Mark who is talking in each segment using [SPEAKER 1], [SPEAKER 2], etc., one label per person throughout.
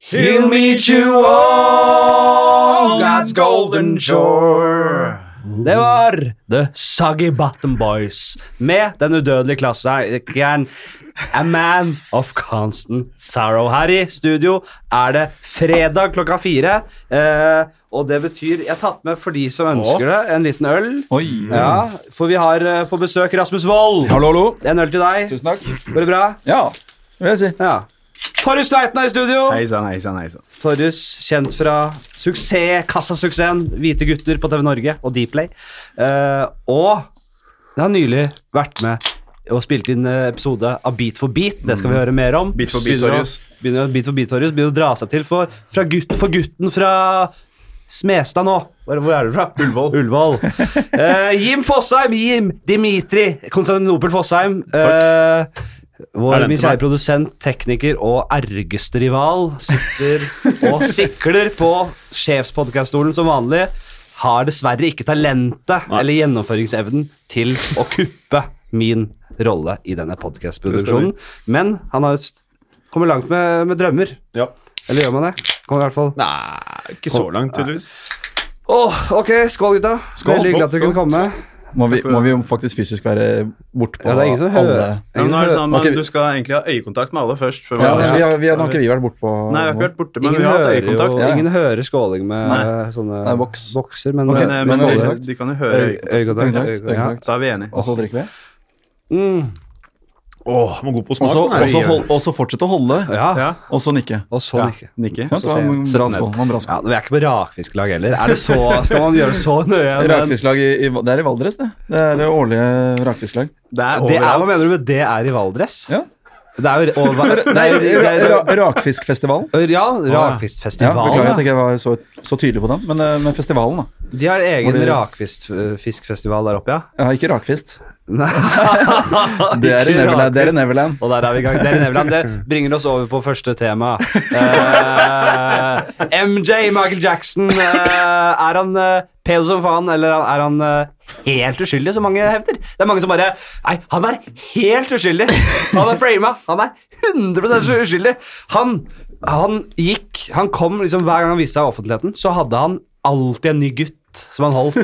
[SPEAKER 1] He'll meet you on God's golden shore. Det var The Soggy Bottom Boys med den udødelige klassikeren A Man of Constant Sorrow. Her i studio er det fredag klokka fire, eh, og det betyr Jeg har tatt med for de som ønsker det, en liten øl.
[SPEAKER 2] Oi.
[SPEAKER 1] Ja, for vi har eh, på besøk Rasmus Wold.
[SPEAKER 2] Hallo, hallo.
[SPEAKER 1] En øl til deg.
[SPEAKER 2] Tusen takk.
[SPEAKER 1] Går det bra?
[SPEAKER 2] Ja, vil jeg si.
[SPEAKER 1] Ja. Torjus Leiten er i studio.
[SPEAKER 3] Hei sann, hei sann, hei sann.
[SPEAKER 1] Torjus, kjent fra suksess, kassasuksessen Hvite gutter på TV Norge og Dplay. Uh, og det har nylig vært med og spilt inn eh, episode av Beat for beat. Det skal vi høre mer om.
[SPEAKER 3] Mm. Beat for beat,
[SPEAKER 1] Begynner å-
[SPEAKER 3] Torjus.
[SPEAKER 1] Begynner, å- beat for beat, Torjus. Begynner å dra seg til for, fra gutt, for gutten fra Smestad nå. Hvor, hvor er du fra?
[SPEAKER 3] Ullevål.
[SPEAKER 1] Ullevål. Eh, Jim Fosheim. Jim Dimitri Konstantinopel Fosheim. Eh,
[SPEAKER 3] Er
[SPEAKER 1] vår
[SPEAKER 3] den
[SPEAKER 1] min
[SPEAKER 3] til
[SPEAKER 1] kjære
[SPEAKER 3] meg?
[SPEAKER 1] produsent, tekniker og ergeste rival sitter og sikler på sjefspodkaststolen som vanlig. Har dessverre ikke talentet eller gjennomføringsevnen til å kuppe min rolle i denne podkastproduksjonen. Men han har st- kommer langt med, med drømmer.
[SPEAKER 3] Ja.
[SPEAKER 1] Eller gjør man det? Kommer i hvert fall.
[SPEAKER 3] Nei, ikke så langt, tydeligvis.
[SPEAKER 1] Åh, ok, skål, gutta.
[SPEAKER 3] Skål,
[SPEAKER 1] Veldig
[SPEAKER 3] skål,
[SPEAKER 1] glad at du kunne
[SPEAKER 3] skål,
[SPEAKER 1] komme.
[SPEAKER 2] Må vi, må vi faktisk fysisk være bortpå
[SPEAKER 1] Ja, det er ingen som hører.
[SPEAKER 2] alle
[SPEAKER 3] Ja, men nå er det sånn,
[SPEAKER 2] Ok, vi-
[SPEAKER 3] men Du skal egentlig ha øyekontakt med alle først. Før
[SPEAKER 2] ja, altså,
[SPEAKER 3] man-
[SPEAKER 2] vi har, vi har, Nå har ikke vi vært bortpå
[SPEAKER 3] Nei, vi har ikke vært borte, men
[SPEAKER 1] Ingen
[SPEAKER 3] vi har hatt
[SPEAKER 1] hører, jo,
[SPEAKER 3] øyekontakt.
[SPEAKER 2] Ja.
[SPEAKER 1] ingen hører skåling med
[SPEAKER 3] Nei.
[SPEAKER 1] sånne
[SPEAKER 2] Nei, boks.
[SPEAKER 1] bokser, men,
[SPEAKER 2] Ok,
[SPEAKER 3] Men, eh, men
[SPEAKER 2] men
[SPEAKER 3] alle-
[SPEAKER 2] øyekontakt.
[SPEAKER 3] de kan jo
[SPEAKER 1] Øy-
[SPEAKER 3] høre
[SPEAKER 1] Øyekontakt.
[SPEAKER 2] Øyekontakt,
[SPEAKER 1] øyekontakt, ja.
[SPEAKER 2] øyekontakt.
[SPEAKER 3] Da er vi enige.
[SPEAKER 2] Og så drikker vi.
[SPEAKER 1] Mm.
[SPEAKER 3] Åh, man er god på
[SPEAKER 2] Og så-
[SPEAKER 3] smaken,
[SPEAKER 2] Og så
[SPEAKER 3] er
[SPEAKER 2] hold- og så fortsette å holde,
[SPEAKER 1] Ja.
[SPEAKER 3] Ja,
[SPEAKER 2] og så nikke.
[SPEAKER 1] Og så
[SPEAKER 3] ja.
[SPEAKER 1] nikke.
[SPEAKER 3] nikke.
[SPEAKER 2] Sant? Det var
[SPEAKER 3] så ser jeg.
[SPEAKER 2] en
[SPEAKER 3] Sett
[SPEAKER 2] bra
[SPEAKER 3] ned.
[SPEAKER 2] skål. det var en bra
[SPEAKER 1] Ja,
[SPEAKER 2] skål.
[SPEAKER 1] men Vi er ikke på rakfisklag heller. Er det så, Skal man gjøre det så nøye? Men,
[SPEAKER 2] Rakfisklag i, i, det er i Valdres, det. Det er det årlige eh, rakfisklag.
[SPEAKER 3] Det er
[SPEAKER 1] det er, hva
[SPEAKER 3] overalt.
[SPEAKER 1] mener du med det er i Valdres?
[SPEAKER 2] Ja.
[SPEAKER 1] Det er jo og, hva- det
[SPEAKER 2] Nei,
[SPEAKER 1] er- det er-
[SPEAKER 2] ra, rakfiskfestivalen.
[SPEAKER 1] Ja,
[SPEAKER 2] Ja,
[SPEAKER 1] rakfiskfestivalen.
[SPEAKER 2] beklager at
[SPEAKER 1] Ja,
[SPEAKER 2] jeg ikke var så, så tydelig på den, men, eh, men festivalen, da.
[SPEAKER 1] De har egen
[SPEAKER 2] Hvor det-
[SPEAKER 1] rakfiskfestival der oppe, ja.
[SPEAKER 2] Ja, ikke rakfist.
[SPEAKER 1] Nei.
[SPEAKER 2] Det er i
[SPEAKER 1] Ikke
[SPEAKER 2] Neverland. Det er i
[SPEAKER 1] rakfist.
[SPEAKER 2] Neverland.
[SPEAKER 1] Og der er vi i gang. Det, er i Nevland. det bringer oss over på første tema. Eh, MJ, Michael Jackson. eh, er han uh, pedo som faen, eller er han eh, helt uskyldig, som mange hevder? Det er mange som bare Nei, han er helt uskyldig. Han er frama. Han er 100 uskyldig. Han, han gikk Han kom liksom Hver gang han viste seg i offentligheten, så hadde han alltid en ny gutt. Som han holdt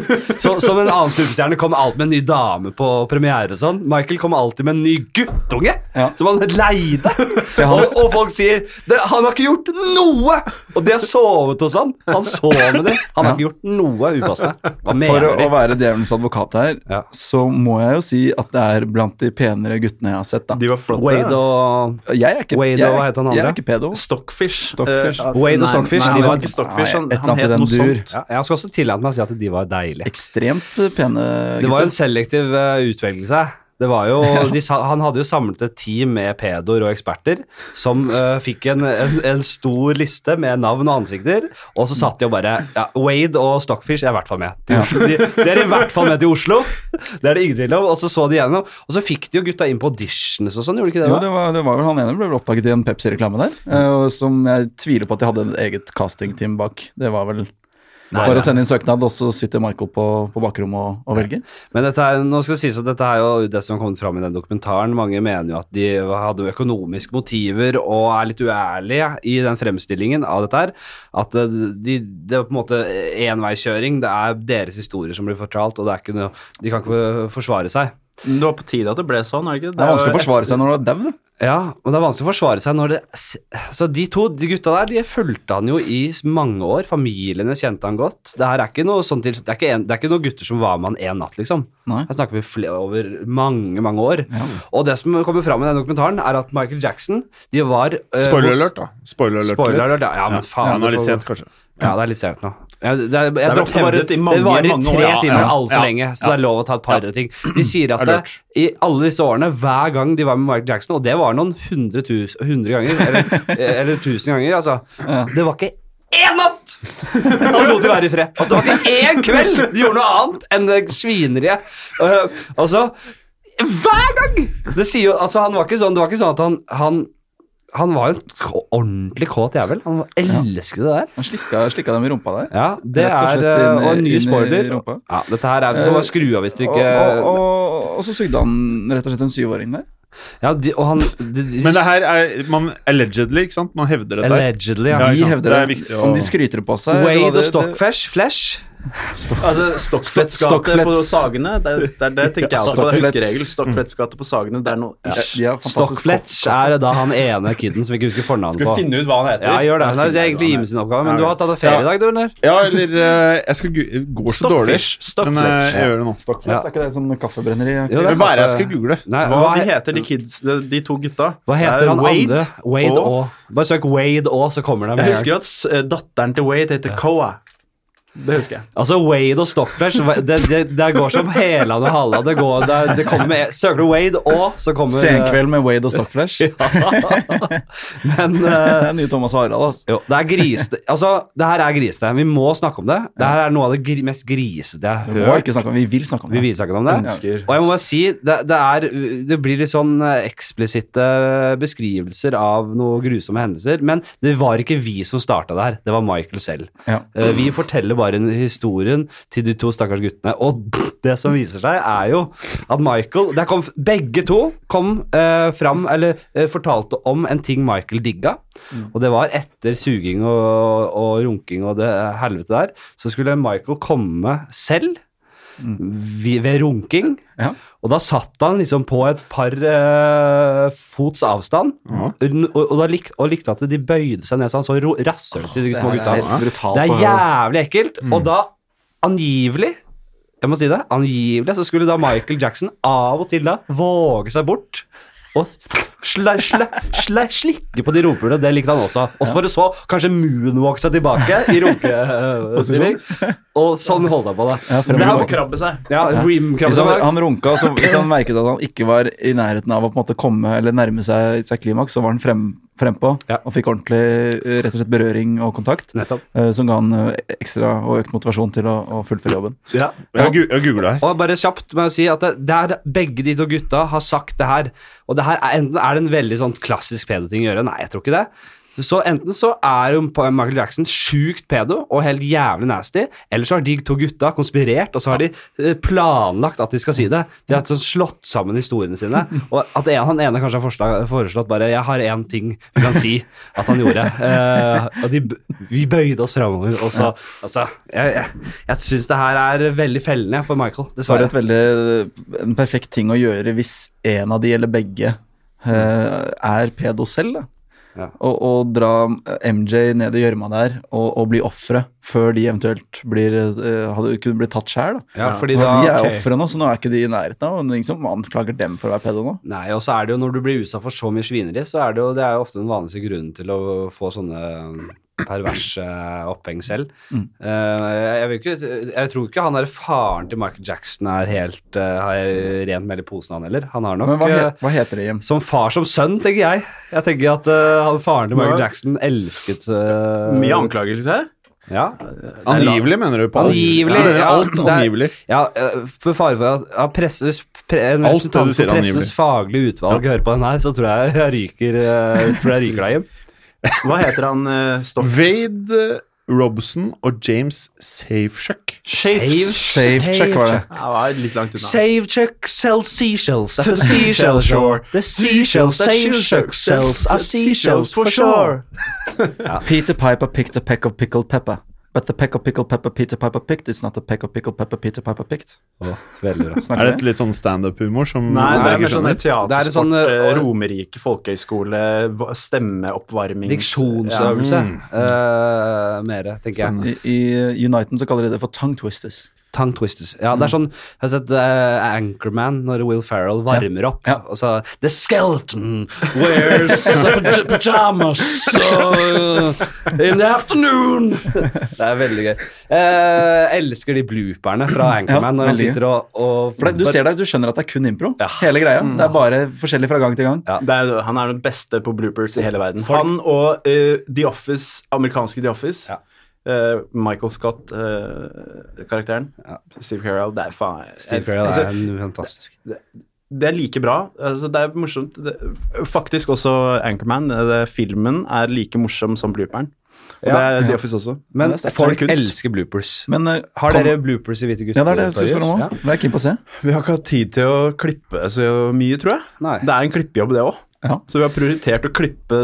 [SPEAKER 1] så, Som en annen superstjerne kom alltid med en ny dame på premiere. og sånn Michael kom alltid med en ny guttunge
[SPEAKER 2] Ja.
[SPEAKER 1] som han leide.
[SPEAKER 2] Til han-
[SPEAKER 1] Og, og folk sier det, 'Han har ikke gjort noe!' Og de har sovet hos han. Han sov med dem. Han har ikke gjort noe upassende. Hva
[SPEAKER 2] For å,
[SPEAKER 1] mener
[SPEAKER 2] å
[SPEAKER 1] de?
[SPEAKER 2] være djevelens advokat her,
[SPEAKER 1] Ja.
[SPEAKER 2] så må jeg jo si at det er blant de penere guttene jeg har sett. da.
[SPEAKER 3] De var flotte. Eh,
[SPEAKER 1] Wade og
[SPEAKER 2] Jeg er ikke,
[SPEAKER 1] Wade
[SPEAKER 2] jeg,
[SPEAKER 1] og hva
[SPEAKER 2] er-
[SPEAKER 1] het han
[SPEAKER 2] Jeg
[SPEAKER 1] andre?
[SPEAKER 2] er ikke pedo.
[SPEAKER 3] Stockfish.
[SPEAKER 2] Stockfish.
[SPEAKER 3] Eh,
[SPEAKER 1] Wade og
[SPEAKER 3] nei,
[SPEAKER 1] Stockfish,
[SPEAKER 3] Nei,
[SPEAKER 1] de
[SPEAKER 3] han
[SPEAKER 1] var-
[SPEAKER 3] var ikke Stockfish, han,
[SPEAKER 2] Nei, et eller
[SPEAKER 3] han
[SPEAKER 2] annet i
[SPEAKER 3] het
[SPEAKER 2] den
[SPEAKER 3] noe
[SPEAKER 2] dur.
[SPEAKER 3] sånt.
[SPEAKER 1] ja, Jeg skal også tillate meg å si at de var deilige.
[SPEAKER 2] Ekstremt eh, pene gutter.
[SPEAKER 1] Det var jo en selektiv eh, utvelgelse. Det var jo, de, sa- han hadde jo samlet et team med pedoer og eksperter som eh, fikk en, en, en stor liste med navn og ansikter, og så satt de og bare ja, Wade og Stockfish er i hvert fall med. De, de, de er i hvert fall med til Oslo. Det er det ingen tvil om. Og så så de gjennom, og så fikk de jo gutta inn på auditions og sånn, gjorde de ikke det?
[SPEAKER 2] jo,
[SPEAKER 1] da?
[SPEAKER 2] det var, det var vel Han ene ble vel oppdaget i en Pepsi-reklame der. eh,
[SPEAKER 1] Mm.
[SPEAKER 2] og Som jeg tviler på at de hadde en eget castingteam bak. Det var vel bare
[SPEAKER 1] nei.
[SPEAKER 2] å sende inn søknad, og så sitter Michael på, på bakrommet og, og velger.
[SPEAKER 1] Men dette er, nå skal det sies at dette er jo det som har kommet fram i den dokumentaren. Mange mener jo at de hadde jo økonomiske motiver og er litt uærlige i den fremstillingen av dette her. At eh, de, det er på en måte enveiskjøring. Det er deres historier som blir fortalt, og det er ikke noe, de kan ikke forsvare seg.
[SPEAKER 3] Men Det var på tide at det ble sånn, er det ikke?
[SPEAKER 2] Det er vanskelig å
[SPEAKER 3] var-
[SPEAKER 2] forsvare seg når du er dau.
[SPEAKER 1] Ja, og det er vanskelig å forsvare seg når det Så de to de gutta der, de fulgte han jo i mange år. Familiene kjente han godt. Det her er ikke noe sånn til, det, er ikke en, det er ikke noen gutter som var med han én natt, liksom.
[SPEAKER 2] Nei.
[SPEAKER 1] Her snakker vi fle- over mange, mange år. Og det som kommer fram i den dokumentaren, er at Michael Jackson, de var eh,
[SPEAKER 4] Spoiler
[SPEAKER 1] hos-
[SPEAKER 4] alert, da. Spoiler alert.
[SPEAKER 1] Spoiler alert, ja, ja, men faen.
[SPEAKER 4] Ja, nå er
[SPEAKER 1] det
[SPEAKER 4] de
[SPEAKER 1] får-
[SPEAKER 4] sent, kanskje.
[SPEAKER 1] Ja, det er litt sent nå. Ja, det, er- jeg
[SPEAKER 3] har vært
[SPEAKER 1] dropper bare-
[SPEAKER 3] hevdet i mange,
[SPEAKER 1] det varer i
[SPEAKER 3] mange år.
[SPEAKER 1] tre
[SPEAKER 4] Ja,
[SPEAKER 1] timer
[SPEAKER 4] ja,
[SPEAKER 1] altfor
[SPEAKER 4] ja,
[SPEAKER 1] lenge, så det er lov å ta et par ting. De sier at det,
[SPEAKER 4] Alert.
[SPEAKER 1] i alle disse årene, hver gang de var med Michael Jackson, og det var noen hundre, tus, hundre ganger, eller, eller tusen ganger, altså, det var ikke én natt! Han lot de være i fred. Altså, det var ikke én kveld de gjorde noe annet enn det svineriet. Uh, altså, hver gang! Det sier jo, altså, han var ikke sånn, det var ikke sånn at han, han han var jo en k- ordentlig kåt jævel. Han elsket det der.
[SPEAKER 2] Han slikka, slikka dem i rumpa der.
[SPEAKER 1] Ja, det
[SPEAKER 2] Rett og
[SPEAKER 1] er
[SPEAKER 2] slett
[SPEAKER 1] eh,
[SPEAKER 2] inn i-
[SPEAKER 1] Og en ny
[SPEAKER 2] inn i
[SPEAKER 1] spoiler.
[SPEAKER 2] rumpa.
[SPEAKER 1] Ja, dette her er Du får bare skru av hvis du
[SPEAKER 2] Og,
[SPEAKER 1] ikke
[SPEAKER 2] og, og, og så sugde han rett og slett en syvåring der.
[SPEAKER 1] Ja, de, og han de, de,
[SPEAKER 4] Men det her er man allegedly, ikke sant? Man hevder dette. her.
[SPEAKER 1] Allegedly, ja.
[SPEAKER 2] De
[SPEAKER 4] Ja, ikke sant?
[SPEAKER 2] hevder det.
[SPEAKER 4] Det er viktig å-
[SPEAKER 2] Om de skryter det på seg eller hva
[SPEAKER 1] Wade og
[SPEAKER 2] det- det-
[SPEAKER 1] Stockflesh Flesh.
[SPEAKER 3] Altså, Stockfletts gate på
[SPEAKER 2] Stockfletts.
[SPEAKER 3] Sagene, det er det, er det tenker jeg også på. Det
[SPEAKER 2] Stockfletts.
[SPEAKER 3] er huskeregel.
[SPEAKER 1] Mm.
[SPEAKER 3] Stockfletts gate på Sagene, det er noe
[SPEAKER 2] Ja, de har fantastisk
[SPEAKER 1] Stockfletch er da han ene kiden som vi ikke husker fornavnet
[SPEAKER 3] Skal vi
[SPEAKER 1] på.
[SPEAKER 3] finne ut hva han heter?
[SPEAKER 1] Ja, gjør det. Nei, det er
[SPEAKER 3] finner
[SPEAKER 1] egentlig
[SPEAKER 3] jeg
[SPEAKER 1] Jim sin oppgave, men
[SPEAKER 4] Ja,
[SPEAKER 1] du har tatt deg ferie i dag, du, eller?
[SPEAKER 4] Ja, eller eh, Jeg skal gu- går så dårlig,
[SPEAKER 3] Stockfish,
[SPEAKER 4] men
[SPEAKER 3] Stockfish.
[SPEAKER 4] eh, jeg gjør det nå.
[SPEAKER 1] Ja.
[SPEAKER 2] Er ikke det sånn kaffebrenneri?
[SPEAKER 1] Jo, det er
[SPEAKER 4] Men hva er det jeg
[SPEAKER 1] kaffe-
[SPEAKER 4] skal google?
[SPEAKER 1] Nei,
[SPEAKER 3] hva,
[SPEAKER 1] hva,
[SPEAKER 3] de
[SPEAKER 1] he-
[SPEAKER 3] heter de kids, de, de to gutta?
[SPEAKER 1] hva
[SPEAKER 3] Det
[SPEAKER 1] heter
[SPEAKER 3] er
[SPEAKER 1] han
[SPEAKER 3] Wade,
[SPEAKER 1] andre? Wade
[SPEAKER 3] og-
[SPEAKER 1] Aa. Bare søk Wade Aa, så kommer det. med
[SPEAKER 3] Jeg
[SPEAKER 1] en gang.
[SPEAKER 3] husker at s- eh, datteren til Wade heter Koa. Det husker jeg.
[SPEAKER 1] Altså, Wade og Stockflesh, hva- det, det, det går som Heland og Halland. Det går, det, det kommer med Søker du Wade Aa, så kommer
[SPEAKER 2] Senkveld med Wade og Stockflash. Det
[SPEAKER 1] Men eh,
[SPEAKER 2] er nye Thomas og Harald, altså.
[SPEAKER 1] jo, det er grisete. Altså, det her er grisete. Vi må snakke om det. Det her er noe av det gri mest grisete jeg
[SPEAKER 2] Vi
[SPEAKER 1] har
[SPEAKER 2] må
[SPEAKER 1] hørt.
[SPEAKER 2] ikke snakke om Vi vil snakke om
[SPEAKER 1] Vi
[SPEAKER 2] det.
[SPEAKER 1] vil snakke om det.
[SPEAKER 2] Ønsker.
[SPEAKER 1] Og jeg må bare si, det, det, er, det blir litt sånn eh, eksplisitte beskrivelser av noen grusomme hendelser, men det var ikke vi som starta det her, det var Michael selv.
[SPEAKER 2] Ja.
[SPEAKER 1] Eh, Vi forteller bare en- historien til de to stakkars guttene, og det som viser seg er jo at Michael, der kom, begge to kom eh, fram, eller eh, fortalte om en ting Michael digga,
[SPEAKER 2] Mm.
[SPEAKER 1] og det var etter suging og, og runking og det helvete der, så skulle Michael komme selv,
[SPEAKER 2] Mm.
[SPEAKER 1] vi- ved runking,
[SPEAKER 2] Ja.
[SPEAKER 1] og da satt han liksom på et par eh, fots avstand, og, og, da lik, og likte at de bøyde seg ned, så han så ro- rasshøl til de små
[SPEAKER 2] Det
[SPEAKER 1] gutta.
[SPEAKER 2] er helt brutalt.
[SPEAKER 1] Det
[SPEAKER 2] å
[SPEAKER 1] er
[SPEAKER 2] høre.
[SPEAKER 1] jævlig ekkelt. Og da, angivelig Jeg må si det. Angivelig så skulle da Michael Jackson av og til da våge seg bort og sla, sla, sla, slikke på de rumpehulene. Det likte han også. Og for å så kanskje moonwalk seg tilbake i runkestilling. Og sånn holdt han på det.
[SPEAKER 2] Ja, frem og
[SPEAKER 1] Men han-
[SPEAKER 2] tilbake.
[SPEAKER 3] Krabbe seg.
[SPEAKER 1] Ja, rimkrabbe
[SPEAKER 2] Hvis
[SPEAKER 1] seg
[SPEAKER 2] han,
[SPEAKER 1] bak.
[SPEAKER 2] han runka, så hvis han merket at han ikke var i nærheten av å på en måte komme eller nærme seg, seg klimaks, så var han frem, frempå
[SPEAKER 1] Ja.
[SPEAKER 2] og fikk ordentlig eh, rett og slett berøring og kontakt,
[SPEAKER 1] Nettopp.
[SPEAKER 2] eh, som ga han eh, ekstra og økt motivasjon til å, å fullføre jobben.
[SPEAKER 1] Ja.
[SPEAKER 4] Jeg har gu- jeg har googla her.
[SPEAKER 1] Og bare kjapt med å si at det, det er begge de to gutta har sagt det her. Og det her er, enten er det en veldig sånn klassisk pedo-ting å gjøre. Nei, jeg tror ikke det. Så enten så er jo Michael Jackson sjukt pedo og helt jævlig nasty, eller så har de to gutta konspirert, og så har de eh, planlagt at de skal si det. De har sånn slått sammen historiene sine. Og at en, han ene kanskje har forslag- foreslått bare 'Jeg har én ting vi kan si at han gjorde'. Eh, og de, b- vi bøyde oss framover, og så Altså, jeg, jeg, jeg syns det her er veldig fellende for Michael,
[SPEAKER 2] Det var
[SPEAKER 1] dessverre.
[SPEAKER 2] et veldig, en perfekt ting å gjøre hvis en av de, eller begge, eh, er pedo selv. Da.
[SPEAKER 1] Ja.
[SPEAKER 2] Og, og dra MJ ned i gjørma der og, og bli ofre før de eventuelt blir, eh, hadde, kunne bli tatt sjæl.
[SPEAKER 1] Ja, fordi
[SPEAKER 2] De
[SPEAKER 1] da,
[SPEAKER 2] er
[SPEAKER 1] ok.
[SPEAKER 2] ofre nå, så nå er ikke de i nærheten av og det er ingen som anklager dem for å være pedo nå.
[SPEAKER 1] Nei, og så er det jo når du blir utsatt for så mye svineri, så er det jo, det er jo ofte den vanligste grunnen til å få sånne um, perverse uh, oppheng selv. Eh, jeg, vil ikke, jeg tror ikke han der faren til Michael Jackson er helt eh, har rent mel i posen, han heller. Han har nok
[SPEAKER 2] Men hva,
[SPEAKER 1] eh,
[SPEAKER 2] he, hva heter det, Jim?
[SPEAKER 1] Som far som sønn, tenker jeg. Jeg tenker at eh, han faren til Michael
[SPEAKER 3] Ja.
[SPEAKER 1] Jackson elsket eh,
[SPEAKER 3] Mye anklagelser her.
[SPEAKER 1] Ja.
[SPEAKER 4] Angivelig, mener du? Paul?
[SPEAKER 1] Angivelig,
[SPEAKER 4] Ja, det er
[SPEAKER 1] ja.
[SPEAKER 4] alt
[SPEAKER 1] Det er-
[SPEAKER 4] angivelig.
[SPEAKER 1] Ja, eh, for fare for at ja, presses, pre, en
[SPEAKER 4] Alt det du
[SPEAKER 1] representant
[SPEAKER 4] sier
[SPEAKER 1] for
[SPEAKER 4] er
[SPEAKER 1] pressens faglige utvalg hører på den her, så tror jeg jeg ryker, eh, tror jeg ryker deg hjem.
[SPEAKER 3] Hva heter han uh, Stock...
[SPEAKER 4] Wade eh, Robson og James Safeshuck.
[SPEAKER 1] Save,
[SPEAKER 2] Safe check var det.
[SPEAKER 3] Ja, det var litt langt unna.
[SPEAKER 1] Save check sells seashells at the seashell shore. The seashell save check sells at seashells for sure.
[SPEAKER 2] Peter Piper picked a peck of pickled pepper. But the peck of pickled pepper Peter Piper picked, it's not a peck of pickled pepper Peter Piper picked.
[SPEAKER 1] Å, veldig bra.
[SPEAKER 4] Er
[SPEAKER 2] Snakker
[SPEAKER 4] det
[SPEAKER 2] vi?
[SPEAKER 4] litt sånn standup-humor som
[SPEAKER 3] Nei, det er
[SPEAKER 4] jeg ikke
[SPEAKER 3] mer sånn
[SPEAKER 4] skjønner?
[SPEAKER 3] et teatersport,
[SPEAKER 1] Det er sånn, eh,
[SPEAKER 3] eh, Romerike folkehøgskole, va- stemmeoppvarming
[SPEAKER 1] Diksjonsøvelse. eh, mere, tenker jeg.
[SPEAKER 2] I, I Uniten så kaller de det for tongue twisters.
[SPEAKER 1] Tongue twisters. Ja, det er sånn Jeg har sett eh, Anchorman når Will Ferrell varmer opp.
[SPEAKER 2] Ja.
[SPEAKER 1] Og så The skeleton wears paj- pajamas uh, in the afternoon. Det er veldig gøy. Eh, elsker de blooperne fra Anchorman når han
[SPEAKER 2] veldig gøy.
[SPEAKER 1] sitter og, og
[SPEAKER 2] For det, du ser det, du skjønner at det er kun impro.
[SPEAKER 1] Ja. Mm.
[SPEAKER 2] Hele greia. Det er bare forskjellig fra gang til gang.
[SPEAKER 1] Ja.
[SPEAKER 3] Det er, han er den beste på bloopers i hele verden. Han og eh, The Office, amerikanske The Office.
[SPEAKER 1] Ja.
[SPEAKER 3] eh, Michael Scott-karakteren. Steve Carell. Det er faen
[SPEAKER 1] Steve Carell
[SPEAKER 3] altså,
[SPEAKER 1] er en fantastisk.
[SPEAKER 3] det er like bra. Altså, det er morsomt. Det, faktisk også Anchorman. Det, det, filmen er like morsom som blooperen. Og
[SPEAKER 1] Ja.
[SPEAKER 3] det er The Office også.
[SPEAKER 1] Men
[SPEAKER 2] det er sterkt.
[SPEAKER 1] folk
[SPEAKER 3] Det er kunst.
[SPEAKER 1] elsker bloopers.
[SPEAKER 2] Men eh,
[SPEAKER 1] Har
[SPEAKER 2] kom-
[SPEAKER 1] dere bloopers i Hvite gutter?
[SPEAKER 2] Ja, det er det jeg skulle spørre om
[SPEAKER 1] Ja.
[SPEAKER 2] òg. Vær keen på å se.
[SPEAKER 3] Vi har ikke hatt tid til å klippe så mye, tror jeg.
[SPEAKER 1] Nei.
[SPEAKER 3] Det er en klippejobb, det òg.
[SPEAKER 2] Ja.
[SPEAKER 3] Så vi har prioritert å klippe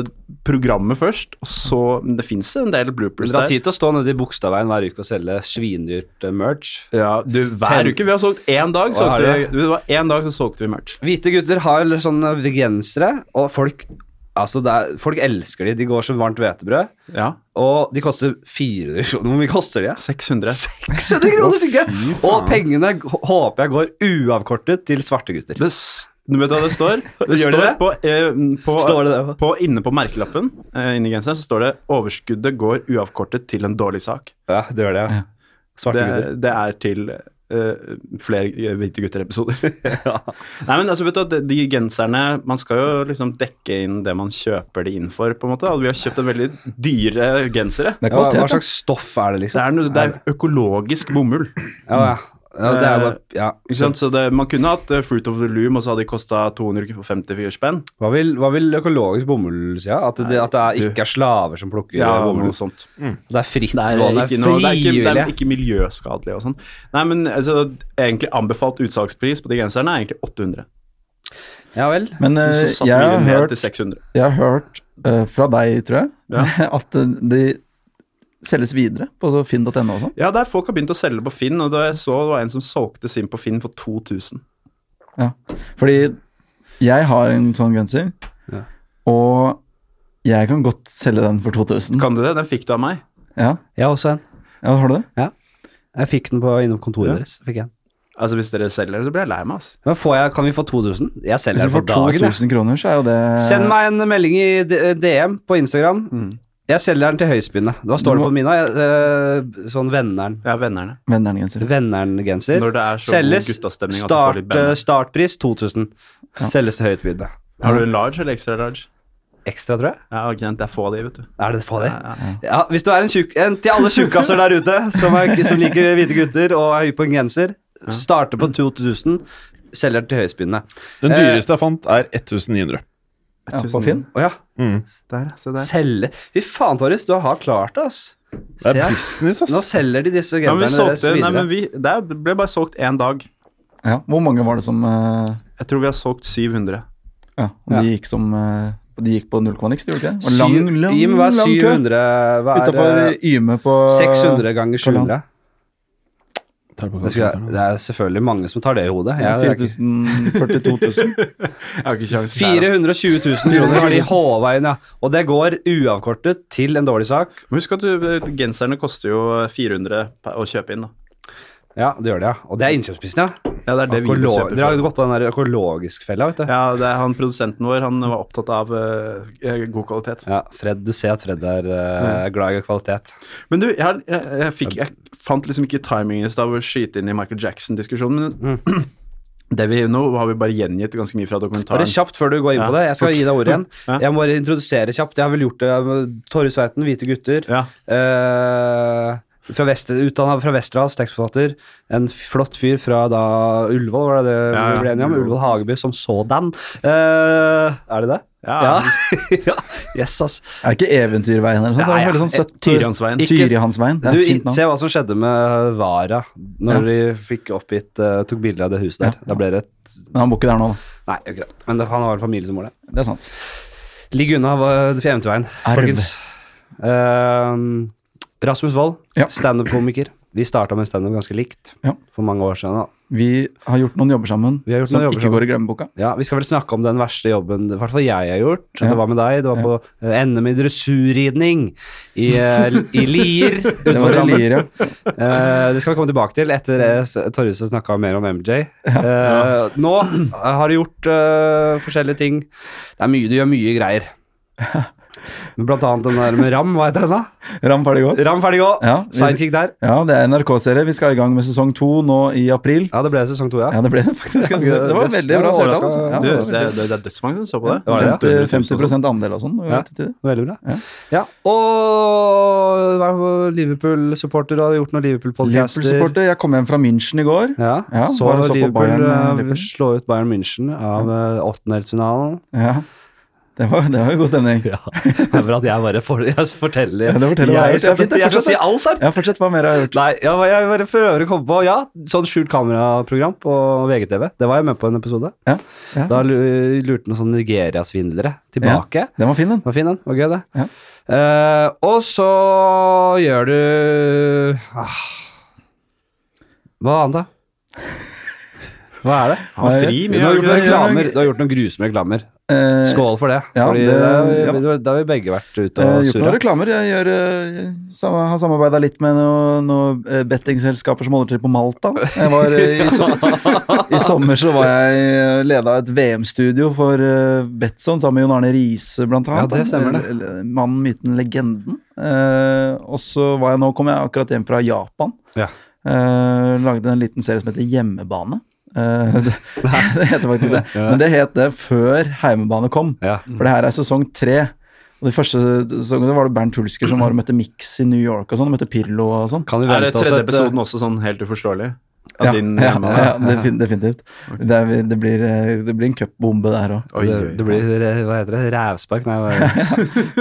[SPEAKER 3] programmet først, og så Men det fins en del bloopers
[SPEAKER 1] Dere har
[SPEAKER 3] der.
[SPEAKER 1] tid til å stå nede i Bogstadveien hver uke og selge svindyrt eh, merch.
[SPEAKER 3] Ja, du, hver
[SPEAKER 1] Fem-
[SPEAKER 3] uke. Vi har solgt én
[SPEAKER 1] Å,
[SPEAKER 3] dag,
[SPEAKER 1] har
[SPEAKER 3] solgte vi,
[SPEAKER 1] dere?
[SPEAKER 3] det var én dag så solgte vi merch.
[SPEAKER 1] Hvite gutter har sånne gensere, og folk, altså det er, folk elsker de. De går som varmt hvetebrød.
[SPEAKER 3] Ja.
[SPEAKER 1] Og de koster 400 kroner. Hvor mye koster de?
[SPEAKER 3] 600.
[SPEAKER 1] 600 kroner stykket! Og pengene g- håper jeg går uavkortet til svarte gutter.
[SPEAKER 3] Det, s- du vet hva det står? Det
[SPEAKER 1] Gjør
[SPEAKER 3] står
[SPEAKER 1] det det?
[SPEAKER 3] På, eh, på,
[SPEAKER 1] Står det det?
[SPEAKER 3] På, inne på merkelappen eh, inni genseren så står det 'Overskuddet går uavkortet til en dårlig sak'.
[SPEAKER 1] Ja, det gjør det. ja. Svarte
[SPEAKER 3] Det,
[SPEAKER 1] gutter.
[SPEAKER 3] det er til eh, flere eh, Hvite gutter-episoder. Nei, men altså, vet du, at de- de genserne Man skal jo liksom dekke inn det man kjøper de inn for, på en måte. Og vi har kjøpt en veldig dyre gensere.
[SPEAKER 2] Det er
[SPEAKER 1] Ja, hva
[SPEAKER 2] kvalitet. da.
[SPEAKER 1] slags stoff er det,
[SPEAKER 3] Det
[SPEAKER 1] liksom?
[SPEAKER 3] er, noe, det er økologisk bomull.
[SPEAKER 1] Ja, ja. ja det er jo bare ja.
[SPEAKER 3] Eh, Ikke sant? Så det, man kunne hatt eh, Fruit of the Loom, og så hadde de kosta 254 spenn.
[SPEAKER 1] Hva vil, hva vil økologisk bomull si? ja? At det, at det er, ikke er slaver som plukker
[SPEAKER 3] Ja,
[SPEAKER 1] bomull?
[SPEAKER 3] noe sånt.
[SPEAKER 1] Det er fritt
[SPEAKER 3] Det er,
[SPEAKER 1] valg, det
[SPEAKER 3] ikke
[SPEAKER 1] er
[SPEAKER 3] noe, det er, ikke, det er
[SPEAKER 1] frivillig.
[SPEAKER 3] ikke miljøskadelig og sånn. Nei, men altså, egentlig anbefalt utsalgspris på de genserne er egentlig 800.
[SPEAKER 1] Ja vel.
[SPEAKER 2] Men eh,
[SPEAKER 3] Så satte
[SPEAKER 2] jeg
[SPEAKER 3] vi
[SPEAKER 2] har
[SPEAKER 3] det ned
[SPEAKER 2] hørt,
[SPEAKER 3] til 600.
[SPEAKER 2] jeg har hørt eh, fra deg, tror jeg,
[SPEAKER 3] Ja.
[SPEAKER 2] at eh, de selges videre på så finn.no og sånn.
[SPEAKER 3] Ja, der folk har begynt å selge på Finn, og da jeg så det var en som solgte sin på Finn for 2000.
[SPEAKER 2] Ja. Fordi jeg har en sånn genser,
[SPEAKER 1] Ja.
[SPEAKER 2] og jeg kan godt selge den for 2000.
[SPEAKER 3] Kan du det? Den fikk du av meg.
[SPEAKER 2] Ja,
[SPEAKER 1] Jeg har også en.
[SPEAKER 2] ja har du det?
[SPEAKER 1] Jeg fikk den på, innom kontoret
[SPEAKER 3] Ja.
[SPEAKER 1] deres. Fikk jeg den.
[SPEAKER 3] Altså, hvis dere selger, så blir jeg lei meg, altså.
[SPEAKER 1] Men får jeg, kan vi få 2000? Jeg selger
[SPEAKER 2] Hvis
[SPEAKER 1] den
[SPEAKER 2] du får
[SPEAKER 1] for dagen. jeg.
[SPEAKER 2] 2000 kroner, så er jo det
[SPEAKER 1] Send meg en melding i D- DM på Instagram.
[SPEAKER 3] eh, Mm.
[SPEAKER 1] Jeg selger den til høyspinnet. Da står
[SPEAKER 2] Du
[SPEAKER 1] det på mina. Jeg, eh, sånn Venneren.
[SPEAKER 3] Ja, vennerne.
[SPEAKER 2] venneren genser.
[SPEAKER 1] Venneren-genser.
[SPEAKER 3] Når det er så god
[SPEAKER 1] Selges.
[SPEAKER 3] guttastemning at du får
[SPEAKER 1] Start, eh,
[SPEAKER 3] litt band.
[SPEAKER 1] startpris 2000. Selges til høytbydende.
[SPEAKER 3] Har du en large eller extra large?
[SPEAKER 1] Ekstra, tror jeg.
[SPEAKER 3] Ja, ikke sant, det er få av de, vet du.
[SPEAKER 1] Er det på det?
[SPEAKER 3] Ja, ja.
[SPEAKER 1] Ja, hvis du er en, tjukk- en til alle tjukkaser der ute som, er, som liker hvite gutter og er høy på en genser, starter på 2000, selger den til høyspinnet.
[SPEAKER 4] Den
[SPEAKER 1] Eh,
[SPEAKER 4] dyreste jeg fant, er 1900.
[SPEAKER 2] Ja, på Finn.
[SPEAKER 1] Å ja.
[SPEAKER 4] Mm.
[SPEAKER 3] Der, se der.
[SPEAKER 1] Selge Fy faen, Torjus, du har klart det, ass.
[SPEAKER 4] Det er
[SPEAKER 1] Se her.
[SPEAKER 4] business,
[SPEAKER 1] Nå
[SPEAKER 4] ass.
[SPEAKER 1] selger de disse
[SPEAKER 3] Ja, men vi
[SPEAKER 1] genserne deres
[SPEAKER 3] solgte, nei,
[SPEAKER 1] videre.
[SPEAKER 3] men vi, det ble bare solgt én dag.
[SPEAKER 2] Ja. Hvor mange var det som eh,
[SPEAKER 3] Jeg tror vi har solgt 700.
[SPEAKER 2] Ja, og
[SPEAKER 1] Ja.
[SPEAKER 2] de gikk som eh, De gikk på null komma niks, de gjorde ikke det?
[SPEAKER 1] Syv-
[SPEAKER 2] Det var Lang, lang,
[SPEAKER 1] Jim, hva er
[SPEAKER 2] lang kø
[SPEAKER 1] 700 Hva er
[SPEAKER 2] utafor
[SPEAKER 1] eh,
[SPEAKER 2] Yme på
[SPEAKER 1] 600 ganger
[SPEAKER 2] Hvor langt?
[SPEAKER 1] 700?
[SPEAKER 4] Tar på
[SPEAKER 1] Det, skulle, jeg-
[SPEAKER 4] kalkulatoren.
[SPEAKER 1] det er selvfølgelig mange som tar det i hodet. Jeg, det er ikke-
[SPEAKER 2] 4000, 42 000.
[SPEAKER 3] Jeg har ikke kjangs.
[SPEAKER 1] 420 000 kroner har de håva inn, ja. Og det går uavkortet til en dårlig sak.
[SPEAKER 3] Men Husk at du, genserne koster jo 400 per- å kjøpe inn, da.
[SPEAKER 1] Ja, det gjør det, ja. Og det er innkjøpsprisen, ja.
[SPEAKER 3] Ja, det er det vi
[SPEAKER 1] Økolo-
[SPEAKER 3] kjøper
[SPEAKER 1] Dere har
[SPEAKER 3] for.
[SPEAKER 1] gått på den der økologisk-fella, vet du. Ja.
[SPEAKER 3] Ja, det er han produsenten vår, han var opptatt av eh, god kvalitet.
[SPEAKER 1] Fred, Du ser at Fred er eh, glad i kvalitet.
[SPEAKER 3] Men du, jeg, har- jeg, jeg, fikk, jeg fant liksom ikke timingen i stad å skyte inn i Michael Jackson-diskusjonen, men det vi nå har vi bare gjengitt ganske mye fra
[SPEAKER 1] Bare
[SPEAKER 3] dokumentaren.
[SPEAKER 1] kjapt før du går inn på det. Jeg skal gi deg ordet igjen.
[SPEAKER 3] Ja.
[SPEAKER 1] Jeg må bare introdusere kjapt. Jeg har vel gjort det med Torjus Tveiten, Hvite gutter.
[SPEAKER 3] Ja.
[SPEAKER 1] Eh, fra Vest, utdannet fra Vesterålen, tekstforfatter. En flott fyr fra da Ullevål, var det det
[SPEAKER 3] Ja, ja.
[SPEAKER 1] vi ble enige om?
[SPEAKER 3] Ullevål.
[SPEAKER 1] Ullevål Hageby som sådan. Eh, er det det?
[SPEAKER 3] Ja.
[SPEAKER 1] ja. Yes, ass.
[SPEAKER 2] Er det ikke Eventyrveien eller noe sånt?
[SPEAKER 1] Ja, ja.
[SPEAKER 2] Det er veldig sånn søtt
[SPEAKER 3] Tyriansveien.
[SPEAKER 1] Ikke-
[SPEAKER 2] Tyrihansveien. Det
[SPEAKER 1] Du,
[SPEAKER 2] er et
[SPEAKER 1] i-
[SPEAKER 2] fint navn.
[SPEAKER 1] se hva som skjedde med eh, Vara når de fikk oppgitt eh, Tok bilde av det huset der.
[SPEAKER 2] Ja.
[SPEAKER 1] Da ble det et
[SPEAKER 2] Men han bor ikke der nå, da.
[SPEAKER 1] Nei, ikke det. Men det, han har en familie som bor der.
[SPEAKER 2] Det er sant.
[SPEAKER 1] Ligg unna eh, Eventyrveien,
[SPEAKER 2] Arv.
[SPEAKER 1] folkens. Ehm, Rasmus Wold,
[SPEAKER 2] Ja.
[SPEAKER 1] standup-komiker. Vi starta med standup ganske likt
[SPEAKER 2] Ja.
[SPEAKER 1] for mange år siden. Da.
[SPEAKER 2] Vi har gjort noen jobber sammen
[SPEAKER 1] Vi har gjort
[SPEAKER 2] som
[SPEAKER 1] noen jobber
[SPEAKER 2] ikke
[SPEAKER 1] sammen.
[SPEAKER 2] går i glemmeboka.
[SPEAKER 1] Ja, Vi skal vel snakke om den verste jobben i hvert fall jeg har gjort. og
[SPEAKER 2] Ja.
[SPEAKER 1] Det var med deg. Det var på eh, NM i dressurridning i, eh, i Lier.
[SPEAKER 2] Det
[SPEAKER 1] utenfor
[SPEAKER 2] var
[SPEAKER 1] Drammen.
[SPEAKER 2] relier, ja.
[SPEAKER 1] Eh, det skal vi komme tilbake til etter det Torjus har snakka mer om MJ. Eh, nå har du gjort eh, forskjellige ting. Det er mye, du gjør mye greier. Blant annet den der med Ram, hva heter den da?
[SPEAKER 2] Ram ferdig godt.
[SPEAKER 1] Ram ferdig gå,
[SPEAKER 2] Ja, vi-
[SPEAKER 1] sidekick der.
[SPEAKER 2] Ja, det er NRK-serie. Vi skal i gang med sesong to nå i april.
[SPEAKER 1] Ja, det ble sesong to, ja.
[SPEAKER 2] Ja, det ble det faktisk.
[SPEAKER 1] Ja,
[SPEAKER 2] ganske-
[SPEAKER 1] det-
[SPEAKER 2] Det var
[SPEAKER 1] det-
[SPEAKER 2] veldig
[SPEAKER 1] det
[SPEAKER 2] bra
[SPEAKER 1] var
[SPEAKER 2] serietall. altså. Ja, det
[SPEAKER 3] Du, det,
[SPEAKER 2] var
[SPEAKER 3] det,
[SPEAKER 2] veldig-
[SPEAKER 3] det er dødsmange som så på det.
[SPEAKER 1] var det, ja.
[SPEAKER 2] 50, 50 andel og sånn.
[SPEAKER 1] Ja.
[SPEAKER 2] Ja.
[SPEAKER 1] Veldig bra.
[SPEAKER 2] Ja.
[SPEAKER 1] Ja, og hva er det, Liverpool-supporter har gjort noen Liverpool-podcaster.
[SPEAKER 2] Liverpool-supporter. Jeg kom hjem fra München i går.
[SPEAKER 1] Ja,
[SPEAKER 2] Ja,
[SPEAKER 1] så
[SPEAKER 2] bare så på
[SPEAKER 1] Liverpool,
[SPEAKER 2] Bayern, eh,
[SPEAKER 1] eh,
[SPEAKER 2] Liverpool.
[SPEAKER 1] slå ut Bayern München av eh, åttendelsfinalen.
[SPEAKER 2] Ja. Det var, det var jo god stemning.
[SPEAKER 1] Ja, det er for at jeg bare for, jeg forteller.
[SPEAKER 2] Ja, det forteller
[SPEAKER 1] jeg,
[SPEAKER 2] hva jeg har gjort.
[SPEAKER 1] skal,
[SPEAKER 2] Det er fint,
[SPEAKER 1] jeg,
[SPEAKER 2] det
[SPEAKER 1] skal si
[SPEAKER 2] fortsetter.
[SPEAKER 1] alt her.
[SPEAKER 2] Ja, fortsett. Hva mer har jeg gjort?
[SPEAKER 1] Nei, ja, men jeg bare prøver å komme på Ja, sånn skjult kameraprogram på VGTV. Det var jeg med på en episode.
[SPEAKER 2] Ja, ja.
[SPEAKER 1] Da lu- lurte noen sånne Nigeria-svindlere tilbake.
[SPEAKER 2] Den var fin, den.
[SPEAKER 1] Det var fin, den. Det var gøy, det.
[SPEAKER 2] Ja.
[SPEAKER 1] Eh, og så gjør du ah. Hva annet, da? Hva er det?
[SPEAKER 3] Han har fri
[SPEAKER 1] Du
[SPEAKER 3] mye.
[SPEAKER 1] har
[SPEAKER 3] har
[SPEAKER 1] gjort
[SPEAKER 3] du
[SPEAKER 1] noen
[SPEAKER 3] ikke det?
[SPEAKER 2] gjør
[SPEAKER 1] reklamer.
[SPEAKER 2] noe-
[SPEAKER 1] Du har gjort noen grusomme reklamer.
[SPEAKER 2] Eh,
[SPEAKER 1] Skål for det.
[SPEAKER 2] Ja,
[SPEAKER 1] Fordi
[SPEAKER 2] det-
[SPEAKER 1] da har vi-
[SPEAKER 2] ja.
[SPEAKER 1] da har vi begge vært ute
[SPEAKER 2] Eh,
[SPEAKER 1] og
[SPEAKER 2] gjort noen
[SPEAKER 1] surra.
[SPEAKER 2] reklamer. Jeg gjør, eh, sam har samarbeida litt med noen noe eh, bettingselskaper som holder til på Malta. Jeg var, eh, i, som I sommer så var jeg leda et VM-studio for eh, Betson sammen med Jon Arne Riise, blant
[SPEAKER 1] Ja,
[SPEAKER 2] annet.
[SPEAKER 1] det stemmer det.
[SPEAKER 2] Eller- eller Mannen, myten, legenden. Eh, og så var jeg nå, kom jeg akkurat hjem fra Japan.
[SPEAKER 1] Ja.
[SPEAKER 2] Eh, lagde en liten serie som heter Hjemmebane. Eh, det, det heter faktisk det.
[SPEAKER 1] Ja.
[SPEAKER 2] Men det het det før Heimebane kom.
[SPEAKER 1] Ja.
[SPEAKER 2] For det her er sesong tre. Og de første sesongene var det Bernt Hulsker som var og møtte Mix i New York og sånn. og Møtte Pirlo og sånn.
[SPEAKER 1] Kan vi
[SPEAKER 3] Er det
[SPEAKER 1] vente oss
[SPEAKER 3] tredje
[SPEAKER 1] et
[SPEAKER 3] episoden også sånn helt uforståelig? Av
[SPEAKER 2] Ja,
[SPEAKER 3] din
[SPEAKER 2] ja,
[SPEAKER 3] hjemme?
[SPEAKER 2] ja, defin- definitivt. Det, er, det, blir, eh, det blir en cupbombe der òg.
[SPEAKER 3] Oi,
[SPEAKER 1] det,
[SPEAKER 3] oi.
[SPEAKER 1] det blir eh, Hva heter det? Rævspark? Nei, hva er det?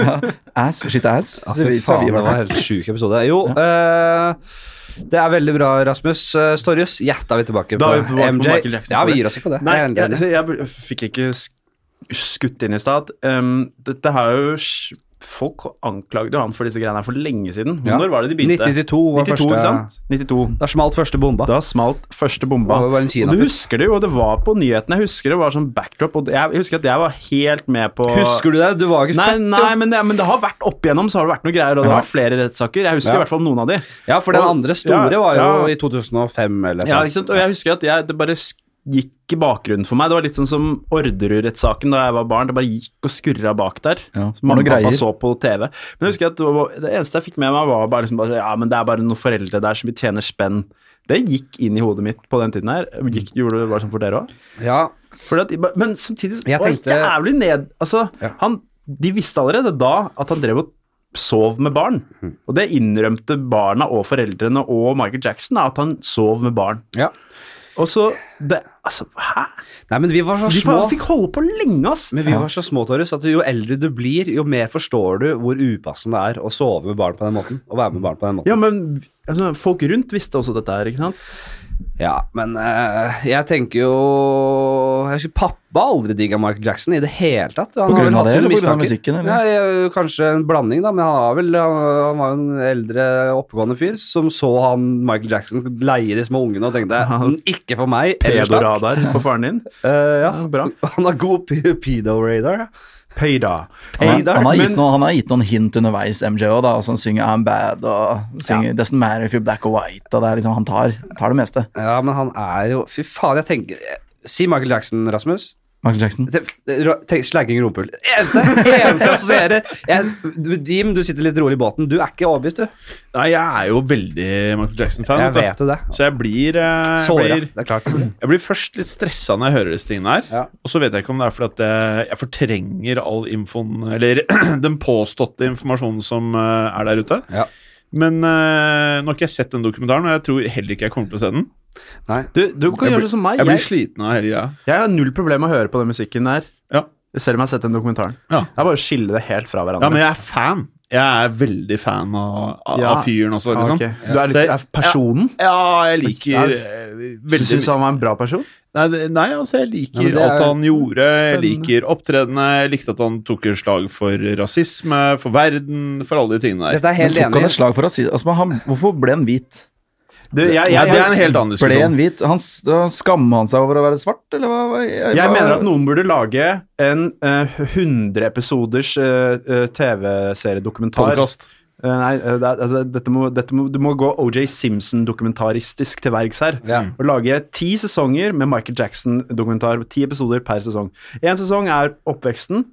[SPEAKER 2] Ass, shit ass.
[SPEAKER 1] Ja,
[SPEAKER 2] så
[SPEAKER 1] fy
[SPEAKER 2] vi- sa
[SPEAKER 1] faen,
[SPEAKER 2] vi i
[SPEAKER 1] det
[SPEAKER 2] hvert
[SPEAKER 1] var
[SPEAKER 2] fall.
[SPEAKER 1] helt sjuk episode. Jo, eh, det er veldig bra, Rasmus. Eh, Storjus, gjetta vi tilbake
[SPEAKER 3] Da
[SPEAKER 1] på
[SPEAKER 3] er vi tilbake på
[SPEAKER 1] MJ.
[SPEAKER 3] Michael Jackson
[SPEAKER 1] ja,
[SPEAKER 3] for
[SPEAKER 1] vi
[SPEAKER 3] det.
[SPEAKER 1] gir oss ikke på det.
[SPEAKER 3] Nei,
[SPEAKER 1] Jeg er helt
[SPEAKER 3] jeg,
[SPEAKER 1] enig.
[SPEAKER 3] så jeg bl- fikk ikke sk- skutt inn i stad. Um, dette har jo sj- Folk anklagde jo han for disse greiene her for lenge siden.
[SPEAKER 1] Ja.
[SPEAKER 3] Når var det de begynte?
[SPEAKER 1] 92 var
[SPEAKER 3] 92,
[SPEAKER 1] første-
[SPEAKER 3] ikke sant? 92.
[SPEAKER 1] Da smalt første bomba.
[SPEAKER 3] Da smalt første bomba.
[SPEAKER 1] Det var bare en
[SPEAKER 3] og du
[SPEAKER 1] kinaputt.
[SPEAKER 3] husker det jo, og det var på nyhetene. Jeg husker det var sånn backdrop, og jeg husker at jeg var helt med på
[SPEAKER 1] Husker du det? Du var ikke
[SPEAKER 3] Nei,
[SPEAKER 1] født,
[SPEAKER 3] nei men, det, men det har vært opp igjennom, så har det vært noe greier, og det har vært flere rettssaker. Jeg husker
[SPEAKER 1] Ja.
[SPEAKER 3] i hvert fall noen av de.
[SPEAKER 1] jo. Ja, for den
[SPEAKER 3] Og-
[SPEAKER 1] andre store
[SPEAKER 3] ja,
[SPEAKER 1] var jo
[SPEAKER 3] ja.
[SPEAKER 1] i 2005 eller
[SPEAKER 3] Ja,
[SPEAKER 1] noe.
[SPEAKER 3] ikke sant? Og jeg husker at jeg, det bare sk- gikk i bakgrunnen for meg. Det var litt sånn som Orderud-rettssaken da jeg var barn. Det bare gikk og skurra bak der.
[SPEAKER 2] Ja,
[SPEAKER 3] Så Mamma
[SPEAKER 2] det var noe
[SPEAKER 3] og pappa
[SPEAKER 2] greier.
[SPEAKER 3] så på TV. Men jeg husker at det, var, det eneste jeg fikk med meg, var bare liksom bare, Ja, men det er bare noen foreldre der som tjener spenn. Det gikk inn i hodet mitt på den tiden her. Gikk, gjorde det bare sånn for dere òg?
[SPEAKER 1] Ja,
[SPEAKER 3] Men samtidig
[SPEAKER 1] Jeg
[SPEAKER 3] det var
[SPEAKER 1] tenkte-
[SPEAKER 3] jævlig ned... Altså,
[SPEAKER 1] Ja.
[SPEAKER 3] han, de visste allerede da at han drev og sov med barn.
[SPEAKER 2] Mhm.
[SPEAKER 3] Og det innrømte barna og foreldrene og Michael Jackson, da, at han sov med barn.
[SPEAKER 1] ja.
[SPEAKER 3] Og så det, Altså, hæ?
[SPEAKER 1] Nei, men vi var så
[SPEAKER 3] De
[SPEAKER 1] små.
[SPEAKER 3] fikk holde på lenge, ass.
[SPEAKER 1] Men vi var så små, Torjus, at jo eldre du blir, jo mer forstår du hvor upassende det er å sove med barn på den måten. Å være med barn på den måten.
[SPEAKER 3] Ja, men altså, folk rundt visste også dette her, ikke sant?
[SPEAKER 1] Ja, men eh, jeg tenker jo jeg husker, Pappa har aldri digga Michael Jackson i det hele tatt. Han
[SPEAKER 2] På
[SPEAKER 1] har
[SPEAKER 2] grunn
[SPEAKER 1] vel
[SPEAKER 2] av
[SPEAKER 1] hatt
[SPEAKER 2] det,
[SPEAKER 1] sine
[SPEAKER 2] eller på grunn av
[SPEAKER 1] mistanker.
[SPEAKER 2] musikken, eller?
[SPEAKER 1] Nei, eh, kanskje en blanding, da, men han, har vel, han, han var jo en eldre, oppegående fyr som så han Michael Jackson leie de små ungene og tenkte "Mm, Ikke for meg, ellers takk.
[SPEAKER 3] Pedoradar på faren din.
[SPEAKER 1] Eh, ja.
[SPEAKER 3] Ja, bra.
[SPEAKER 1] Han har god p- pedo-radar. ja.
[SPEAKER 3] Peida.
[SPEAKER 2] Han,
[SPEAKER 1] Peidar,
[SPEAKER 2] har- han, har gitt
[SPEAKER 1] men-
[SPEAKER 2] noen, han har gitt noen hint underveis, MJ òg, da. Altså, han synger I'm bad og synger Doesn't matter if you're black or white. Og det er liksom, han tar, tar det meste.
[SPEAKER 1] Ja, men han er jo Fy faen, jeg tenker Si Michael Jackson, Rasmus.
[SPEAKER 2] Michael Jackson.
[SPEAKER 1] Te- ro- te- Slagging rumpehull. Eneste eneste jeg assosierer. Jeg- du- Jim, du sitter litt rolig i båten. Du er ikke overbevist, du.
[SPEAKER 4] Nei, jeg er jo veldig Michael Jackson-fan.
[SPEAKER 1] Jeg
[SPEAKER 4] vet du.
[SPEAKER 1] vet jo det.
[SPEAKER 4] Så jeg blir, eh, jeg
[SPEAKER 1] Såra.
[SPEAKER 4] blir
[SPEAKER 1] Det er klart.
[SPEAKER 4] Jeg blir først litt stressa når jeg hører disse tingene her.
[SPEAKER 1] Ja.
[SPEAKER 4] Og så vet jeg ikke om det er fordi at jeg, jeg fortrenger all infoen Eller den påståtte informasjonen som eh, er der ute.
[SPEAKER 1] Ja.
[SPEAKER 4] Men eh, nå har ikke jeg sett den dokumentaren, og jeg tror heller ikke jeg kommer til å se den.
[SPEAKER 1] Nei.
[SPEAKER 3] Du, du kan
[SPEAKER 4] Jeg
[SPEAKER 3] gjøre
[SPEAKER 4] blir-
[SPEAKER 3] sånn som meg.
[SPEAKER 4] Jeg blir
[SPEAKER 3] Jeg,
[SPEAKER 4] sliten av hele greia.
[SPEAKER 3] jeg har null problem med å høre på den musikken der.
[SPEAKER 4] Ja.
[SPEAKER 3] Selv om jeg har sett den dokumentaren.
[SPEAKER 4] Ja.
[SPEAKER 3] Det er bare å skille det helt fra
[SPEAKER 4] ja,
[SPEAKER 3] hverandre.
[SPEAKER 4] men jeg er fan. Jeg er veldig fan av, av,
[SPEAKER 3] Ja.
[SPEAKER 4] av fyren også,
[SPEAKER 3] Ah,
[SPEAKER 4] liksom.
[SPEAKER 3] ok. Du er litt
[SPEAKER 4] Så jeg-
[SPEAKER 3] er personen?
[SPEAKER 4] Ja, jeg liker
[SPEAKER 3] Ja.
[SPEAKER 4] eh,
[SPEAKER 3] Du
[SPEAKER 4] veldig
[SPEAKER 3] syns han var en bra person?
[SPEAKER 4] Nei, det- nei, altså, jeg
[SPEAKER 1] Ja,
[SPEAKER 4] liker
[SPEAKER 1] men det
[SPEAKER 4] alt
[SPEAKER 1] er
[SPEAKER 4] han gjorde. Jeg
[SPEAKER 3] spennende.
[SPEAKER 4] liker opptredene. Jeg likte at han tok et slag for rasisme, for verden, for alle de tingene der.
[SPEAKER 1] Dette er jeg
[SPEAKER 2] Men
[SPEAKER 1] helt
[SPEAKER 2] tok han
[SPEAKER 1] enig
[SPEAKER 2] et
[SPEAKER 1] i.
[SPEAKER 2] slag for å si altså, men han, Hvorfor ble han hvit?
[SPEAKER 3] Du, jeg, jeg,
[SPEAKER 4] Nei, det er
[SPEAKER 3] jeg,
[SPEAKER 4] en helt annen
[SPEAKER 2] Ble han
[SPEAKER 4] diskusjon.
[SPEAKER 2] hvit? Han, s- da skamma han seg over å være svart, eller hva? hva- Jeg, hva-
[SPEAKER 3] mener at noen burde lage en eh, 100 episoders eh, eh, TV-seriedokumentar
[SPEAKER 4] Podcast.
[SPEAKER 3] Eh, Nei, eh, det er, altså, dette må, dette må, du må gå OJ Simpson-dokumentaristisk til verks her.
[SPEAKER 1] Ja.
[SPEAKER 3] Og lage ti sesonger med Michael Jackson-dokumentar. Ti episoder per sesong. Én sesong er oppveksten.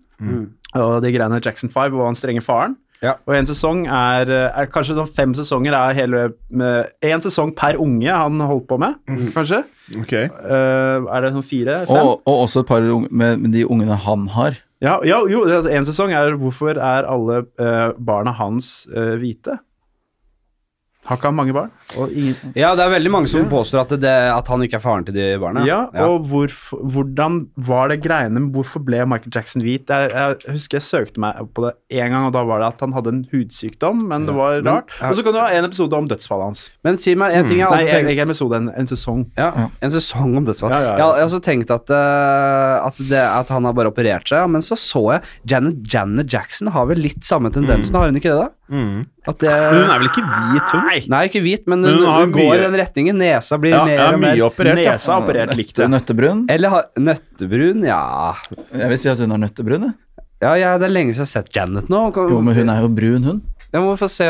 [SPEAKER 3] og de greiene Jackson 5 og han strenge faren.
[SPEAKER 1] Ja.
[SPEAKER 3] Og en sesong er, er kanskje sånn fem sesonger er hele med- En sesong per unge han holdt på med, kanskje.
[SPEAKER 4] Ok.
[SPEAKER 3] Eh, er det sånn fire? Fem?
[SPEAKER 2] Og, og også et par unge, med, med de ungene han har.
[SPEAKER 3] Ja, ja, jo, altså, en sesong er hvorfor er alle eh, barna hans eh, hvite? Har ikke han mange barn? Og ingen...
[SPEAKER 1] Ja, det er veldig mange som påstår at, det, at han ikke er faren til de barna.
[SPEAKER 3] Ja, og hvorfor, hvordan var det greiene med Hvorfor ble Michael Jackson hvit? Jeg, jeg husker jeg søkte meg på det én gang, og da var det at han hadde en hudsykdom, men det var rart. Og så kan du ha en episode om dødsfallet hans.
[SPEAKER 1] Men si meg en ting jeg
[SPEAKER 3] Mm. Nei,
[SPEAKER 1] alltid
[SPEAKER 3] en-
[SPEAKER 1] tenker
[SPEAKER 3] ikke en episode, en, en sesong.
[SPEAKER 1] ja, En sesong om dødsfall.
[SPEAKER 3] Ja, ja, ja.
[SPEAKER 1] Jeg har- Jeg har også tenkt at, eh, at, det, at han har bare operert seg, men så så jeg Janet, Janet Jackson har vel litt samme tendensen, har hun ikke det? da?
[SPEAKER 4] Mm.
[SPEAKER 1] At det,
[SPEAKER 4] Men hun er vel ikke hvit, hun? Nei.
[SPEAKER 1] Nei, ikke hvit, men
[SPEAKER 4] Men
[SPEAKER 1] hun,
[SPEAKER 4] hun har
[SPEAKER 1] hun går
[SPEAKER 4] mye-
[SPEAKER 1] i den retningen. Nesa blir
[SPEAKER 4] Ja,
[SPEAKER 1] mer
[SPEAKER 4] ja,
[SPEAKER 1] og mer
[SPEAKER 4] mye operert. ja.
[SPEAKER 3] Nesa er operert likt
[SPEAKER 2] Nøtte-
[SPEAKER 3] det.
[SPEAKER 2] Nøttebrun.
[SPEAKER 1] Eller har- nøttebrun, ja.
[SPEAKER 2] Jeg vil si at hun er nøttebrun. Jeg.
[SPEAKER 1] Ja, ja, Det er lenge siden jeg har sett Janet nå. Kan,
[SPEAKER 2] Jo, men hun er jo brun, hun.
[SPEAKER 1] Jeg må få se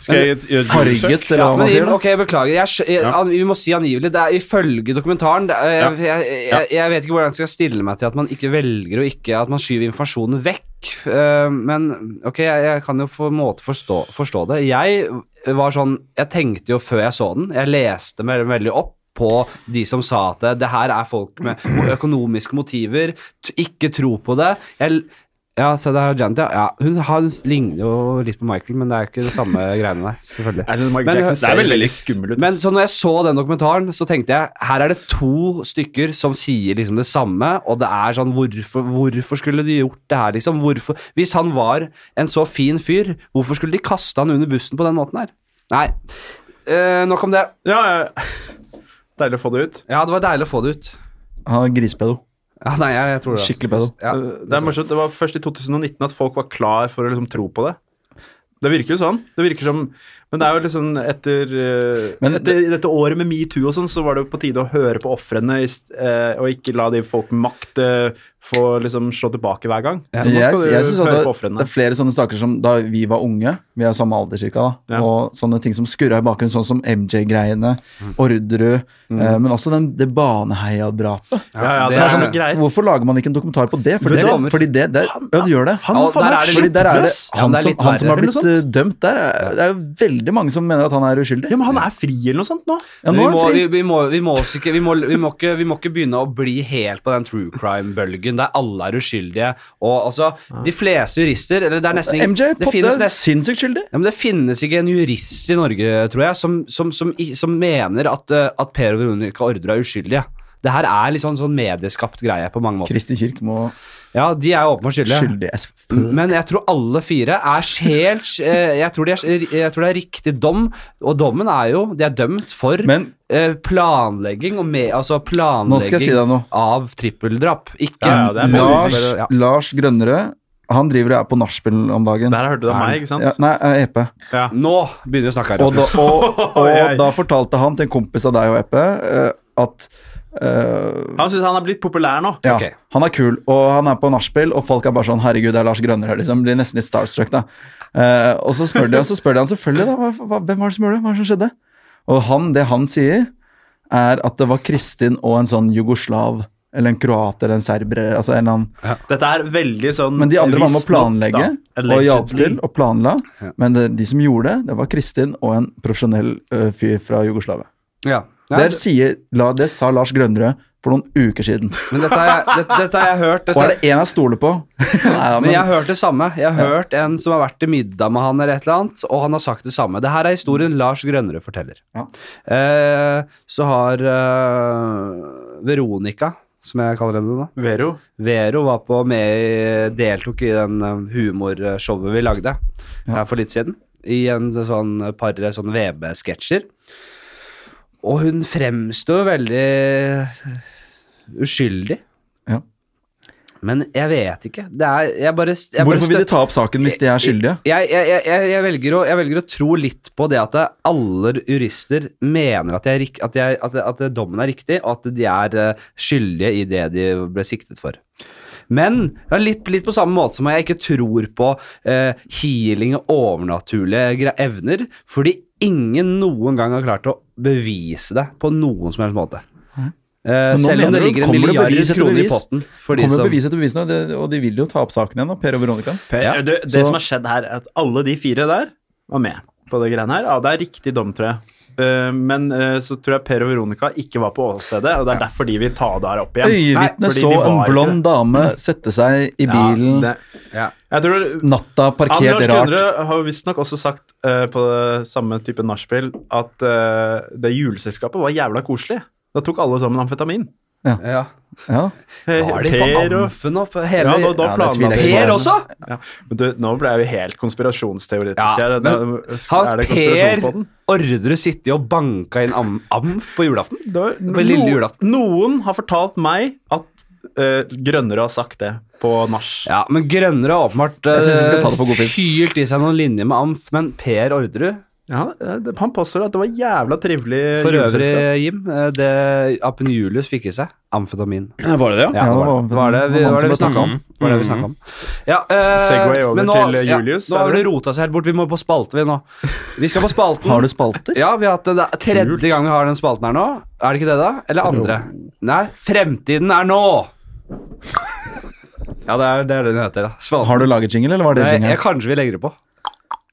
[SPEAKER 4] Skal jeg gjøre et
[SPEAKER 2] Farget,
[SPEAKER 4] søk?
[SPEAKER 2] eller
[SPEAKER 1] Ja,
[SPEAKER 2] hva
[SPEAKER 1] men,
[SPEAKER 2] man sier. da.
[SPEAKER 1] ok, beklager. Jeg, skj- jeg, an, vi må si angivelig. Det er ifølge dokumentaren. Det er, jeg, jeg, jeg, jeg vet ikke hvordan jeg skal stille meg til at man ikke velger å ikke At man skyver informasjonen vekk. Eh, men ok, jeg, jeg kan jo på en måte forstå, forstå det. Jeg var sånn Jeg tenkte jo før jeg så den, jeg leste meg veldig opp på de som sa at det, det her er folk med økonomiske motiver, t- ikke tro på det. Jeg, ja, se der er Janet, ja. ja. Hun, han ligner jo litt på Michael, men det er jo ikke det samme greiene der, selvfølgelig.
[SPEAKER 3] Jeg synes Michael
[SPEAKER 1] Men-
[SPEAKER 3] Jackson
[SPEAKER 1] Det er
[SPEAKER 3] ser
[SPEAKER 1] veldig
[SPEAKER 3] veldig
[SPEAKER 4] likt.
[SPEAKER 3] skummel ut.
[SPEAKER 1] Men så når jeg så den dokumentaren, så tenkte jeg her er det to stykker som sier liksom det samme, og det er sånn hvorfor, hvorfor skulle de gjort det her, liksom? Hvorfor, hvis han var en så fin fyr, hvorfor skulle de kaste han under bussen på den måten her? Nei. Eh, nok om det.
[SPEAKER 3] Ja, ja. Deilig å få det ut.
[SPEAKER 1] Ja, det var deilig å få det ut.
[SPEAKER 2] Han er grisepedo.
[SPEAKER 1] Ja, nei, jeg, jeg tror det.
[SPEAKER 2] Skikkelig pedo.
[SPEAKER 1] Ja.
[SPEAKER 3] Eh, det er morsomt. Det var først i 2019 at folk var klar for å liksom tro på det. Det virker jo sånn. Det virker som, men det er jo liksom etter, eh,
[SPEAKER 2] Men
[SPEAKER 3] etter dette året med metoo og sånn, så var det jo på tide å høre på ofrene i st- eh, og ikke la de folk med makt eh, få liksom slå tilbake hver gang. Så nå
[SPEAKER 2] Jeg,
[SPEAKER 3] skal du
[SPEAKER 2] jeg synes at
[SPEAKER 3] høre
[SPEAKER 2] det,
[SPEAKER 3] på
[SPEAKER 2] det
[SPEAKER 3] ofrene.
[SPEAKER 2] er flere sånne saker som da vi var unge, vi er samme alder cirka da,
[SPEAKER 3] Ja.
[SPEAKER 2] og sånne ting som skurra i bakgrunnen, sånn som MJ-greiene,
[SPEAKER 3] Mm.
[SPEAKER 2] Orderud, eh, men også den, det baneheia-drapet.
[SPEAKER 3] Ja, ja,
[SPEAKER 1] det
[SPEAKER 3] det
[SPEAKER 1] er
[SPEAKER 3] er sånne
[SPEAKER 1] sånn-
[SPEAKER 3] greier.
[SPEAKER 2] Hvorfor lager man ikke en dokumentar på det? Fordi
[SPEAKER 1] Det
[SPEAKER 2] det,
[SPEAKER 1] kommer.
[SPEAKER 2] fordi det, det ja, det gjør det.
[SPEAKER 3] Han
[SPEAKER 1] Ja,
[SPEAKER 3] faen
[SPEAKER 1] der
[SPEAKER 3] er
[SPEAKER 1] er det
[SPEAKER 2] fordi
[SPEAKER 3] skjønt
[SPEAKER 2] der er det
[SPEAKER 3] løs.
[SPEAKER 1] Ja, men
[SPEAKER 2] han
[SPEAKER 1] det er
[SPEAKER 2] som,
[SPEAKER 1] litt
[SPEAKER 2] han som har
[SPEAKER 1] verre, eller
[SPEAKER 2] blitt eh, dømt der. Er, det er jo veldig mange som mener at han er uskyldig.
[SPEAKER 3] Ja, men han er fri eller noe sånt nå.
[SPEAKER 2] Ja,
[SPEAKER 1] vi,
[SPEAKER 2] nå er
[SPEAKER 1] må,
[SPEAKER 2] han
[SPEAKER 1] vi,
[SPEAKER 2] fri.
[SPEAKER 1] vi, må, vi, må oss ikke, vi, må, vi, må ikke, vi må ikke begynne å bli helt på den true crime-bølgen der alle er uskyldige. Og altså, De fleste jurister eller det er nesten ingen-
[SPEAKER 2] MJ
[SPEAKER 1] det
[SPEAKER 2] Pop, det
[SPEAKER 1] finnes
[SPEAKER 2] er
[SPEAKER 1] nesten
[SPEAKER 2] sinnssykt skyldig.
[SPEAKER 1] Ja, men Det finnes ikke en jurist i Norge, tror jeg, som, som, som, i- som mener at, eh, at Per og Veronica Ordre er uskyldige. Det her er litt sånn, sånn medieskapt greie på mange måter.
[SPEAKER 2] Kristin Kirk må
[SPEAKER 1] Ja, de er åpenbart skyldige.
[SPEAKER 2] skyldig as f-
[SPEAKER 1] Men jeg tror alle fire er helt eh, jeg, tror de er, jeg tror det er riktig dom, og dommen er jo De er dømt for
[SPEAKER 2] Men
[SPEAKER 1] eh, planlegging og med, Altså
[SPEAKER 2] nå skal
[SPEAKER 1] planlegging
[SPEAKER 2] jeg si deg noe.
[SPEAKER 1] av trippeldrap. Ikke
[SPEAKER 3] Ja, ja, det er bare-
[SPEAKER 2] Lars,
[SPEAKER 1] ja.
[SPEAKER 2] Lars Grønnerød, han driver og er på nachspiel om dagen.
[SPEAKER 3] Der hørte du av meg, ikke sant?
[SPEAKER 2] Ja, nei, eh, Epe.
[SPEAKER 3] Ja.
[SPEAKER 1] Nå begynner vi å snakke her.
[SPEAKER 2] Og da,
[SPEAKER 1] Rasmus.
[SPEAKER 2] og,
[SPEAKER 3] Oi,
[SPEAKER 2] og
[SPEAKER 3] oi.
[SPEAKER 2] da fortalte han til en kompis av deg og Epe eh, at eh,
[SPEAKER 3] Han syns han er blitt populær nå.
[SPEAKER 2] ja,
[SPEAKER 1] Ok.
[SPEAKER 2] Han er kul, og han er på nachspiel, og folk er bare sånn 'Herregud, det er Lars Grønnerød', liksom. Blir nesten litt starstruck, da. Eh, og så spør de, og så spør de han selvfølgelig, da. Hva, hva, 'Hvem var det som gjorde det? Hva er det som skjedde?' Og han, det han sier, er at det var Kristin og en sånn jugoslav, eller en kroater, en serber, altså en eller annen
[SPEAKER 3] Dette er veldig sånn
[SPEAKER 2] Men de andre var med å
[SPEAKER 3] visstnok, da,
[SPEAKER 2] planlegge og hjalp
[SPEAKER 3] allegedly.
[SPEAKER 2] til og planla.
[SPEAKER 1] Ja.
[SPEAKER 2] Men det, de som gjorde det, det var Kristin og en profesjonell ø, fyr fra Jugoslavia.
[SPEAKER 1] ja. Ja,
[SPEAKER 2] Der sier, la, det sa Lars Grønnerød for noen uker siden.
[SPEAKER 1] men dette har jeg, dette, dette har jeg hørt.
[SPEAKER 2] Og
[SPEAKER 1] Dette,
[SPEAKER 2] er det én jeg stoler på Nei, ja,
[SPEAKER 1] Men jeg har hørt det samme. Jeg har hørt en som har vært til middag med han, eller et eller annet, og han har sagt det samme. Det her er historien Lars Grønnerød forteller.
[SPEAKER 2] Ja.
[SPEAKER 1] Eh, så har eh, Veronica, som jeg kaller henne nå
[SPEAKER 3] Vero.
[SPEAKER 1] Vero var på med i, deltok i den eh, humorshowet vi lagde her for litt siden. I en sånn par sånn VB-sketsjer. Og hun fremstår veldig eh, uskyldig.
[SPEAKER 2] Ja.
[SPEAKER 1] Men jeg vet ikke. Det er, jeg bare, jeg bare
[SPEAKER 2] Hvorfor vil de
[SPEAKER 1] støt-
[SPEAKER 2] ta opp saken hvis de er skyldige?
[SPEAKER 1] jeg, jeg, jeg- jeg, jeg, velger å, jeg velger å tro litt på det at det- alle jurister mener at, jeg, er rik- at, jeg, at, at dommen er riktig, og at de er eh, skyldige i det de ble siktet for. Men ja, litt, litt på samme måte som jeg ikke tror på eh, healing og overnaturlige gre- evner, fordi ingen noen gang har klart å bevise det på noen som helst måte. Eh,
[SPEAKER 2] Mm. nå
[SPEAKER 1] selv om
[SPEAKER 2] mener
[SPEAKER 1] det
[SPEAKER 2] du,
[SPEAKER 1] ligger en
[SPEAKER 2] kommer det
[SPEAKER 1] milliard
[SPEAKER 2] bevis etter
[SPEAKER 1] kroner i
[SPEAKER 2] bevis?
[SPEAKER 1] potten for de
[SPEAKER 2] Kommer
[SPEAKER 1] som
[SPEAKER 2] bevis etter bevis nå, det, og de vil jo ta opp saken igjen, da, Per og Veronica.
[SPEAKER 3] Per,
[SPEAKER 1] Ja.
[SPEAKER 3] det det
[SPEAKER 2] Så-
[SPEAKER 3] som har skjedd her, er at alle de fire der var med på det greiene her. Ja, det er riktig dom, tror jeg. Eh, men eh, så tror jeg Per og Veronica ikke var på åstedet, og det er derfor de vil ta det her opp igjen. Nei,
[SPEAKER 2] Øyevitnet
[SPEAKER 3] fordi
[SPEAKER 2] så
[SPEAKER 3] de var
[SPEAKER 2] en
[SPEAKER 3] ikke
[SPEAKER 2] blond dame sette seg i
[SPEAKER 3] Ja,
[SPEAKER 2] bilen
[SPEAKER 3] det-
[SPEAKER 1] Ja.
[SPEAKER 3] Jeg tror
[SPEAKER 2] natta, parkert
[SPEAKER 3] Anders
[SPEAKER 2] rart.
[SPEAKER 3] Kunderud har visstnok også sagt eh, på samme type nachspiel at eh, det juleselskapet var jævla koselig. Da tok alle sammen amfetamin.
[SPEAKER 1] ja.
[SPEAKER 2] Ja.
[SPEAKER 1] Var de på
[SPEAKER 3] Per og
[SPEAKER 1] Amfen og på
[SPEAKER 3] ja,
[SPEAKER 1] hele
[SPEAKER 3] da, da
[SPEAKER 2] Ja, det
[SPEAKER 3] planla
[SPEAKER 2] tviler jeg
[SPEAKER 1] Per også?
[SPEAKER 3] Men du, nå ble jeg jo helt konspirasjonsteoretisk
[SPEAKER 1] Ja,
[SPEAKER 3] her.
[SPEAKER 1] men
[SPEAKER 3] Da-
[SPEAKER 1] Har
[SPEAKER 3] er det
[SPEAKER 1] Per
[SPEAKER 3] konspirasjonspodden?
[SPEAKER 1] Orderud sittet og banka inn am Amf på julaften?
[SPEAKER 3] Det var-
[SPEAKER 1] På lille julaften.
[SPEAKER 3] Noen har fortalt meg at eh, Grønnere har sagt det på nach.
[SPEAKER 1] Ja, men Grønnere har åpenbart eh,
[SPEAKER 2] Jeg synes vi skal ta det for god fisk.
[SPEAKER 1] fylt i seg noen linjer med Amf, men Per Orderud
[SPEAKER 3] Ja, eh, han påstår at det var jævla trivelig
[SPEAKER 1] For øvrig,
[SPEAKER 3] juleselskap.
[SPEAKER 1] Jim, eh, det Apen Julius fikk i seg amfetamin.
[SPEAKER 4] Var det det,
[SPEAKER 1] Ja, det var
[SPEAKER 2] det var
[SPEAKER 1] det, var det, vi- var
[SPEAKER 2] amfetamin.
[SPEAKER 1] det vi
[SPEAKER 2] Det var han som
[SPEAKER 1] snakka om.
[SPEAKER 4] ble
[SPEAKER 1] Det Var det vi snakket om. Ja, eh,
[SPEAKER 3] Segway over
[SPEAKER 1] men
[SPEAKER 3] til Julius,
[SPEAKER 1] Ja, nå
[SPEAKER 3] er
[SPEAKER 1] har
[SPEAKER 3] det?
[SPEAKER 1] det rota seg helt bort. Vi må på spalte, vi nå. Vi skal på spalten.
[SPEAKER 2] Har du spalter?
[SPEAKER 1] Ja, vi har hatt den, det er tredje gang vi har den spalten her nå. Er det ikke det, da? Eller andre? Nei, Fremtiden er nå! Ja, det er det er det den heter. da Spalten.
[SPEAKER 2] Har du laget jingle, eller var det
[SPEAKER 1] Nei, jeg,
[SPEAKER 2] jingle?
[SPEAKER 1] kanskje vi legger det på.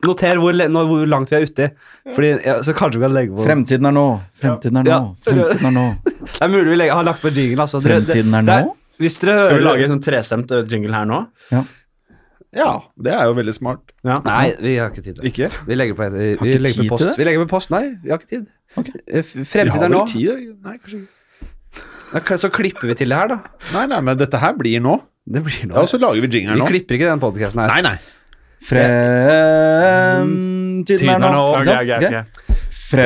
[SPEAKER 1] Noter hvor, le- nå, hvor langt vi er uti. Fordi, ja, så kanskje vi kan legge på
[SPEAKER 2] Fremtiden er nå, fremtiden er nå,
[SPEAKER 1] Ja.
[SPEAKER 2] fremtiden er nå.
[SPEAKER 1] Det er mulig vi legger, har lagt på jingle. Altså. Dere- det-
[SPEAKER 2] Fremtiden er
[SPEAKER 1] det
[SPEAKER 2] nå?
[SPEAKER 1] Hvis dere hører
[SPEAKER 3] Skal vi lage en sånn trestemt eh, jingle her nå?
[SPEAKER 4] Ja, det er jo veldig smart.
[SPEAKER 3] Ja.
[SPEAKER 1] Nei, vi har ikke tid. til det.
[SPEAKER 4] Ikke?
[SPEAKER 1] Vi legger på, et- vi
[SPEAKER 2] sånn- ikke
[SPEAKER 1] legger på
[SPEAKER 2] tid
[SPEAKER 1] post.
[SPEAKER 2] til det?
[SPEAKER 1] Vi legger på post, nei. Vi har ikke tid.
[SPEAKER 2] Ok.
[SPEAKER 1] Eh, f- Fremtiden er nå.
[SPEAKER 4] tid? Nei, kanskje ikke.
[SPEAKER 1] Da kan- Så klipper vi til det her, da.
[SPEAKER 4] Nei, nei, men dette her blir nå.
[SPEAKER 1] Det blir
[SPEAKER 4] Ja,
[SPEAKER 1] noe.
[SPEAKER 4] og så lager vi jingle
[SPEAKER 1] vi
[SPEAKER 4] nå.
[SPEAKER 1] klipper ikke den podkasten her.
[SPEAKER 4] Nei, nei.
[SPEAKER 2] Fremtiden er nå.
[SPEAKER 3] Ok,
[SPEAKER 2] Ikke sant?
[SPEAKER 3] ok, ok.
[SPEAKER 2] Ok.
[SPEAKER 3] Eh,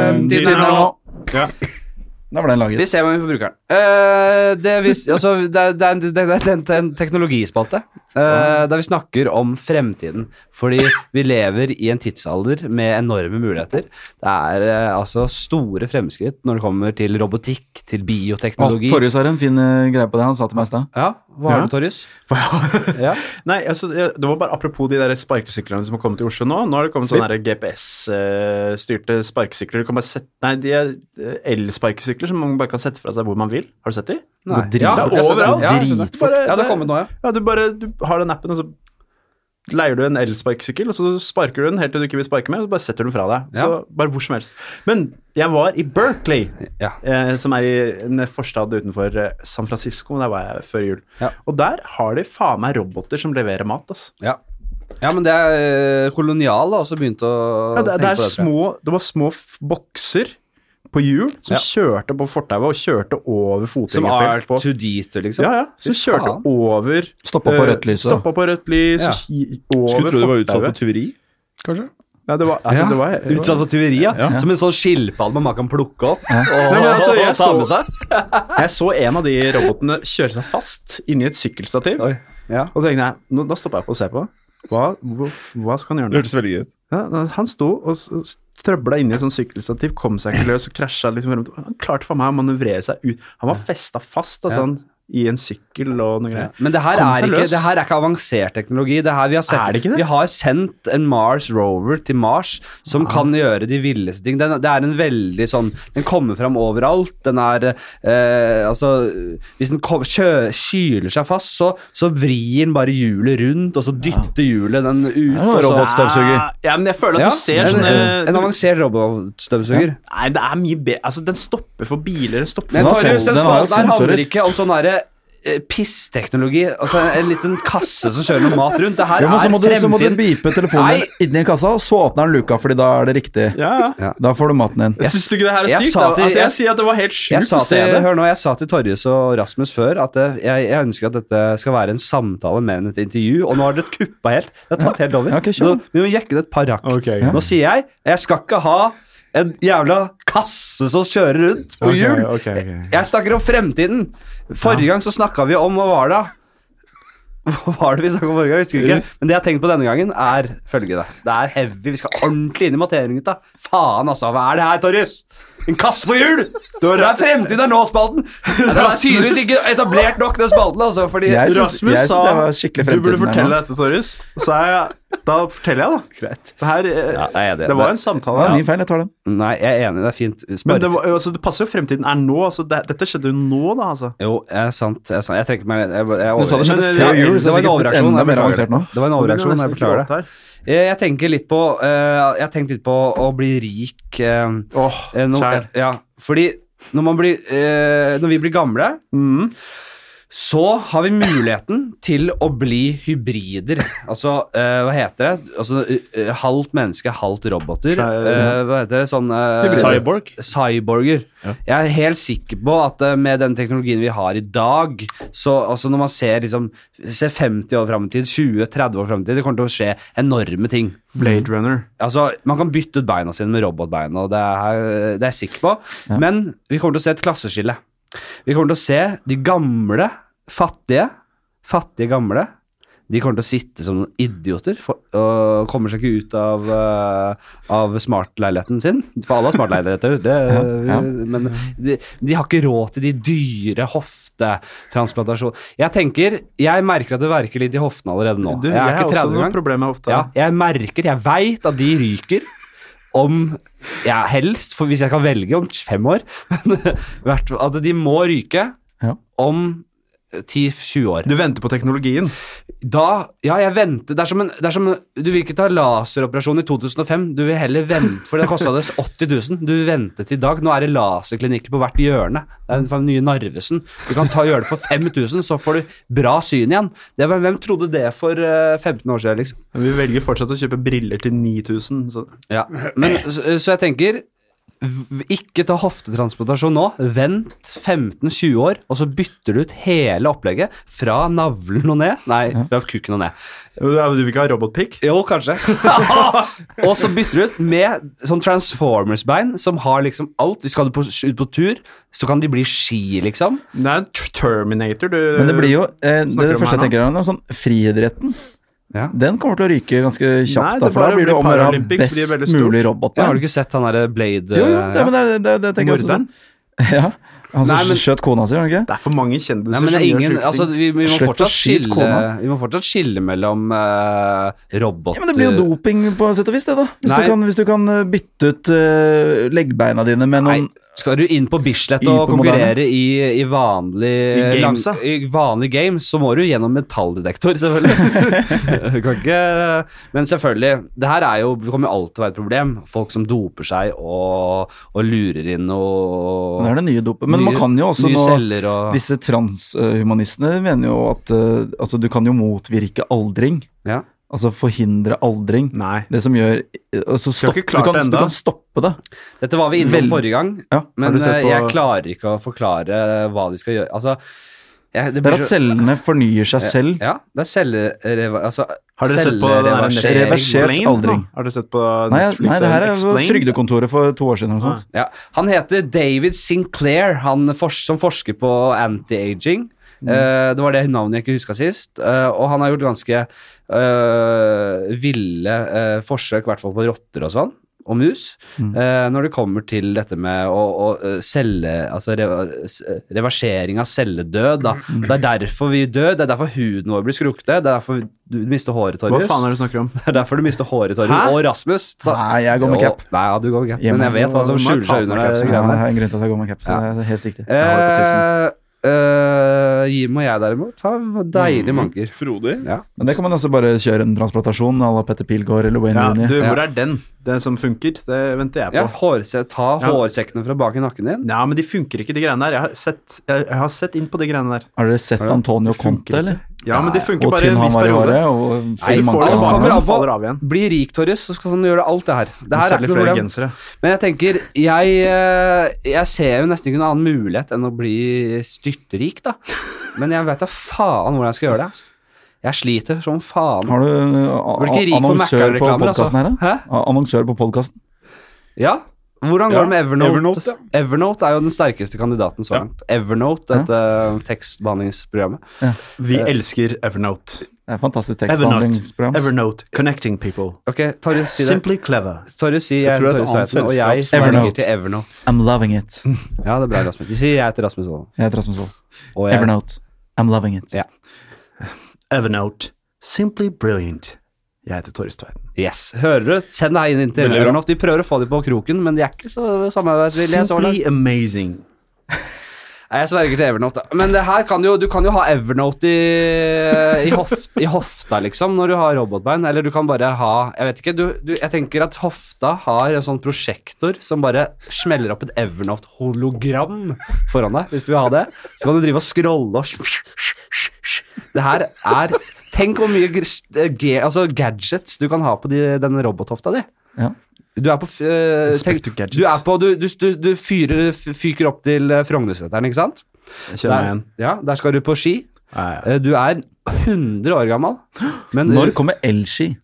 [SPEAKER 3] Ehm,
[SPEAKER 2] Fremtiden er nå.
[SPEAKER 3] Ja.
[SPEAKER 2] Da var den laget.
[SPEAKER 1] Vi ser hva vi får bruke den. Eh, det, vi, altså, det, er- det, er en- det, det, det er en- det er en teknologispalte eh, der vi snakker om fremtiden. Fordi vi lever i en tidsalder med enorme muligheter. Det er eh, altså store fremskritt når det kommer til robotikk, til
[SPEAKER 2] Å,
[SPEAKER 1] bioteknologi.
[SPEAKER 2] Torjus har en fin eh, greie på det. Han sa til meg i stad.
[SPEAKER 1] ja, hva har
[SPEAKER 3] Ja.
[SPEAKER 1] du, Torjus? Ja.
[SPEAKER 3] Nei, altså, det var bare apropos de der sparkesyklene som har kommet til Oslo nå. Nå har det kommet sånne GPS-styrte sparkesykler. eh, Du kan bare sette, nei, de er eh, elsparkesykler som man bare kan sette fra seg hvor man vil. Har du sett de?
[SPEAKER 1] Nei.
[SPEAKER 2] drit-
[SPEAKER 1] ja,
[SPEAKER 3] Det er
[SPEAKER 1] jeg ser det.
[SPEAKER 3] overalt.
[SPEAKER 1] Ja, jeg ser det.
[SPEAKER 3] Dritfort.
[SPEAKER 1] ja, det har kommet nå, ja.
[SPEAKER 3] Ja, du bare du har den appen, og så leier du en elsparkesykkel, og så sparker du den helt til du ikke vil sparke mer, og så bare setter du den fra deg.
[SPEAKER 1] Ja.
[SPEAKER 3] Så bare hvor som helst. Men jeg var i Berkeley,
[SPEAKER 1] Ja.
[SPEAKER 3] eh, som er i en forstad utenfor eh, San Francisco. Der var jeg før jul.
[SPEAKER 1] Ja.
[SPEAKER 3] Og der har de faen meg roboter som leverer mat, altså.
[SPEAKER 1] Ja. ja, men det er eh, kolonial har også begynt å
[SPEAKER 3] Ja, det, det,
[SPEAKER 1] tenke
[SPEAKER 3] er
[SPEAKER 1] på det. tror jeg.
[SPEAKER 3] små, det var små f- bokser på hjul som
[SPEAKER 1] Ja.
[SPEAKER 3] kjørte på fortauet og kjørte over
[SPEAKER 1] Som
[SPEAKER 3] fotgjengerfelt. på-
[SPEAKER 1] R2D2, liksom.
[SPEAKER 3] Ja, ja. Som
[SPEAKER 1] Fy
[SPEAKER 3] kjørte
[SPEAKER 1] faen.
[SPEAKER 3] over
[SPEAKER 2] Stoppa på
[SPEAKER 3] eh,
[SPEAKER 2] rødt lys. da.
[SPEAKER 3] Stoppa på rødt lys
[SPEAKER 1] Ja.
[SPEAKER 3] og ki- over
[SPEAKER 4] Skulle tro du var utsatt
[SPEAKER 3] fortauet.
[SPEAKER 4] for tyveri, kanskje?
[SPEAKER 3] Ja, det var, altså,
[SPEAKER 1] Ja.
[SPEAKER 3] det var, det var
[SPEAKER 1] Utsatt for tyveri, ja.
[SPEAKER 4] Ja.
[SPEAKER 1] Som en sånn skilpadde man kan plukke opp og,
[SPEAKER 3] Nei, men altså,
[SPEAKER 1] og
[SPEAKER 3] jeg
[SPEAKER 1] ta
[SPEAKER 3] så-
[SPEAKER 1] med seg.
[SPEAKER 3] Jeg så en av de robotene kjøre seg fast inni et sykkelstativ.
[SPEAKER 1] Oi. Ja.
[SPEAKER 3] Og da tenkte jeg, nå, da stopper jeg på å se på. Hva, hva, hva skal han gjøre
[SPEAKER 4] Det
[SPEAKER 3] nå?
[SPEAKER 4] hørtes veldig gøy ut.
[SPEAKER 3] Ja, han sto og s- trøbla inni et sånt sykkelstativ, kom seg ikke løs og krasja liksom frem. og- Han klarte for meg å manøvrere seg ut. Han var festa fast altså,
[SPEAKER 1] Ja.
[SPEAKER 3] han, i en sykkel og noe greier.
[SPEAKER 1] Men det her,
[SPEAKER 3] Kom
[SPEAKER 1] er
[SPEAKER 3] seg
[SPEAKER 1] ikke,
[SPEAKER 3] løs.
[SPEAKER 1] det her er ikke avansert teknologi. Det her vi, har sett,
[SPEAKER 3] Er det ikke det?
[SPEAKER 1] vi har sendt en Mars rover til Mars som
[SPEAKER 3] Ah.
[SPEAKER 1] kan gjøre de villeste ting. Den, det er en veldig sånn Den kommer fram overalt. Den er eh, Altså Hvis den kom, kjø, kyler seg fast, så, så vrir den bare hjulet rundt, og så
[SPEAKER 3] Ah.
[SPEAKER 1] dytter hjulet den ut.
[SPEAKER 2] Det er en
[SPEAKER 3] sånn
[SPEAKER 1] og så-
[SPEAKER 2] Robotstøvsuger.
[SPEAKER 3] Ja, men jeg føler at
[SPEAKER 1] Ja,
[SPEAKER 3] du ser sånn, eh,
[SPEAKER 1] en,
[SPEAKER 3] sånne
[SPEAKER 1] en, en avansert robotstøvsuger.
[SPEAKER 3] Nei, det er mye bedre Altså, den stopper for biler, den stopper
[SPEAKER 1] Men
[SPEAKER 2] Den
[SPEAKER 3] for
[SPEAKER 2] har
[SPEAKER 1] Torjus,
[SPEAKER 2] sen-
[SPEAKER 1] den
[SPEAKER 2] den har jo
[SPEAKER 1] spalten her handler
[SPEAKER 2] sensorer.
[SPEAKER 1] ikke om sånn derre eh, pissteknologi. Altså en, en liten kasse som kjører noe mat rundt. Det her
[SPEAKER 2] Jo, men så må, du,
[SPEAKER 1] er
[SPEAKER 2] så må du
[SPEAKER 1] fremtiden.
[SPEAKER 2] bipe
[SPEAKER 1] Nei.
[SPEAKER 2] telefonen din inni kassa, og så åpner den luka, fordi da er det riktig.
[SPEAKER 3] Ja, ja.
[SPEAKER 2] Da får du maten din.
[SPEAKER 3] Jeg syns du ikke det her er
[SPEAKER 1] jeg
[SPEAKER 3] sykt?
[SPEAKER 1] sa
[SPEAKER 3] da?
[SPEAKER 1] til-
[SPEAKER 3] altså, jeg,
[SPEAKER 1] jeg-
[SPEAKER 3] sier at det var helt sjukt
[SPEAKER 1] Jeg sa,
[SPEAKER 3] å se
[SPEAKER 1] til,
[SPEAKER 3] det.
[SPEAKER 1] hør nå, jeg sa til Torjus og Rasmus før at eh, jeg, jeg ønsker at dette skal være en samtale mer enn et intervju, og nå har dere kuppa helt. Det har tatt helt over.
[SPEAKER 2] Ja, ok, kjør.
[SPEAKER 1] Nå- vi må jekke det et par rakk.
[SPEAKER 3] Ok.
[SPEAKER 1] Nå sier jeg jeg skal ikke ha en jævla kasse som kjører rundt på hjul.
[SPEAKER 3] Ok, ok, ok.
[SPEAKER 1] Jeg snakker om fremtiden. Forrige gang så snakka vi om hva var det? Hva var det vi snakka om forrige gang? Jeg husker ikke. Men det jeg har tenkt på denne gangen, er følgende. Det er heavy. Vi skal ordentlig inn i materien, gutta. Faen, altså. Hva er det her, Torjus? En kasse på hjul! Det er fremtid er nå-spalten! Det er tydeligvis ikke etablert nok, den spalten. altså, fordi...
[SPEAKER 2] Jeg synes-
[SPEAKER 3] Rasmus
[SPEAKER 2] jeg synes
[SPEAKER 3] sa
[SPEAKER 2] det var skikkelig
[SPEAKER 3] du burde
[SPEAKER 2] fremtiden her
[SPEAKER 3] fortelle
[SPEAKER 2] nå.
[SPEAKER 3] dette, Torjus. Så er jeg, da forteller jeg, da.
[SPEAKER 1] Greit.
[SPEAKER 3] Det, her, eh,
[SPEAKER 1] Ja, jeg er enig.
[SPEAKER 3] det var en samtale.
[SPEAKER 2] Det
[SPEAKER 3] ja.
[SPEAKER 2] var min feil, jeg tar den.
[SPEAKER 1] Nei, jeg er enig. Det er fint.
[SPEAKER 3] Men det, var, altså, det passer jo fremtiden er nå. Altså, det, dette skjedde jo nå, da. Altså.
[SPEAKER 1] Jo, jeg er sant. Jeg, er sant. jeg trekker meg jeg, jeg, jeg,
[SPEAKER 2] Du sa det skjedde
[SPEAKER 1] Men-
[SPEAKER 2] før
[SPEAKER 1] ja,
[SPEAKER 2] jul,
[SPEAKER 1] det var en
[SPEAKER 2] så sikkert blitt
[SPEAKER 1] overreaksjon. jeg
[SPEAKER 2] enda mer
[SPEAKER 1] beklager
[SPEAKER 2] avansert
[SPEAKER 1] det.
[SPEAKER 2] nå.
[SPEAKER 1] Det var en overreaksjon. Jeg beklager det. Jeg, jeg tenker litt på eh, Jeg tenkte litt på å bli rik eh,
[SPEAKER 3] Åh,
[SPEAKER 1] eh, nå-
[SPEAKER 3] kjær.
[SPEAKER 1] Ja, fordi når, man blir, eh, når vi blir gamle,
[SPEAKER 3] Mm.
[SPEAKER 1] så har vi muligheten til å bli hybrider. Altså, eh, hva heter det? Altså, eh, halvt menneske, halvt roboter.
[SPEAKER 3] Cy-
[SPEAKER 1] Eh, hva heter det? Sånn eh,
[SPEAKER 4] Cyborg.
[SPEAKER 1] Cyborger. Jeg er helt sikker på at eh, med den teknologien vi har i dag, så altså når man ser, liksom, ser 50 år fram i tid, 20-30 år fram i tid, det kommer til å skje enorme ting.
[SPEAKER 3] Blade Runner.
[SPEAKER 1] Altså, Man kan bytte ut beina sine med robotbeina, og det er, det er jeg sikker på. Men vi kommer til å se et klasseskille. Vi kommer til å se de gamle, fattige, fattige gamle. De kommer til å sitte som noen idioter for, og kommer seg ikke ut av, eh, av smartleiligheten sin. For alle har smartleiligheter, det, eh,
[SPEAKER 2] Ja, ja.
[SPEAKER 1] men de, de har ikke råd til de dyre hoftetransplantasjon. Jeg tenker, jeg merker at det verker litt i hoftene allerede nå.
[SPEAKER 3] Du, jeg,
[SPEAKER 1] er
[SPEAKER 3] har
[SPEAKER 1] ikke
[SPEAKER 3] også
[SPEAKER 1] 30
[SPEAKER 3] noen
[SPEAKER 1] engang.
[SPEAKER 3] problemer ofte.
[SPEAKER 1] Ja, jeg merker, jeg veit at de ryker om ja, helst, for hvis jeg kan velge om fem år men, hvert- At de må ryke
[SPEAKER 2] Ja.
[SPEAKER 1] om 10-20 år.
[SPEAKER 3] Du venter på teknologien.
[SPEAKER 1] Da Ja, jeg venter. Det er som en, det er som en Du vil ikke ta laseroperasjon i 2005. Du vil heller vente, for det kosta det 80 000. Du ventet i dag. Nå er det laserklinikker på hvert hjørne. Det er den nye Narvesen. Du kan ta gjøre det for 5000, så får du bra syn igjen. Det var, hvem trodde det for eh, 15 år siden, liksom?
[SPEAKER 3] Men vi velger fortsatt å kjøpe briller til 9000. Så.
[SPEAKER 1] Ja, men så, så jeg tenker v- ikke ta hoftetransplantasjon nå. Vent 15-20 år, og så bytter du ut hele opplegget fra navlen og ned. Nei, fra kuken og ned.
[SPEAKER 3] Du vil ikke ha robotpikk?
[SPEAKER 1] Jo, kanskje. og så bytter du ut med sånn Transformers-bein som har liksom alt. Hvis skal du på, ut på tur, så kan de bli ski, liksom.
[SPEAKER 3] Det er en tr- Terminator, du.
[SPEAKER 2] Men det blir jo eh,
[SPEAKER 3] snakker
[SPEAKER 2] Det
[SPEAKER 3] om
[SPEAKER 2] første jeg
[SPEAKER 3] her nå?
[SPEAKER 2] tenker er noe sånn friidretten.
[SPEAKER 1] Ja.
[SPEAKER 2] Den kommer til å ryke ganske kjapt,
[SPEAKER 3] Nei,
[SPEAKER 2] da,
[SPEAKER 3] det
[SPEAKER 2] for da
[SPEAKER 3] bare
[SPEAKER 2] blir det
[SPEAKER 3] blir
[SPEAKER 2] om å gjøre å ha
[SPEAKER 3] Paralympics blir veldig
[SPEAKER 2] best
[SPEAKER 3] stort.
[SPEAKER 2] mulig
[SPEAKER 1] Ja, har du
[SPEAKER 2] robotbein.
[SPEAKER 1] ikke sett han derre Blade eh,
[SPEAKER 2] Jo, jo, det,
[SPEAKER 1] ja.
[SPEAKER 2] men det, det, det tenker jeg også
[SPEAKER 3] Morderen?
[SPEAKER 2] sånn. Ja, Han som
[SPEAKER 1] Nei, men-
[SPEAKER 2] skjøt kona si, var det ikke?
[SPEAKER 3] Det er for mange
[SPEAKER 1] Nei,
[SPEAKER 3] kjendiser
[SPEAKER 1] men det
[SPEAKER 3] som
[SPEAKER 1] er ingen,
[SPEAKER 3] gjør
[SPEAKER 1] altså,
[SPEAKER 3] sjuke ting.
[SPEAKER 1] vi, vi, må
[SPEAKER 2] Slutt å
[SPEAKER 1] fortsatt
[SPEAKER 2] skyte
[SPEAKER 1] skille,
[SPEAKER 2] kona.
[SPEAKER 1] vi må fortsatt skille mellom uh, roboter
[SPEAKER 2] Ja, men Det blir jo doping på et sett og vis, det, da. Hvis,
[SPEAKER 1] Nei.
[SPEAKER 2] du kan, hvis du kan eh, bytte ut eh, leggbeina dine med
[SPEAKER 1] Nei,
[SPEAKER 2] noen
[SPEAKER 1] skal du inn på Bislett
[SPEAKER 2] Inn
[SPEAKER 1] og
[SPEAKER 2] på
[SPEAKER 1] konkurrere i, i, vanlig,
[SPEAKER 3] I games,
[SPEAKER 1] lang-
[SPEAKER 3] da.
[SPEAKER 1] i vanlig games, så må du gjennom metalldetektor, selvfølgelig. Du kan ikke, men selvfølgelig, det her er jo, det kommer jo alltid til å være et problem. Folk som doper seg og, og lurer inn og
[SPEAKER 2] Det er det nye dopet. Men man
[SPEAKER 1] nye-
[SPEAKER 2] kan jo også
[SPEAKER 1] nye
[SPEAKER 2] nå
[SPEAKER 1] celler og
[SPEAKER 2] Disse transhumanistene mener jo at eh, altså, du kan jo motvirke aldring.
[SPEAKER 1] ja.
[SPEAKER 2] Altså forhindre aldring.
[SPEAKER 3] Nei.
[SPEAKER 2] Det som gjør altså,
[SPEAKER 3] Du har
[SPEAKER 2] stopp,
[SPEAKER 3] Mm. ikke
[SPEAKER 2] du,
[SPEAKER 3] klart
[SPEAKER 2] kan,
[SPEAKER 3] det
[SPEAKER 2] du
[SPEAKER 3] enda.
[SPEAKER 2] kan stoppe det.
[SPEAKER 1] Dette var vi innom
[SPEAKER 2] Vel-
[SPEAKER 1] forrige gang,
[SPEAKER 2] Ja.
[SPEAKER 1] men
[SPEAKER 3] du sett
[SPEAKER 1] eh,
[SPEAKER 3] på-
[SPEAKER 1] jeg klarer ikke å forklare hva de skal gjøre. Altså, jeg, det
[SPEAKER 2] Det
[SPEAKER 1] blir
[SPEAKER 2] er at
[SPEAKER 1] så-
[SPEAKER 2] cellene fornyer seg selv.
[SPEAKER 1] Ja, det er cellereva... Altså,
[SPEAKER 3] Har dere sett på den der
[SPEAKER 1] cellereversering.
[SPEAKER 3] Netflix-
[SPEAKER 2] Reversert
[SPEAKER 3] Explained,
[SPEAKER 2] aldring.
[SPEAKER 3] da? Har dere sett på
[SPEAKER 2] Nei,
[SPEAKER 3] Netflix
[SPEAKER 2] nei, det her er
[SPEAKER 3] Explained? Ah,
[SPEAKER 2] Trygdekontoret for to år siden. Eller noe sånt.
[SPEAKER 1] Ja, han heter David Sinclair, han fors som forsker på anti-aging. Eh, det var det navnet jeg ikke huska sist. eh, og han har gjort ganske eh, ville eh, forsøk, i hvert fall på rotter og sånn, og mus, eh, når det kommer til dette med å, å eh, celle... Altså reva, s- reversering av celledød, da. Det er derfor vi dør, det er derfor huden vår blir skrukkete, det er derfor du mister håret,
[SPEAKER 3] Hva
[SPEAKER 1] Torjus.
[SPEAKER 3] faen er det du snakker om?
[SPEAKER 1] Det er derfor du mister håret, Torjus.
[SPEAKER 3] Hæ?
[SPEAKER 1] Og Rasmus. Ta-
[SPEAKER 2] Nei, jeg går med
[SPEAKER 1] Jo,
[SPEAKER 2] cap.
[SPEAKER 1] Nei, ja, du går med cap.
[SPEAKER 2] Ja,
[SPEAKER 1] Men jeg
[SPEAKER 2] men
[SPEAKER 1] vet hva som
[SPEAKER 3] du må
[SPEAKER 1] skjuler
[SPEAKER 3] ta
[SPEAKER 1] seg
[SPEAKER 3] den
[SPEAKER 1] under
[SPEAKER 3] av
[SPEAKER 1] det
[SPEAKER 3] capsen.
[SPEAKER 2] Ja,
[SPEAKER 1] greiene
[SPEAKER 2] det
[SPEAKER 1] der.
[SPEAKER 2] er en grunn til at jeg går med caps. Det er helt riktig.
[SPEAKER 1] Eh, eh, Jim og jeg derimot har deilige
[SPEAKER 2] Mm.
[SPEAKER 4] Mm.
[SPEAKER 1] manker.
[SPEAKER 4] Frodig.
[SPEAKER 1] Ja.
[SPEAKER 2] Men det kan man også bare kjøre en transplantasjon à la Petter Pilgaard eller Wayne
[SPEAKER 3] Ja,
[SPEAKER 2] Rooney.
[SPEAKER 3] du, hvor
[SPEAKER 1] Ja.
[SPEAKER 3] er den? Den som funker? Det venter jeg på.
[SPEAKER 1] Ja, hårse ta hårsekkene fra bak i nakken din.
[SPEAKER 3] Nei, men de funker ikke, de greiene der. Jeg har sett, jeg, jeg har sett inn på de greiene der.
[SPEAKER 2] Har dere sett Antonio Conte, eller?
[SPEAKER 3] Ja, men de funker
[SPEAKER 2] Og
[SPEAKER 3] bare i
[SPEAKER 2] tynn
[SPEAKER 3] en
[SPEAKER 2] han
[SPEAKER 3] viss
[SPEAKER 2] var i
[SPEAKER 3] periode.
[SPEAKER 2] håret, og
[SPEAKER 3] Nei,
[SPEAKER 2] full
[SPEAKER 3] får
[SPEAKER 2] manke
[SPEAKER 3] det
[SPEAKER 2] han
[SPEAKER 3] tilbake,
[SPEAKER 2] var.
[SPEAKER 3] så faller det av igjen.
[SPEAKER 1] Bli rik, Torjus, så skal han gjøre alt det her. Det her er
[SPEAKER 3] Selger
[SPEAKER 1] ikke noe
[SPEAKER 3] flere
[SPEAKER 1] problem.
[SPEAKER 3] gensere.
[SPEAKER 1] Men jeg tenker, jeg, eh, jeg ser jo nesten ikke noen annen mulighet enn å bli styrtrik, da. Men jeg vet da faen hvordan jeg skal gjøre det. altså. Jeg sliter som faen.
[SPEAKER 2] Har du
[SPEAKER 1] Blir ikke rik
[SPEAKER 2] eh,
[SPEAKER 1] på
[SPEAKER 2] annonsør på
[SPEAKER 1] Mac'an-reklamer, altså.
[SPEAKER 2] podkasten her, da?
[SPEAKER 1] Hæ?
[SPEAKER 2] Annonsør på podkasten?
[SPEAKER 1] Ja. Hvordan går
[SPEAKER 4] Ja,
[SPEAKER 1] det med Evernote?
[SPEAKER 4] Evernote, ja.
[SPEAKER 1] Evernote er jo den sterkeste kandidaten så
[SPEAKER 4] Ja.
[SPEAKER 1] langt. Evernote, dette tekstbehandlingsprogrammet.
[SPEAKER 3] Vi elsker Evernote.
[SPEAKER 2] Det er et fantastisk
[SPEAKER 3] Evernote.
[SPEAKER 2] tekstbehandlingsprogram.
[SPEAKER 3] Evernote. Connecting people.
[SPEAKER 1] Ok, Torjus, si det.
[SPEAKER 3] Simply clever.
[SPEAKER 1] Torjus, si jeg,
[SPEAKER 4] tror det er
[SPEAKER 1] Torjus
[SPEAKER 4] et annet
[SPEAKER 1] Tveiten, og jeg
[SPEAKER 4] selskap.
[SPEAKER 1] sverger
[SPEAKER 2] Evernote.
[SPEAKER 1] til Evernote.
[SPEAKER 2] I'm loving it.
[SPEAKER 1] Ja, det er bra, Rasmus. De sier jeg heter Rasmus Wold.
[SPEAKER 2] Jeg heter Rasmus Wold.
[SPEAKER 1] Og jeg,
[SPEAKER 2] Evernote. I'm loving it.
[SPEAKER 1] Ja.
[SPEAKER 3] Evernote. Simply brilliant. Jeg heter Torjus Tveiten.
[SPEAKER 1] yes. Hører du? Send det her inn til
[SPEAKER 4] Veldig bra.
[SPEAKER 1] Evernote. De prøver å få dem på kroken, men de er ikke så samarbeidsvillige så langt.
[SPEAKER 3] Simply amazing.
[SPEAKER 1] Nei, Jeg sverger til Evernote. da. Men det her kan jo, du kan jo ha Evernote eh, i, i, hof, i hofta, liksom, når du har robotbein. Eller du kan bare ha Jeg vet ikke. Du, du, jeg tenker at hofta har en sånn prosjektor som bare smeller opp et Evernote-hologram foran deg. Hvis du vil ha det. Så kan du drive og scrolle og Det her er Tenk hvor mye gr- g, altså gadgets du kan ha på de, denne robothofta di.
[SPEAKER 2] Ja.
[SPEAKER 1] Du er på f- eh,
[SPEAKER 3] Respect
[SPEAKER 1] tenk-
[SPEAKER 3] to gadgets.
[SPEAKER 1] Du, er på, du, du, du, du fyrer, f- fyker opp til eh, Frognerseteren, ikke sant?
[SPEAKER 3] Jeg kjenner meg
[SPEAKER 1] Der-
[SPEAKER 3] igjen.
[SPEAKER 1] Ja, der skal du på ski.
[SPEAKER 3] Ja, ja.
[SPEAKER 1] Eh, Du er 100 år gammel. Men
[SPEAKER 2] Når kommer elski?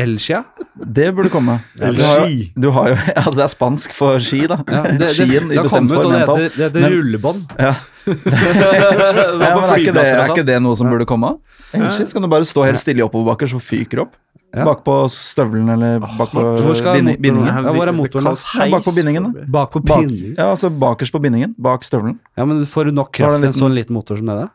[SPEAKER 1] Elskia
[SPEAKER 2] Det burde komme.
[SPEAKER 3] Elski.
[SPEAKER 2] Du har jo, du har jo, altså det er spansk for ski, da.
[SPEAKER 1] ja, det, det,
[SPEAKER 2] Skien
[SPEAKER 1] det
[SPEAKER 2] i
[SPEAKER 1] har
[SPEAKER 2] bestemt
[SPEAKER 1] kommet ut,
[SPEAKER 2] form.
[SPEAKER 1] og det
[SPEAKER 2] mentalt.
[SPEAKER 1] heter, det heter
[SPEAKER 2] Men-
[SPEAKER 1] rullebånd.
[SPEAKER 2] Ja.
[SPEAKER 1] det
[SPEAKER 2] Ja,
[SPEAKER 1] var
[SPEAKER 2] men
[SPEAKER 1] på
[SPEAKER 2] er, ikke det,
[SPEAKER 1] flyplasser
[SPEAKER 2] er
[SPEAKER 1] og
[SPEAKER 2] ikke
[SPEAKER 1] sånn.
[SPEAKER 2] det noe som burde komme? Elski? Så kan du bare stå helt stille i oppoverbakker, så fyker det opp.
[SPEAKER 1] Ja.
[SPEAKER 2] Bakpå støvelen eller bakpå
[SPEAKER 1] Hvor skal
[SPEAKER 2] bindi-
[SPEAKER 1] motoren
[SPEAKER 2] bindingen.
[SPEAKER 1] Ja, hvor er motoren da?
[SPEAKER 2] Ja, bak på bindingen, da.
[SPEAKER 1] sånn? Bak på
[SPEAKER 2] Bak,
[SPEAKER 1] pinnen.
[SPEAKER 2] ja, altså bakerst på bindingen. Bak støvelen.
[SPEAKER 1] Ja, men får du nok
[SPEAKER 2] Da var
[SPEAKER 1] kraft til
[SPEAKER 2] det
[SPEAKER 1] en
[SPEAKER 2] en
[SPEAKER 1] sånn liten motor som det der?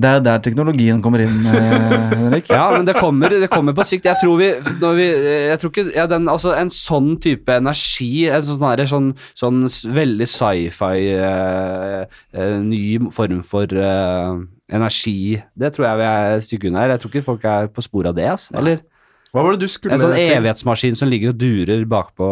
[SPEAKER 2] Det er der teknologien kommer inn, eh, Henrik.
[SPEAKER 1] Ja, men det kommer, det kommer på sikt. Jeg tror vi, når vi jeg tror ikke, ja, den, altså En sånn type energi, en sånn, sånn, her- sånn, sånn s- veldig sci-fi eh, eh, Ny form for eh, energi, det tror jeg vi er et stykke unna her. Jeg tror ikke folk er på sporet av det. ass. Eller
[SPEAKER 3] Hva var det du skulle
[SPEAKER 1] en sånn
[SPEAKER 3] til?
[SPEAKER 1] evighetsmaskin som ligger og durer bakpå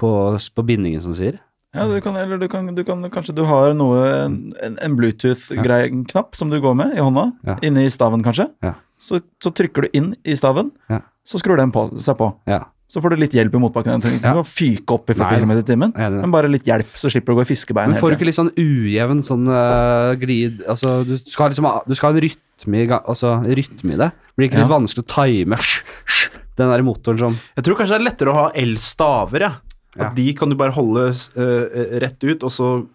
[SPEAKER 1] på, på bindingen, som du sier.
[SPEAKER 2] Ja, du kan, eller du kan, du kan Kanskje du har noe En, en Bluetooth-knapp som du går med i hånda.
[SPEAKER 1] Ja.
[SPEAKER 2] Inne i staven, kanskje.
[SPEAKER 1] Ja.
[SPEAKER 2] Så, så trykker du inn i staven,
[SPEAKER 1] Ja.
[SPEAKER 2] så skrur den på, seg på.
[SPEAKER 1] Ja.
[SPEAKER 2] Så får du litt hjelp i motbakken. Du
[SPEAKER 1] Ja.
[SPEAKER 2] kan ikke fyke opp i
[SPEAKER 1] Nei,
[SPEAKER 2] 40 km i timen,
[SPEAKER 1] jeg er enig i det.
[SPEAKER 2] men bare litt hjelp, så slipper du å gå i fiskebein
[SPEAKER 1] Men får du
[SPEAKER 2] hele
[SPEAKER 1] ikke
[SPEAKER 2] tiden.
[SPEAKER 1] litt sånn ujevn sånn øh, glid Altså, du skal liksom ha, du skal ha en rytme i, ga- altså, rytme i det. Blir det ikke litt
[SPEAKER 2] Ja.
[SPEAKER 1] vanskelig å time den der motoren som
[SPEAKER 3] Jeg tror kanskje det er lettere å ha elstaver, ja. At
[SPEAKER 1] Ja.
[SPEAKER 3] de kan du bare holde eh, rett ut, og så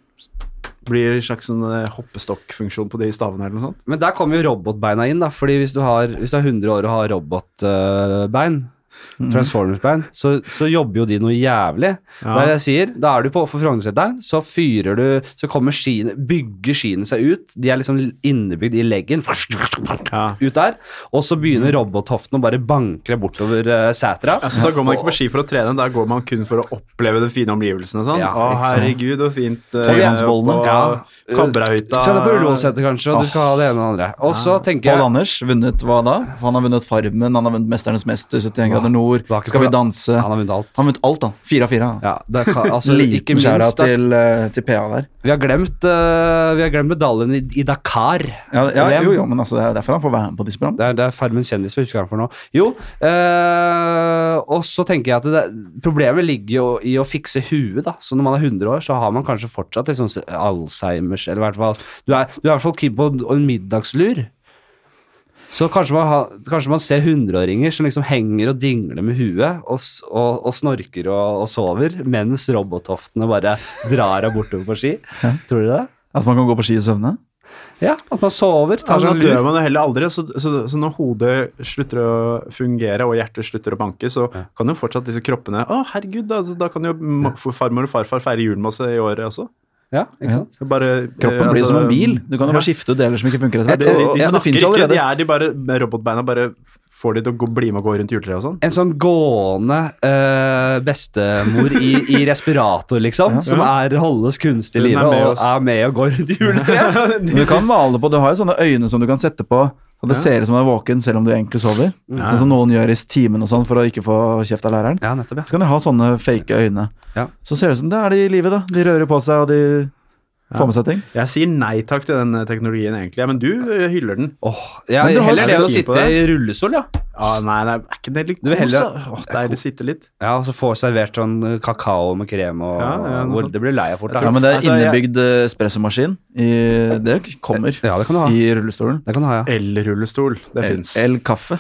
[SPEAKER 3] blir det en slags sånn eh, hoppestokkfunksjon på de stavene eller noe sånt.
[SPEAKER 1] Men der kommer jo robotbeina inn, da. Fordi hvis du, har, hvis du er 100 år og har robotbein,
[SPEAKER 3] Mm.
[SPEAKER 1] Transformers-bein, så, så jobber jo de noe jævlig.
[SPEAKER 3] Ja.
[SPEAKER 1] Der jeg sier, Da er du på for Frognerseteren, så fyrer du Så kommer skiene, bygger skiene seg ut. De er liksom innebygd i leggen.
[SPEAKER 3] Ja. Mm.
[SPEAKER 1] Ut der. Og så begynner robothoften å bare bankre bortover uh, setra.
[SPEAKER 3] Altså, da går man ikke på ski for å trene, da går man kun for å oppleve de fine omgivelsene. Sånn.
[SPEAKER 1] Ja,
[SPEAKER 3] å,
[SPEAKER 1] ikke sant.
[SPEAKER 3] herregud, så fint. eh,
[SPEAKER 2] Tøylandsbollene.
[SPEAKER 1] Ja.
[SPEAKER 3] Kabberøyta.
[SPEAKER 1] Kjenner på Ullevålseter, kanskje, og du skal ha det ene og det andre. Og så tenker
[SPEAKER 2] Pål
[SPEAKER 1] jeg
[SPEAKER 2] Anders vunnet hva da? For han har vunnet Farmen, han har vunnet Mesternes mester, 71 grader nord,
[SPEAKER 1] var ikke
[SPEAKER 2] Skal vi
[SPEAKER 1] Pål-
[SPEAKER 2] danse
[SPEAKER 1] Han
[SPEAKER 2] Han
[SPEAKER 1] har vunnet alt.
[SPEAKER 2] har vunnet alt, da. Fire av fire. da.
[SPEAKER 1] Ja, det kan, altså, ikke
[SPEAKER 2] Liten skjæra
[SPEAKER 1] minst da,
[SPEAKER 2] til, eh, til PA der.
[SPEAKER 1] vi, har glemt, eh, vi har glemt medaljen i, i Dakar.
[SPEAKER 2] Ja, ja,
[SPEAKER 1] VM.
[SPEAKER 2] jo, jo, men altså, det er derfor han får være med på disse programmene.
[SPEAKER 1] Det er, det er Farmen kjendis vi husker han for nå. Jo, eh, og så tenker jeg at det, problemet ligger jo i å fikse huet, da. Så når man er 100 år, så har man kanskje fortsatt litt sånn se- Alzheimers, eller i hvert fall Du er, du er i hvert fall keen på en- en middagslur. Så kanskje man, har- kanskje man ser hundreåringer som liksom henger og dingler med huet og, s- og, og snorker og, og sover, mens robothoftene bare drar av bortover på ski. Tror du det?
[SPEAKER 2] At man kan gå på ski i søvne.
[SPEAKER 1] Ja, at man sover, tar
[SPEAKER 3] Ja,
[SPEAKER 1] seg
[SPEAKER 3] da
[SPEAKER 1] en
[SPEAKER 3] dør
[SPEAKER 1] lur.
[SPEAKER 3] man jo heller aldri, så, så, så når hodet slutter å fungere og hjertet slutter å banke, så kan jo fortsatt disse kroppene Å, herregud, da, så da kan jo ma- for farmor og farfar feire jul med oss i året også.
[SPEAKER 1] Ja, ikke sant?
[SPEAKER 3] Det er Bare,
[SPEAKER 2] Kroppen
[SPEAKER 3] eh,
[SPEAKER 2] blir jo
[SPEAKER 3] altså,
[SPEAKER 2] som en bil. Du kan jo
[SPEAKER 3] ja.
[SPEAKER 2] bare skifte ut deler som ikke funker. etter
[SPEAKER 3] De,
[SPEAKER 2] hvert.
[SPEAKER 3] de, de
[SPEAKER 2] Og- og- ja, det
[SPEAKER 3] snakker
[SPEAKER 2] finnes jo
[SPEAKER 3] ikke, de
[SPEAKER 2] allerede.
[SPEAKER 3] er de bare med Robotbeina bare får de til å gå, bli med og gå rundt juletreet og sånn.
[SPEAKER 1] en sånn gående eh, bestemor i, i respirator, liksom, som er, holdes kunstig i
[SPEAKER 3] Hun er
[SPEAKER 1] live
[SPEAKER 3] med
[SPEAKER 1] og
[SPEAKER 3] oss.
[SPEAKER 1] er med og går rundt i juletreet.
[SPEAKER 2] Du kan male på, du har jo sånne øyne som du kan sette på, og det ser ut som du er våken selv om du egentlig sover. Sånn som noen gjør i timen og sånn for å ikke få kjeft av læreren.
[SPEAKER 1] Ja, nettopp, ja.
[SPEAKER 2] Så kan de ha sånne fake øyne.
[SPEAKER 1] Ja.
[SPEAKER 2] Så ser det ut som det er de i livet, da. De rører på seg, og de får med seg ting.
[SPEAKER 3] Jeg sier nei takk til den eh, teknologien, egentlig, ja, men du eh, hyller den.
[SPEAKER 1] Åh, ja
[SPEAKER 2] Men du har
[SPEAKER 1] heller det enn å
[SPEAKER 3] stil på
[SPEAKER 1] sitte i rullestol, ja.
[SPEAKER 3] Ah, nei, nei, er ikke det litt
[SPEAKER 1] Du vil
[SPEAKER 3] kos,
[SPEAKER 1] heller-
[SPEAKER 3] da? Åh, Deilig å sitte litt.
[SPEAKER 1] Ja, og så få servert sånn eh, kakao med krem og
[SPEAKER 3] Ja, ja, noe
[SPEAKER 1] hvor
[SPEAKER 3] sånt.
[SPEAKER 1] Det blir lei av fort,
[SPEAKER 2] Ja,
[SPEAKER 1] da.
[SPEAKER 2] men det er
[SPEAKER 3] Altså, jeg-
[SPEAKER 2] innebygd eh, espressomaskin. i- Det kommer
[SPEAKER 1] Ja, det kan du ha.
[SPEAKER 2] i rullestolen.
[SPEAKER 1] Det kan du ha, ja.
[SPEAKER 3] Elrullestol, det fins.
[SPEAKER 2] El-kaffe.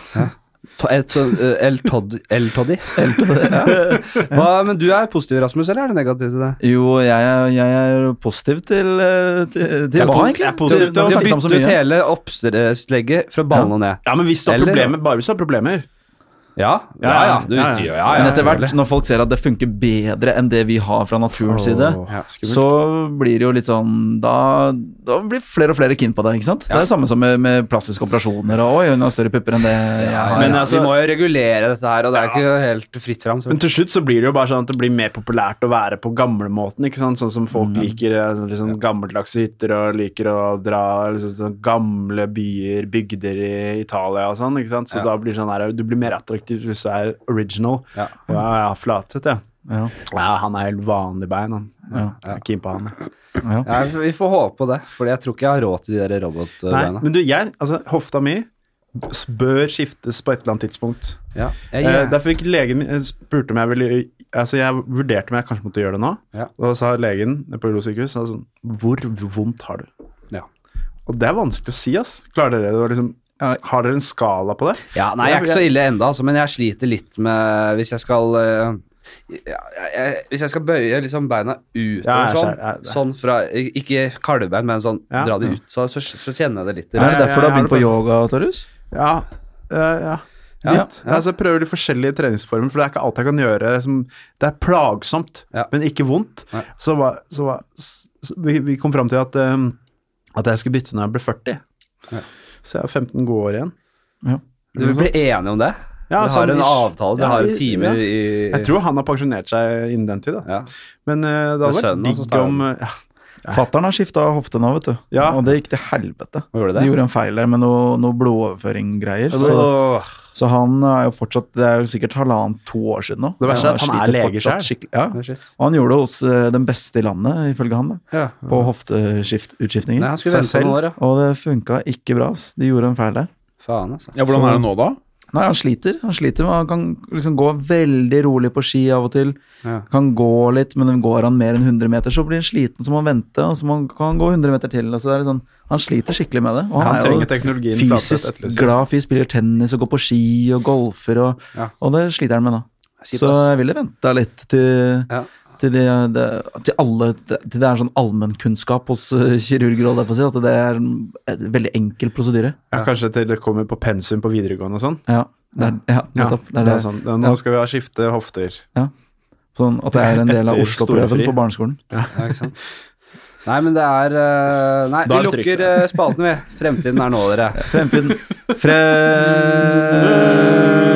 [SPEAKER 1] To- et sånn, eh, El Toddy. El Toddy. Hva, men du er positiv, Rasmus, eller er du negativ til det?
[SPEAKER 2] Jo, jeg er, jeg er positiv til eh, Til, til
[SPEAKER 3] Jeg er
[SPEAKER 2] hva,
[SPEAKER 3] pos-
[SPEAKER 2] egentlig?
[SPEAKER 3] jeg er positiv
[SPEAKER 2] Til-
[SPEAKER 3] til
[SPEAKER 2] til å
[SPEAKER 1] De har
[SPEAKER 2] snakke om så
[SPEAKER 1] byttet ut
[SPEAKER 2] mye.
[SPEAKER 1] hele oppstrekslegget fra banen og ned.
[SPEAKER 3] Ja, men hvis du har
[SPEAKER 1] Eller-
[SPEAKER 3] problemer, bare hvis du har problemer.
[SPEAKER 1] Ja, ja, ja. Du,
[SPEAKER 3] Ja, ja.
[SPEAKER 1] visste jo, ja, ja,
[SPEAKER 2] Men etter hvert,
[SPEAKER 1] selvfølgelig.
[SPEAKER 2] når folk ser at det funker bedre enn det vi har fra naturens side,
[SPEAKER 3] Åh, skummelt.
[SPEAKER 2] så blir det jo litt sånn Da, da blir flere og flere keen på det. ikke sant? Det er det samme som med, med plastiske operasjoner. Og, Oi, hun har større pupper enn det jeg har.
[SPEAKER 3] Men
[SPEAKER 1] Ja,
[SPEAKER 3] altså-
[SPEAKER 1] vi må jo regulere dette her, og det er ikke helt fritt fram.
[SPEAKER 3] Men til slutt så blir det jo bare sånn at det blir mer populært å være på gamlemåten, ikke sant? Sånn som folk
[SPEAKER 1] Mhm.
[SPEAKER 3] liker eh, sånn, liksom, gammeldags hytter og liker å dra liksom, sånn, gamle byer, bygder i Italia og sånn, ikke sant? Så
[SPEAKER 1] Ja.
[SPEAKER 3] da blir det sånn her, du blir mer attraktiv hvis du er original.
[SPEAKER 1] Ja.
[SPEAKER 3] Ja, ja, flatet, ja.
[SPEAKER 2] ja,
[SPEAKER 3] Ja, han er helt vanlig bein, han.
[SPEAKER 2] ja,
[SPEAKER 3] Jeg er keen på han.
[SPEAKER 2] ja.
[SPEAKER 1] Ja, vi får håpe på det, for jeg tror ikke jeg har råd til de der
[SPEAKER 3] Nei,
[SPEAKER 1] robotbeina.
[SPEAKER 3] men du, jeg, altså, hofta mi s- bør skiftes på et eller annet tidspunkt.
[SPEAKER 1] Ja, jeg,
[SPEAKER 3] Eh,
[SPEAKER 1] jeg,
[SPEAKER 3] derfor fikk legen min- eh, spurte om jeg ville Altså, jeg vurderte om jeg kanskje måtte gjøre det nå.
[SPEAKER 1] Ja.
[SPEAKER 3] Og da sa legen på Ulo sykehus sa sånn Hvor vondt har du?
[SPEAKER 1] Ja.
[SPEAKER 3] Og det er vanskelig å si, ass. Klarer dere det? å Liksom, har dere en skala på det?
[SPEAKER 1] ja, nei, jeg er ikke så ille enda, altså, men jeg sliter litt med Hvis jeg skal eh, ja, jeg, jeg, Hvis jeg skal bøye liksom beina utover
[SPEAKER 3] Ja, jeg
[SPEAKER 1] sånn,
[SPEAKER 3] ser- jeg- det-
[SPEAKER 1] sånn fra Ikke kalvebein, men sånn
[SPEAKER 3] Ja.
[SPEAKER 1] dra de ut, så, så, så kjenner jeg det litt. i
[SPEAKER 2] Er det
[SPEAKER 1] røret.
[SPEAKER 2] derfor du har
[SPEAKER 3] ja,
[SPEAKER 2] begynt
[SPEAKER 3] ja,
[SPEAKER 2] på yoga, Torjus?
[SPEAKER 3] Ja. Eh, ja.
[SPEAKER 1] Ja,
[SPEAKER 3] Litt.
[SPEAKER 1] ja.
[SPEAKER 3] Altså, jeg prøver litt forskjellige treningsformer, for det er ikke alt jeg kan gjøre. Som, det er plagsomt,
[SPEAKER 1] Ja.
[SPEAKER 3] men ikke vondt.
[SPEAKER 1] Nei.
[SPEAKER 3] Så, hva- så, hva- s- s- vi, vi kom fram til at, ehm, at jeg skulle bytte når jeg ble 40.
[SPEAKER 1] Ja.
[SPEAKER 3] Så jeg har 15 gode år igjen.
[SPEAKER 1] Dere blir enige om det?
[SPEAKER 3] Ja,
[SPEAKER 1] dere har
[SPEAKER 3] sånn
[SPEAKER 1] en
[SPEAKER 3] ish.
[SPEAKER 1] avtale, dere
[SPEAKER 3] Ja,
[SPEAKER 1] har
[SPEAKER 3] i-
[SPEAKER 1] en time
[SPEAKER 3] ja.
[SPEAKER 1] i
[SPEAKER 3] Jeg tror han har pensjonert seg innen den tid, da.
[SPEAKER 1] ja.
[SPEAKER 3] Men eh, det hadde
[SPEAKER 1] Med sønnen
[SPEAKER 3] vært
[SPEAKER 1] hans,
[SPEAKER 3] digg
[SPEAKER 1] da.
[SPEAKER 3] om eh,
[SPEAKER 2] Fattern har skifta hofte nå, vet du.
[SPEAKER 3] Ja.
[SPEAKER 2] Og det gikk til helvete.
[SPEAKER 1] Hva gjorde
[SPEAKER 2] De
[SPEAKER 1] det?
[SPEAKER 2] gjorde en feil der med noe, noe blodoverføring-greier.
[SPEAKER 3] ja,
[SPEAKER 2] Så,
[SPEAKER 3] Åh.
[SPEAKER 2] så han er jo fortsatt Det er jo sikkert halvannet, to år siden nå.
[SPEAKER 3] Det verste er at han
[SPEAKER 2] sliter
[SPEAKER 3] er lege
[SPEAKER 2] fortsatt
[SPEAKER 3] selv.
[SPEAKER 2] skikkelig- Ja. Og han gjorde det hos eh, den beste i landet, ifølge han, da,
[SPEAKER 1] Ja.
[SPEAKER 2] på hofteutskiftninger.
[SPEAKER 1] Nei, han skulle
[SPEAKER 3] Seg
[SPEAKER 1] vente noen år, ja.
[SPEAKER 2] Og det funka ikke bra. ass. De gjorde en feil der.
[SPEAKER 1] Faen, altså.
[SPEAKER 4] Ja, Hvordan er det nå, da?
[SPEAKER 2] Nei, Han sliter. Han sliter, men han kan liksom gå veldig rolig på ski av og til.
[SPEAKER 1] Ja.
[SPEAKER 2] Kan gå litt, men går han mer enn 100 meter, så blir han sliten, så må han vente. Og så må han, kan han gå 100 meter til. Og så det er litt sånn, han sliter skikkelig med det. Og
[SPEAKER 3] Han
[SPEAKER 2] han, er
[SPEAKER 3] trenger
[SPEAKER 2] jo
[SPEAKER 3] teknologien
[SPEAKER 2] fysisk glad fyr, spiller tennis og går på ski og golfer, og,
[SPEAKER 1] Ja.
[SPEAKER 2] og det sliter han med nå.
[SPEAKER 1] Kjipt,
[SPEAKER 2] Så
[SPEAKER 1] ass.
[SPEAKER 2] jeg ville venta litt til
[SPEAKER 1] Ja.
[SPEAKER 2] til, det, det, til alle Til det er sånn allmennkunnskap hos eh, kirurger, holdt jeg på å si. At det er en et veldig enkel prosedyre.
[SPEAKER 3] Ja, kanskje til det kommer på pensum på videregående og sånn.
[SPEAKER 2] Ja, det er, ja,
[SPEAKER 3] Ja,
[SPEAKER 2] nettopp. Det er det.
[SPEAKER 3] sånn. Nå
[SPEAKER 2] Ja.
[SPEAKER 3] skal vi ha skifte hofter.
[SPEAKER 2] Sånn at det er en del av
[SPEAKER 3] Etter
[SPEAKER 2] Oslo-prøven
[SPEAKER 3] storefri.
[SPEAKER 2] på barneskolen.
[SPEAKER 1] Ja, ikke sant? Nei, men det er eh, Nei,
[SPEAKER 3] Da
[SPEAKER 1] vi
[SPEAKER 3] er det
[SPEAKER 1] lukker
[SPEAKER 3] trygt.
[SPEAKER 1] eh, spalten, vi. Fremtiden er nå, dere.
[SPEAKER 2] Fremtiden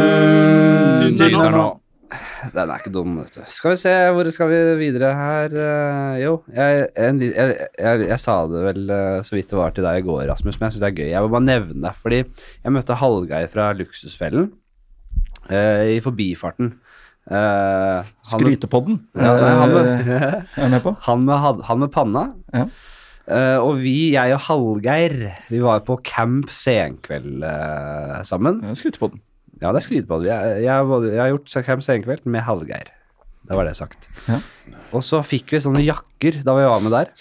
[SPEAKER 2] Fremtiden er nå.
[SPEAKER 1] Eh, Den er ikke dum, vet du. Skal vi se, hvor skal vi videre her? Eh, jo, jeg, en, li- jeg, jeg, jeg sa det vel eh, så vidt det var til deg i går, Rasmus, men jeg syns det er gøy. Jeg vil bare nevne det, fordi jeg møtte Hallgeir fra Luksusfellen eh, i forbifarten. Eh, han med-
[SPEAKER 2] Skrytepodden Eh,
[SPEAKER 1] Ja, nei, han
[SPEAKER 2] er
[SPEAKER 3] Eh,
[SPEAKER 1] med-
[SPEAKER 2] jeg med på.
[SPEAKER 1] Han med, had- han med panna.
[SPEAKER 2] Ja.
[SPEAKER 1] Eh, og vi, jeg og Hallgeir, vi var på camp senkveld eh, sammen.
[SPEAKER 2] Skrytepodden.
[SPEAKER 1] Ja, det er skryt på det. Jeg, jeg, var- jeg har gjort camp senkveld med Hallgeir. Da var det sagt.
[SPEAKER 2] Ja.
[SPEAKER 1] Og så fikk vi sånne jakker da vi var med der.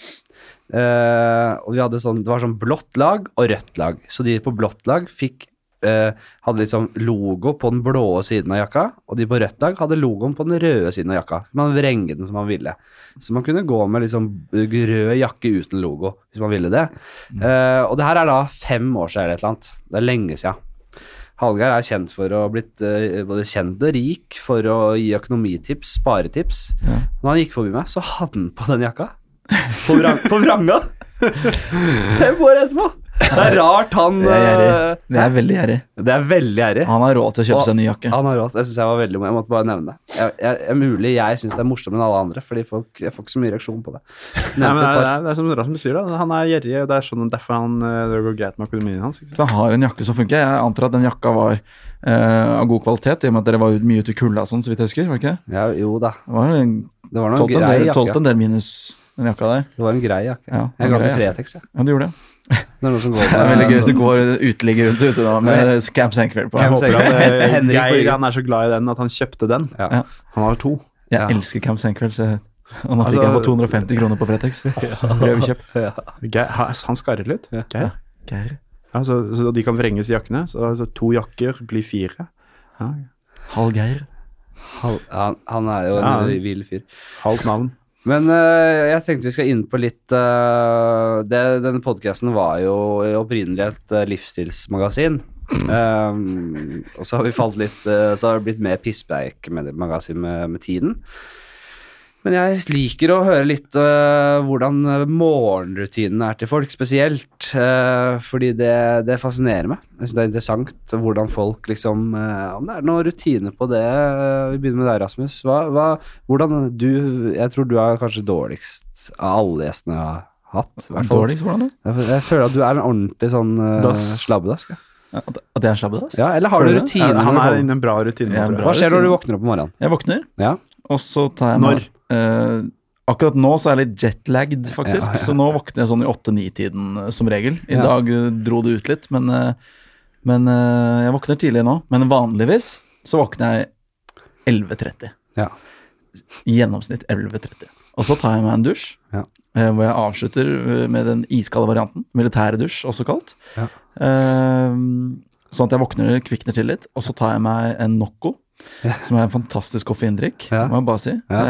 [SPEAKER 1] Eh, og vi hadde sånn, det var sånn blått lag og rødt lag. Så de på blått lag fikk eh, hadde liksom logo på den blå siden av jakka, og de på rødt lag hadde logoen på den røde siden av jakka. Man vrenge den som man ville. Så man kunne gå med liksom rød jakke uten logo, hvis man ville det. Eh, og det her er da fem år siden eller et eller annet. Det er lenge siden. Hallgeir er kjent for å ha blitt eh, både kjent og rik for å gi økonomitips, sparetips. Når han gikk forbi meg, så hadde han på den jakka. På, vrang, på vranga! Fem år etterpå! Det er rart han
[SPEAKER 2] Det er gjerrig.
[SPEAKER 1] eh,
[SPEAKER 2] Det er veldig gjerrig.
[SPEAKER 1] Det er veldig gjerrig.
[SPEAKER 2] Han har råd til å kjøpe
[SPEAKER 1] Og-
[SPEAKER 2] seg en ny jakke.
[SPEAKER 1] Han har råd. Jeg synes jeg var veldig Jeg måtte bare nevne det. Jeg, jeg, jeg, mulig jeg syns det er morsommere enn alle andre, fordi folk, jeg får ikke så mye reaksjon på det.
[SPEAKER 3] Nei,
[SPEAKER 1] Nevnte et
[SPEAKER 3] men det, er, det,
[SPEAKER 1] par.
[SPEAKER 3] er, det er som Rasmus sier, da. Han er gjerrig. og Det er sånn derfor han, eh, det går greit med økonomien hans. Ikke sant?
[SPEAKER 2] Så han har en jakke som funker. Jeg antar at den jakka var eh, av god kvalitet, i og med at dere var ut- mye ute i kulda og sånn, så vidt jeg husker. var det ikke det?
[SPEAKER 1] Ja, jo da.
[SPEAKER 2] Det var en,
[SPEAKER 1] Det var noe
[SPEAKER 2] tålte en,
[SPEAKER 1] grei
[SPEAKER 2] del- tålte
[SPEAKER 1] jakke.
[SPEAKER 2] en del minus, den jakka der.
[SPEAKER 1] Det var en grei jakke.
[SPEAKER 2] Ja,
[SPEAKER 1] Jeg ga
[SPEAKER 2] grei
[SPEAKER 1] til
[SPEAKER 2] jakke.
[SPEAKER 1] Fretex, jeg.
[SPEAKER 2] Ja, du gjorde det.
[SPEAKER 1] Det er noe som går
[SPEAKER 2] Det er veldig gøy hvis det går uteligger rundt ute da, med Camp Senkveld på.
[SPEAKER 1] Camp
[SPEAKER 3] Jeg
[SPEAKER 1] Henrik-
[SPEAKER 3] håper at eh,
[SPEAKER 1] Henrik på
[SPEAKER 3] Geir
[SPEAKER 1] ryggen.
[SPEAKER 3] han er så glad i den at han kjøpte den.
[SPEAKER 1] Ja.
[SPEAKER 2] Ja.
[SPEAKER 3] Han har to.
[SPEAKER 1] Ja.
[SPEAKER 2] Jeg elsker Camp Senkveld, så jeg- og nå fikk jeg på
[SPEAKER 3] Altså-
[SPEAKER 2] 250 kroner på Fretex. Prøvekjøp.
[SPEAKER 3] Geir, ha- han skarrer litt. Geir.
[SPEAKER 2] Geir.
[SPEAKER 3] Ja, så, så de kan vrenges i jakkene. Så, så to jakker blir fire. Ja,
[SPEAKER 2] Hallgeir.
[SPEAKER 1] Han, han er jo en
[SPEAKER 3] Ja.
[SPEAKER 1] vill fyr.
[SPEAKER 3] Halvt navn.
[SPEAKER 1] Men øh, jeg tenkte vi skal inn på litt øh, det, Denne podkasten var jo opprinnelig et øh, livsstilsmagasin. Ehm, og så har vi falt litt øh, Så har det blitt mer pisspreik-magasin med, med tiden. Men jeg liker å høre litt øh, hvordan øh, morgenrutinene er til folk, spesielt. øh, fordi det, det fascinerer meg. Jeg synes Det er interessant hvordan folk liksom øh, Om det er noen rutiner på det. øh, Vi begynner med deg, Rasmus. Hva, hva, hvordan du Jeg tror du er kanskje dårligst av alle gjestene jeg har hatt. i hvert fall.
[SPEAKER 2] Dårligst, hvordan da?
[SPEAKER 1] Jeg, jeg føler at du er en ordentlig sånn øh,
[SPEAKER 3] Dass.
[SPEAKER 1] slabbedask. ja.
[SPEAKER 2] Ja, At at jeg er en slabbedass?
[SPEAKER 1] Ja, eller har
[SPEAKER 2] Føler
[SPEAKER 1] du
[SPEAKER 2] du det?
[SPEAKER 1] rutiner?
[SPEAKER 3] han
[SPEAKER 1] når du
[SPEAKER 3] er
[SPEAKER 1] våkner?
[SPEAKER 3] inne i en bra rutine.
[SPEAKER 2] Ja,
[SPEAKER 3] tror jeg.
[SPEAKER 2] bra.
[SPEAKER 1] Hva skjer når du våkner opp om morgenen?
[SPEAKER 2] Jeg våkner,
[SPEAKER 1] Ja.
[SPEAKER 2] og så tar jeg meg eh, Akkurat nå så er jeg litt jetlagged, faktisk,
[SPEAKER 1] Ja, ja, ja.
[SPEAKER 2] så nå våkner jeg sånn i åtte-ni-tiden eh, som regel. I
[SPEAKER 1] Ja.
[SPEAKER 2] dag eh, dro det ut litt, men, eh, men eh, jeg våkner tidlig nå. Men vanligvis så våkner jeg 11.30.
[SPEAKER 1] Ja.
[SPEAKER 2] I gjennomsnitt 11.30. Og så tar jeg meg en dusj,
[SPEAKER 1] Ja.
[SPEAKER 2] eh, hvor jeg avslutter eh, med den iskalde varianten. Militærdusj, også kalt.
[SPEAKER 1] Ja.
[SPEAKER 2] Eh, sånn at jeg våkner kvikner til litt, og så tar jeg meg en Nocco. Som er en fantastisk koffeindrikk,
[SPEAKER 1] Ja.
[SPEAKER 2] må jeg bare si.
[SPEAKER 1] Ja.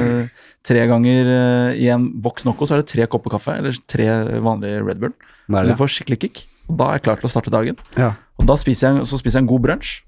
[SPEAKER 2] Eh, tre ganger eh, i en boks Nocco så er det tre kopper kaffe, eller tre vanlige Red Bull.
[SPEAKER 1] Hva
[SPEAKER 2] Så
[SPEAKER 1] er
[SPEAKER 2] du
[SPEAKER 1] det?
[SPEAKER 2] får skikkelig kick. Og da er jeg klar til å starte dagen.
[SPEAKER 1] Ja.
[SPEAKER 2] Og da spiser jeg, så spiser jeg en god brunsj.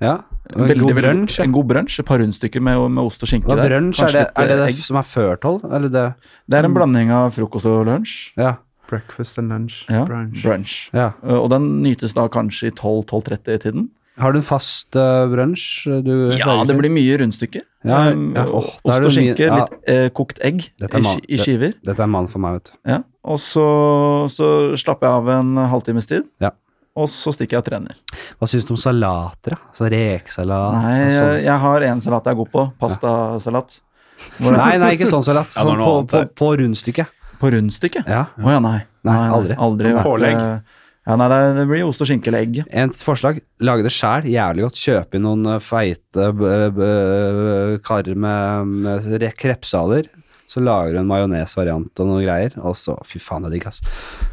[SPEAKER 1] ja.
[SPEAKER 2] En veldig,
[SPEAKER 1] God
[SPEAKER 2] veldig-
[SPEAKER 1] brunsj. ja.
[SPEAKER 2] En god brunsj, Et par rundstykker med, med ost og skinke.
[SPEAKER 1] Hva
[SPEAKER 2] der.
[SPEAKER 1] brunsj er
[SPEAKER 2] Kanskje
[SPEAKER 1] det,
[SPEAKER 2] litt,
[SPEAKER 1] er det
[SPEAKER 2] eh,
[SPEAKER 1] det
[SPEAKER 2] egg.
[SPEAKER 1] som er før tolv? Eller det
[SPEAKER 2] Det er en blanding av frokost og lunsj.
[SPEAKER 1] Ja.
[SPEAKER 3] Breakfast and lunch.
[SPEAKER 2] Ja,
[SPEAKER 3] brunch.
[SPEAKER 2] brunch.
[SPEAKER 1] ja.
[SPEAKER 2] Eh, Og den nytes da kanskje i 12-12.30-tiden.
[SPEAKER 1] Har du en fast uh, brunsj? Du
[SPEAKER 2] Ja,
[SPEAKER 1] klarer
[SPEAKER 2] det
[SPEAKER 1] ikke?
[SPEAKER 2] blir mye rundstykker.
[SPEAKER 1] Ja,
[SPEAKER 2] Um,
[SPEAKER 1] ja, åh, da er
[SPEAKER 2] ost
[SPEAKER 1] det
[SPEAKER 2] og
[SPEAKER 1] mye-
[SPEAKER 2] skinke,
[SPEAKER 1] ja.
[SPEAKER 2] litt eh, kokt egg
[SPEAKER 1] Dette er
[SPEAKER 2] i,
[SPEAKER 1] mat.
[SPEAKER 2] ski- i skiver.
[SPEAKER 1] Dette er mannen for meg, vet du.
[SPEAKER 2] Ja. Og så, så slapper jeg av en halvtimes tid,
[SPEAKER 1] Ja.
[SPEAKER 2] og så stikker jeg og trener.
[SPEAKER 1] Hva syns du om salater, da? Så rekesalat
[SPEAKER 2] Nei,
[SPEAKER 1] og
[SPEAKER 2] jeg,
[SPEAKER 1] sånn.
[SPEAKER 2] jeg har én salat jeg er god på. Pastasalat. Hvor-
[SPEAKER 1] Nei, nei, ikke sånn salat.
[SPEAKER 4] Ja, det er
[SPEAKER 1] Sånn på,
[SPEAKER 4] noe
[SPEAKER 1] på,
[SPEAKER 4] annet
[SPEAKER 1] på rundstykket.
[SPEAKER 2] På rundstykket? Å
[SPEAKER 1] Ja.
[SPEAKER 2] ja. nei.
[SPEAKER 1] Nei, aldri.
[SPEAKER 2] vært,
[SPEAKER 3] Pålegg.
[SPEAKER 2] eh, Ja, nei, det, det blir ost og skinke eller egg.
[SPEAKER 1] Et forslag. Lage det sjæl. Jævlig godt. Kjøpe inn noen eh, feite b- b- karer med, med re- krepsaler. Så lager du en majonesvariant og noen greier, og så Fy faen, det er digg, ass.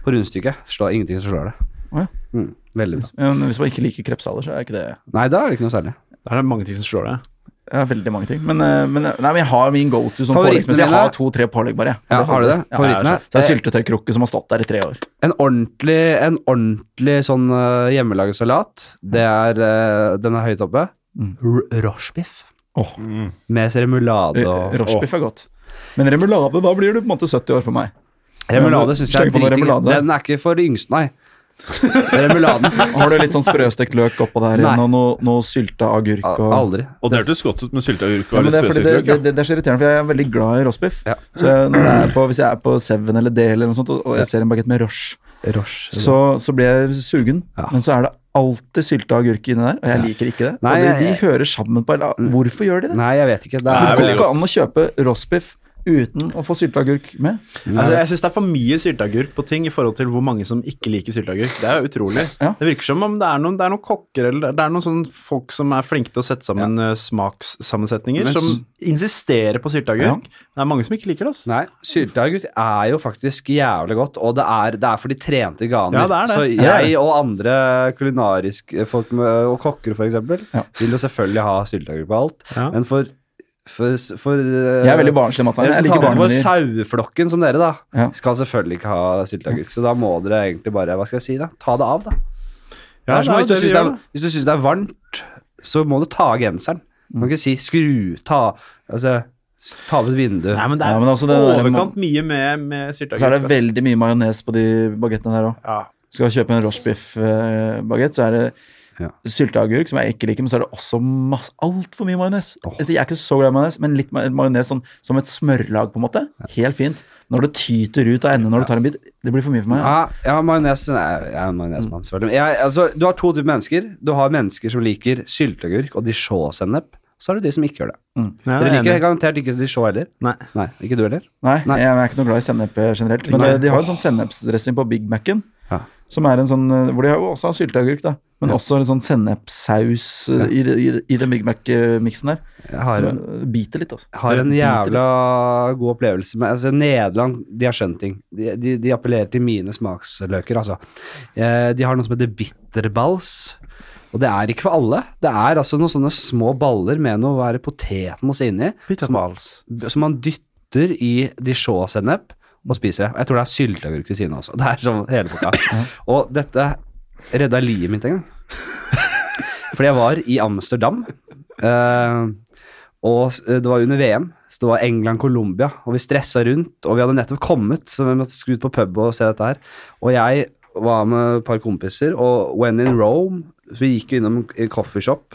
[SPEAKER 1] På rundstykket. Slår ingenting som slår det.
[SPEAKER 2] Å ja.
[SPEAKER 1] Mm, veldig bra.
[SPEAKER 2] Men hvis man ikke liker krepsaler, så er ikke det
[SPEAKER 1] Nei, da er det ikke noe særlig.
[SPEAKER 3] Der er det mange ting som slår deg.
[SPEAKER 2] Jeg har veldig mange ting. Men, eh, men, nei, men jeg har min go to som
[SPEAKER 1] Favoritten
[SPEAKER 2] påleggsmessig. Jeg
[SPEAKER 1] din,
[SPEAKER 2] har
[SPEAKER 1] da?
[SPEAKER 2] to-tre pålegg, bare. jeg.
[SPEAKER 1] Ja, har du det?
[SPEAKER 2] holder.
[SPEAKER 1] Favoritten
[SPEAKER 2] Ja,
[SPEAKER 1] er-
[SPEAKER 2] så det er syltetøykrukke som har stått der i tre år.
[SPEAKER 1] En ordentlig, en ordentlig sånn eh, hjemmelaget salat, det er, eh, den er høyt oppe.
[SPEAKER 2] Mm.
[SPEAKER 1] R- Rochebiff.
[SPEAKER 2] Åh.
[SPEAKER 4] Mm.
[SPEAKER 1] Med remulade
[SPEAKER 2] Eh,
[SPEAKER 1] og
[SPEAKER 2] Rochebiff er godt. Men remulade, da blir du på en måte 70 år for meg.
[SPEAKER 1] Åh, Remulade syns jeg er
[SPEAKER 2] Sleng på noe
[SPEAKER 1] dritdigg.
[SPEAKER 2] remulade.
[SPEAKER 1] Den er ikke for de yngste, nei. Remuladen.
[SPEAKER 2] Har du litt sånn sprøstekt løk oppå
[SPEAKER 1] Nei.
[SPEAKER 2] der igjen, og noe, noe sylta agurk
[SPEAKER 1] A-
[SPEAKER 2] og
[SPEAKER 1] Aldri.
[SPEAKER 4] Og det hørtes godt ut med sylteagurk
[SPEAKER 2] ja,
[SPEAKER 4] og
[SPEAKER 2] men
[SPEAKER 4] litt
[SPEAKER 2] det, er fordi det,
[SPEAKER 4] spesielt
[SPEAKER 2] det,
[SPEAKER 4] løk.
[SPEAKER 2] det, det er så irriterende, for jeg er veldig glad i roastbiff.
[SPEAKER 1] Ja.
[SPEAKER 2] Så jeg- når jeg er på, hvis jeg er på Seven eller Del eller noe sånt, og- og jeg ser en bagett med roche,
[SPEAKER 1] Roche.
[SPEAKER 2] så, så blir jeg sugen.
[SPEAKER 1] Ja.
[SPEAKER 2] Men så er det alltid sylta agurk inni der, og jeg liker ikke det.
[SPEAKER 1] Nei,
[SPEAKER 2] og de,
[SPEAKER 1] jeg- Mm.
[SPEAKER 2] de hører sammen på Hvorfor gjør de det?
[SPEAKER 1] Nei, jeg vet ikke. Det
[SPEAKER 4] Nei,
[SPEAKER 1] er,
[SPEAKER 2] det
[SPEAKER 4] vel-
[SPEAKER 2] går
[SPEAKER 4] veldig
[SPEAKER 2] ikke
[SPEAKER 4] godt.
[SPEAKER 2] an å kjøpe roastbiff uten å få sylta agurk med.
[SPEAKER 3] Altså, jeg syns det er for mye sylteagurk på ting i forhold til hvor mange som ikke liker sylteagurk. Det er jo utrolig.
[SPEAKER 2] Ja.
[SPEAKER 3] Det virker som om det er noen, det er noen kokker eller det er noen sånne folk som er flinke til å sette sammen eh, smakssammensetninger,
[SPEAKER 1] Men s-
[SPEAKER 3] som insisterer på sylteagurk. Det er mange som ikke liker det. Altså.
[SPEAKER 1] nei, sylteagurk er jo faktisk jævlig godt, og det er, det er for de trente ganer.
[SPEAKER 3] Ja, det er det.
[SPEAKER 1] Så
[SPEAKER 3] Ja,
[SPEAKER 2] det er
[SPEAKER 1] jeg og andre kulinariske folk med, og kokker, for eksempel,
[SPEAKER 2] Ja.
[SPEAKER 1] vil jo selvfølgelig ha sylteagurk på alt,
[SPEAKER 3] Ja.
[SPEAKER 1] men for, for, for
[SPEAKER 2] Jeg er veldig barnslig, Mathias. Jeg liker
[SPEAKER 1] Representanter for
[SPEAKER 2] barnemenyer.
[SPEAKER 1] saueflokken som dere, da,
[SPEAKER 2] Ja.
[SPEAKER 1] skal selvfølgelig ikke ha sylteagurk. Så da må dere egentlig bare hva skal jeg si da, ta det av, da. Det
[SPEAKER 3] Ja,
[SPEAKER 1] er som
[SPEAKER 3] det
[SPEAKER 1] hvis,
[SPEAKER 3] er
[SPEAKER 1] du
[SPEAKER 3] det vi
[SPEAKER 1] syns det
[SPEAKER 3] gjør,
[SPEAKER 1] er, hvis du syns det er varmt, så må du ta av genseren. Du
[SPEAKER 3] Mm.
[SPEAKER 1] kan ikke si skru, ta altså, s- ta opp et vindu.
[SPEAKER 3] Nei, men det er
[SPEAKER 2] Ja, men altså, det der-
[SPEAKER 3] overkant mye med, med sylteagurk.
[SPEAKER 2] Så er det
[SPEAKER 3] altså.
[SPEAKER 2] veldig mye majones på de bagettene der òg.
[SPEAKER 3] ja.
[SPEAKER 2] skal kjøpe en rochebiff-bagett, så er det
[SPEAKER 1] Ja.
[SPEAKER 2] sylteagurk, som jeg ikke liker, men så er det også masse, altfor mye majones. Altså, Jeg er ikke så glad i majones, men litt ma- majones sånn, som et smørlag, på en måte. Helt fint. Når det tyter ut av enden når du tar en bit, det blir for mye for meg.
[SPEAKER 1] Ja, ja majones nei, Jeg er en majonesmann, selvfølgelig. Men Jeg, altså, du har to typer mennesker. Du har mennesker som liker sylteagurk og dijon-sennep. Så er det de som ikke gjør det.
[SPEAKER 3] Nei, jeg
[SPEAKER 1] Dere
[SPEAKER 3] er
[SPEAKER 1] liker
[SPEAKER 3] enig.
[SPEAKER 1] garantert ikke dijon heller.
[SPEAKER 3] Nei.
[SPEAKER 1] Nei, ikke du heller?
[SPEAKER 2] Nei,
[SPEAKER 1] Nei.
[SPEAKER 2] jeg er ikke noe glad i sennep eh, generelt. Men
[SPEAKER 1] Nei.
[SPEAKER 2] eh, de har en sånn sennepsdressing på Big Mac-en,
[SPEAKER 1] Ja.
[SPEAKER 2] som er en sånn, eh, hvor de har jo også har sylteagurk, da. Men også en sånn sennepssaus eh, i, det- i, det- i den Big Mac-miksen der.
[SPEAKER 1] Jeg har
[SPEAKER 2] Som
[SPEAKER 1] en
[SPEAKER 2] eh, biter litt, altså.
[SPEAKER 1] har en
[SPEAKER 2] Det biter
[SPEAKER 1] jævla god opplevelse med altså, Nederland, de har skjønt ting. De, de, de appellerer til mine smaksløker, altså. Eh, de har noe som heter bitterbals. Og det er ikke for alle. Det er altså noen sånne små baller med noe være potetmos inni,
[SPEAKER 3] Pittermals.
[SPEAKER 1] som man dytter i dijon-sennep og spiser det. Og Jeg tror det er sylteagurk ved siden av også. Det er sånn hele pakka. Og dette redda livet mitt en gang. Fordi jeg var i Amsterdam, eh, og s- eh, det var under VM, så det var England-Colombia, og vi stressa rundt, og vi hadde nettopp kommet, så vi måtte skru ut på pub og se dette her. Og jeg var med et par kompiser, og when in Rome, så vi gikk jo innom en coffeeshop,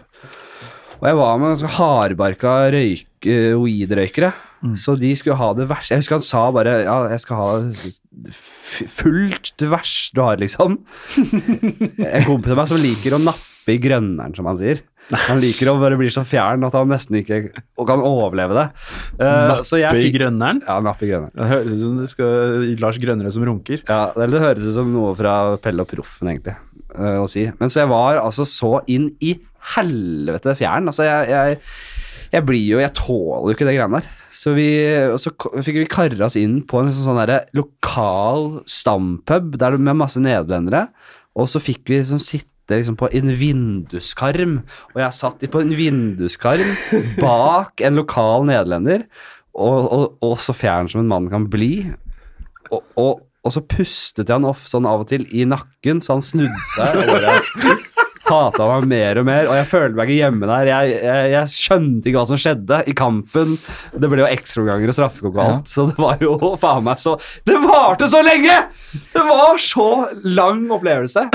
[SPEAKER 1] og jeg var med ganske hardbarka røyk, eh, weed-røykere, så de skulle ha det verste. Jeg husker han sa bare, ja, jeg skal ha f- fullt det verste du har, liksom en kompis av meg som liker å nappe i grønneren, som han sier. Han liker å bare bli så fjern at han nesten ikke og kan overleve det. Eh, så jeg
[SPEAKER 3] Bøy
[SPEAKER 1] fikk-
[SPEAKER 3] Grønneren.
[SPEAKER 1] Ja, nappe i grønneren.
[SPEAKER 3] Det høres ut som det skal Lars Grønnere som runker.
[SPEAKER 1] Ja, det, det høres ut som noe fra Pelle og Proffen, egentlig, eh, å si. Men så jeg var altså så inn i helvete fjern. Altså, jeg, jeg, jeg blir jo Jeg tåler jo ikke det greiene der. Så vi, og så k- fikk vi karre oss inn på en sånn, sånn derre lokal stampub der med masse nederlendere, og så fikk vi liksom sitte Liksom på en vinduskarm, og jeg satt i- på en vinduskarm bak en lokal nederlender, og, og, og så fjern som en mann kan bli og, og, og så pustet jeg han off sånn av og til i nakken, så han snudde seg og bare hata meg mer og mer. Og jeg følte meg ikke hjemme der. Jeg, jeg, jeg skjønte ikke hva som skjedde i kampen. Det ble jo ekstraomganger og straffekonk og alt, så det var jo faen meg så Det varte så lenge! Det var så lang opplevelse.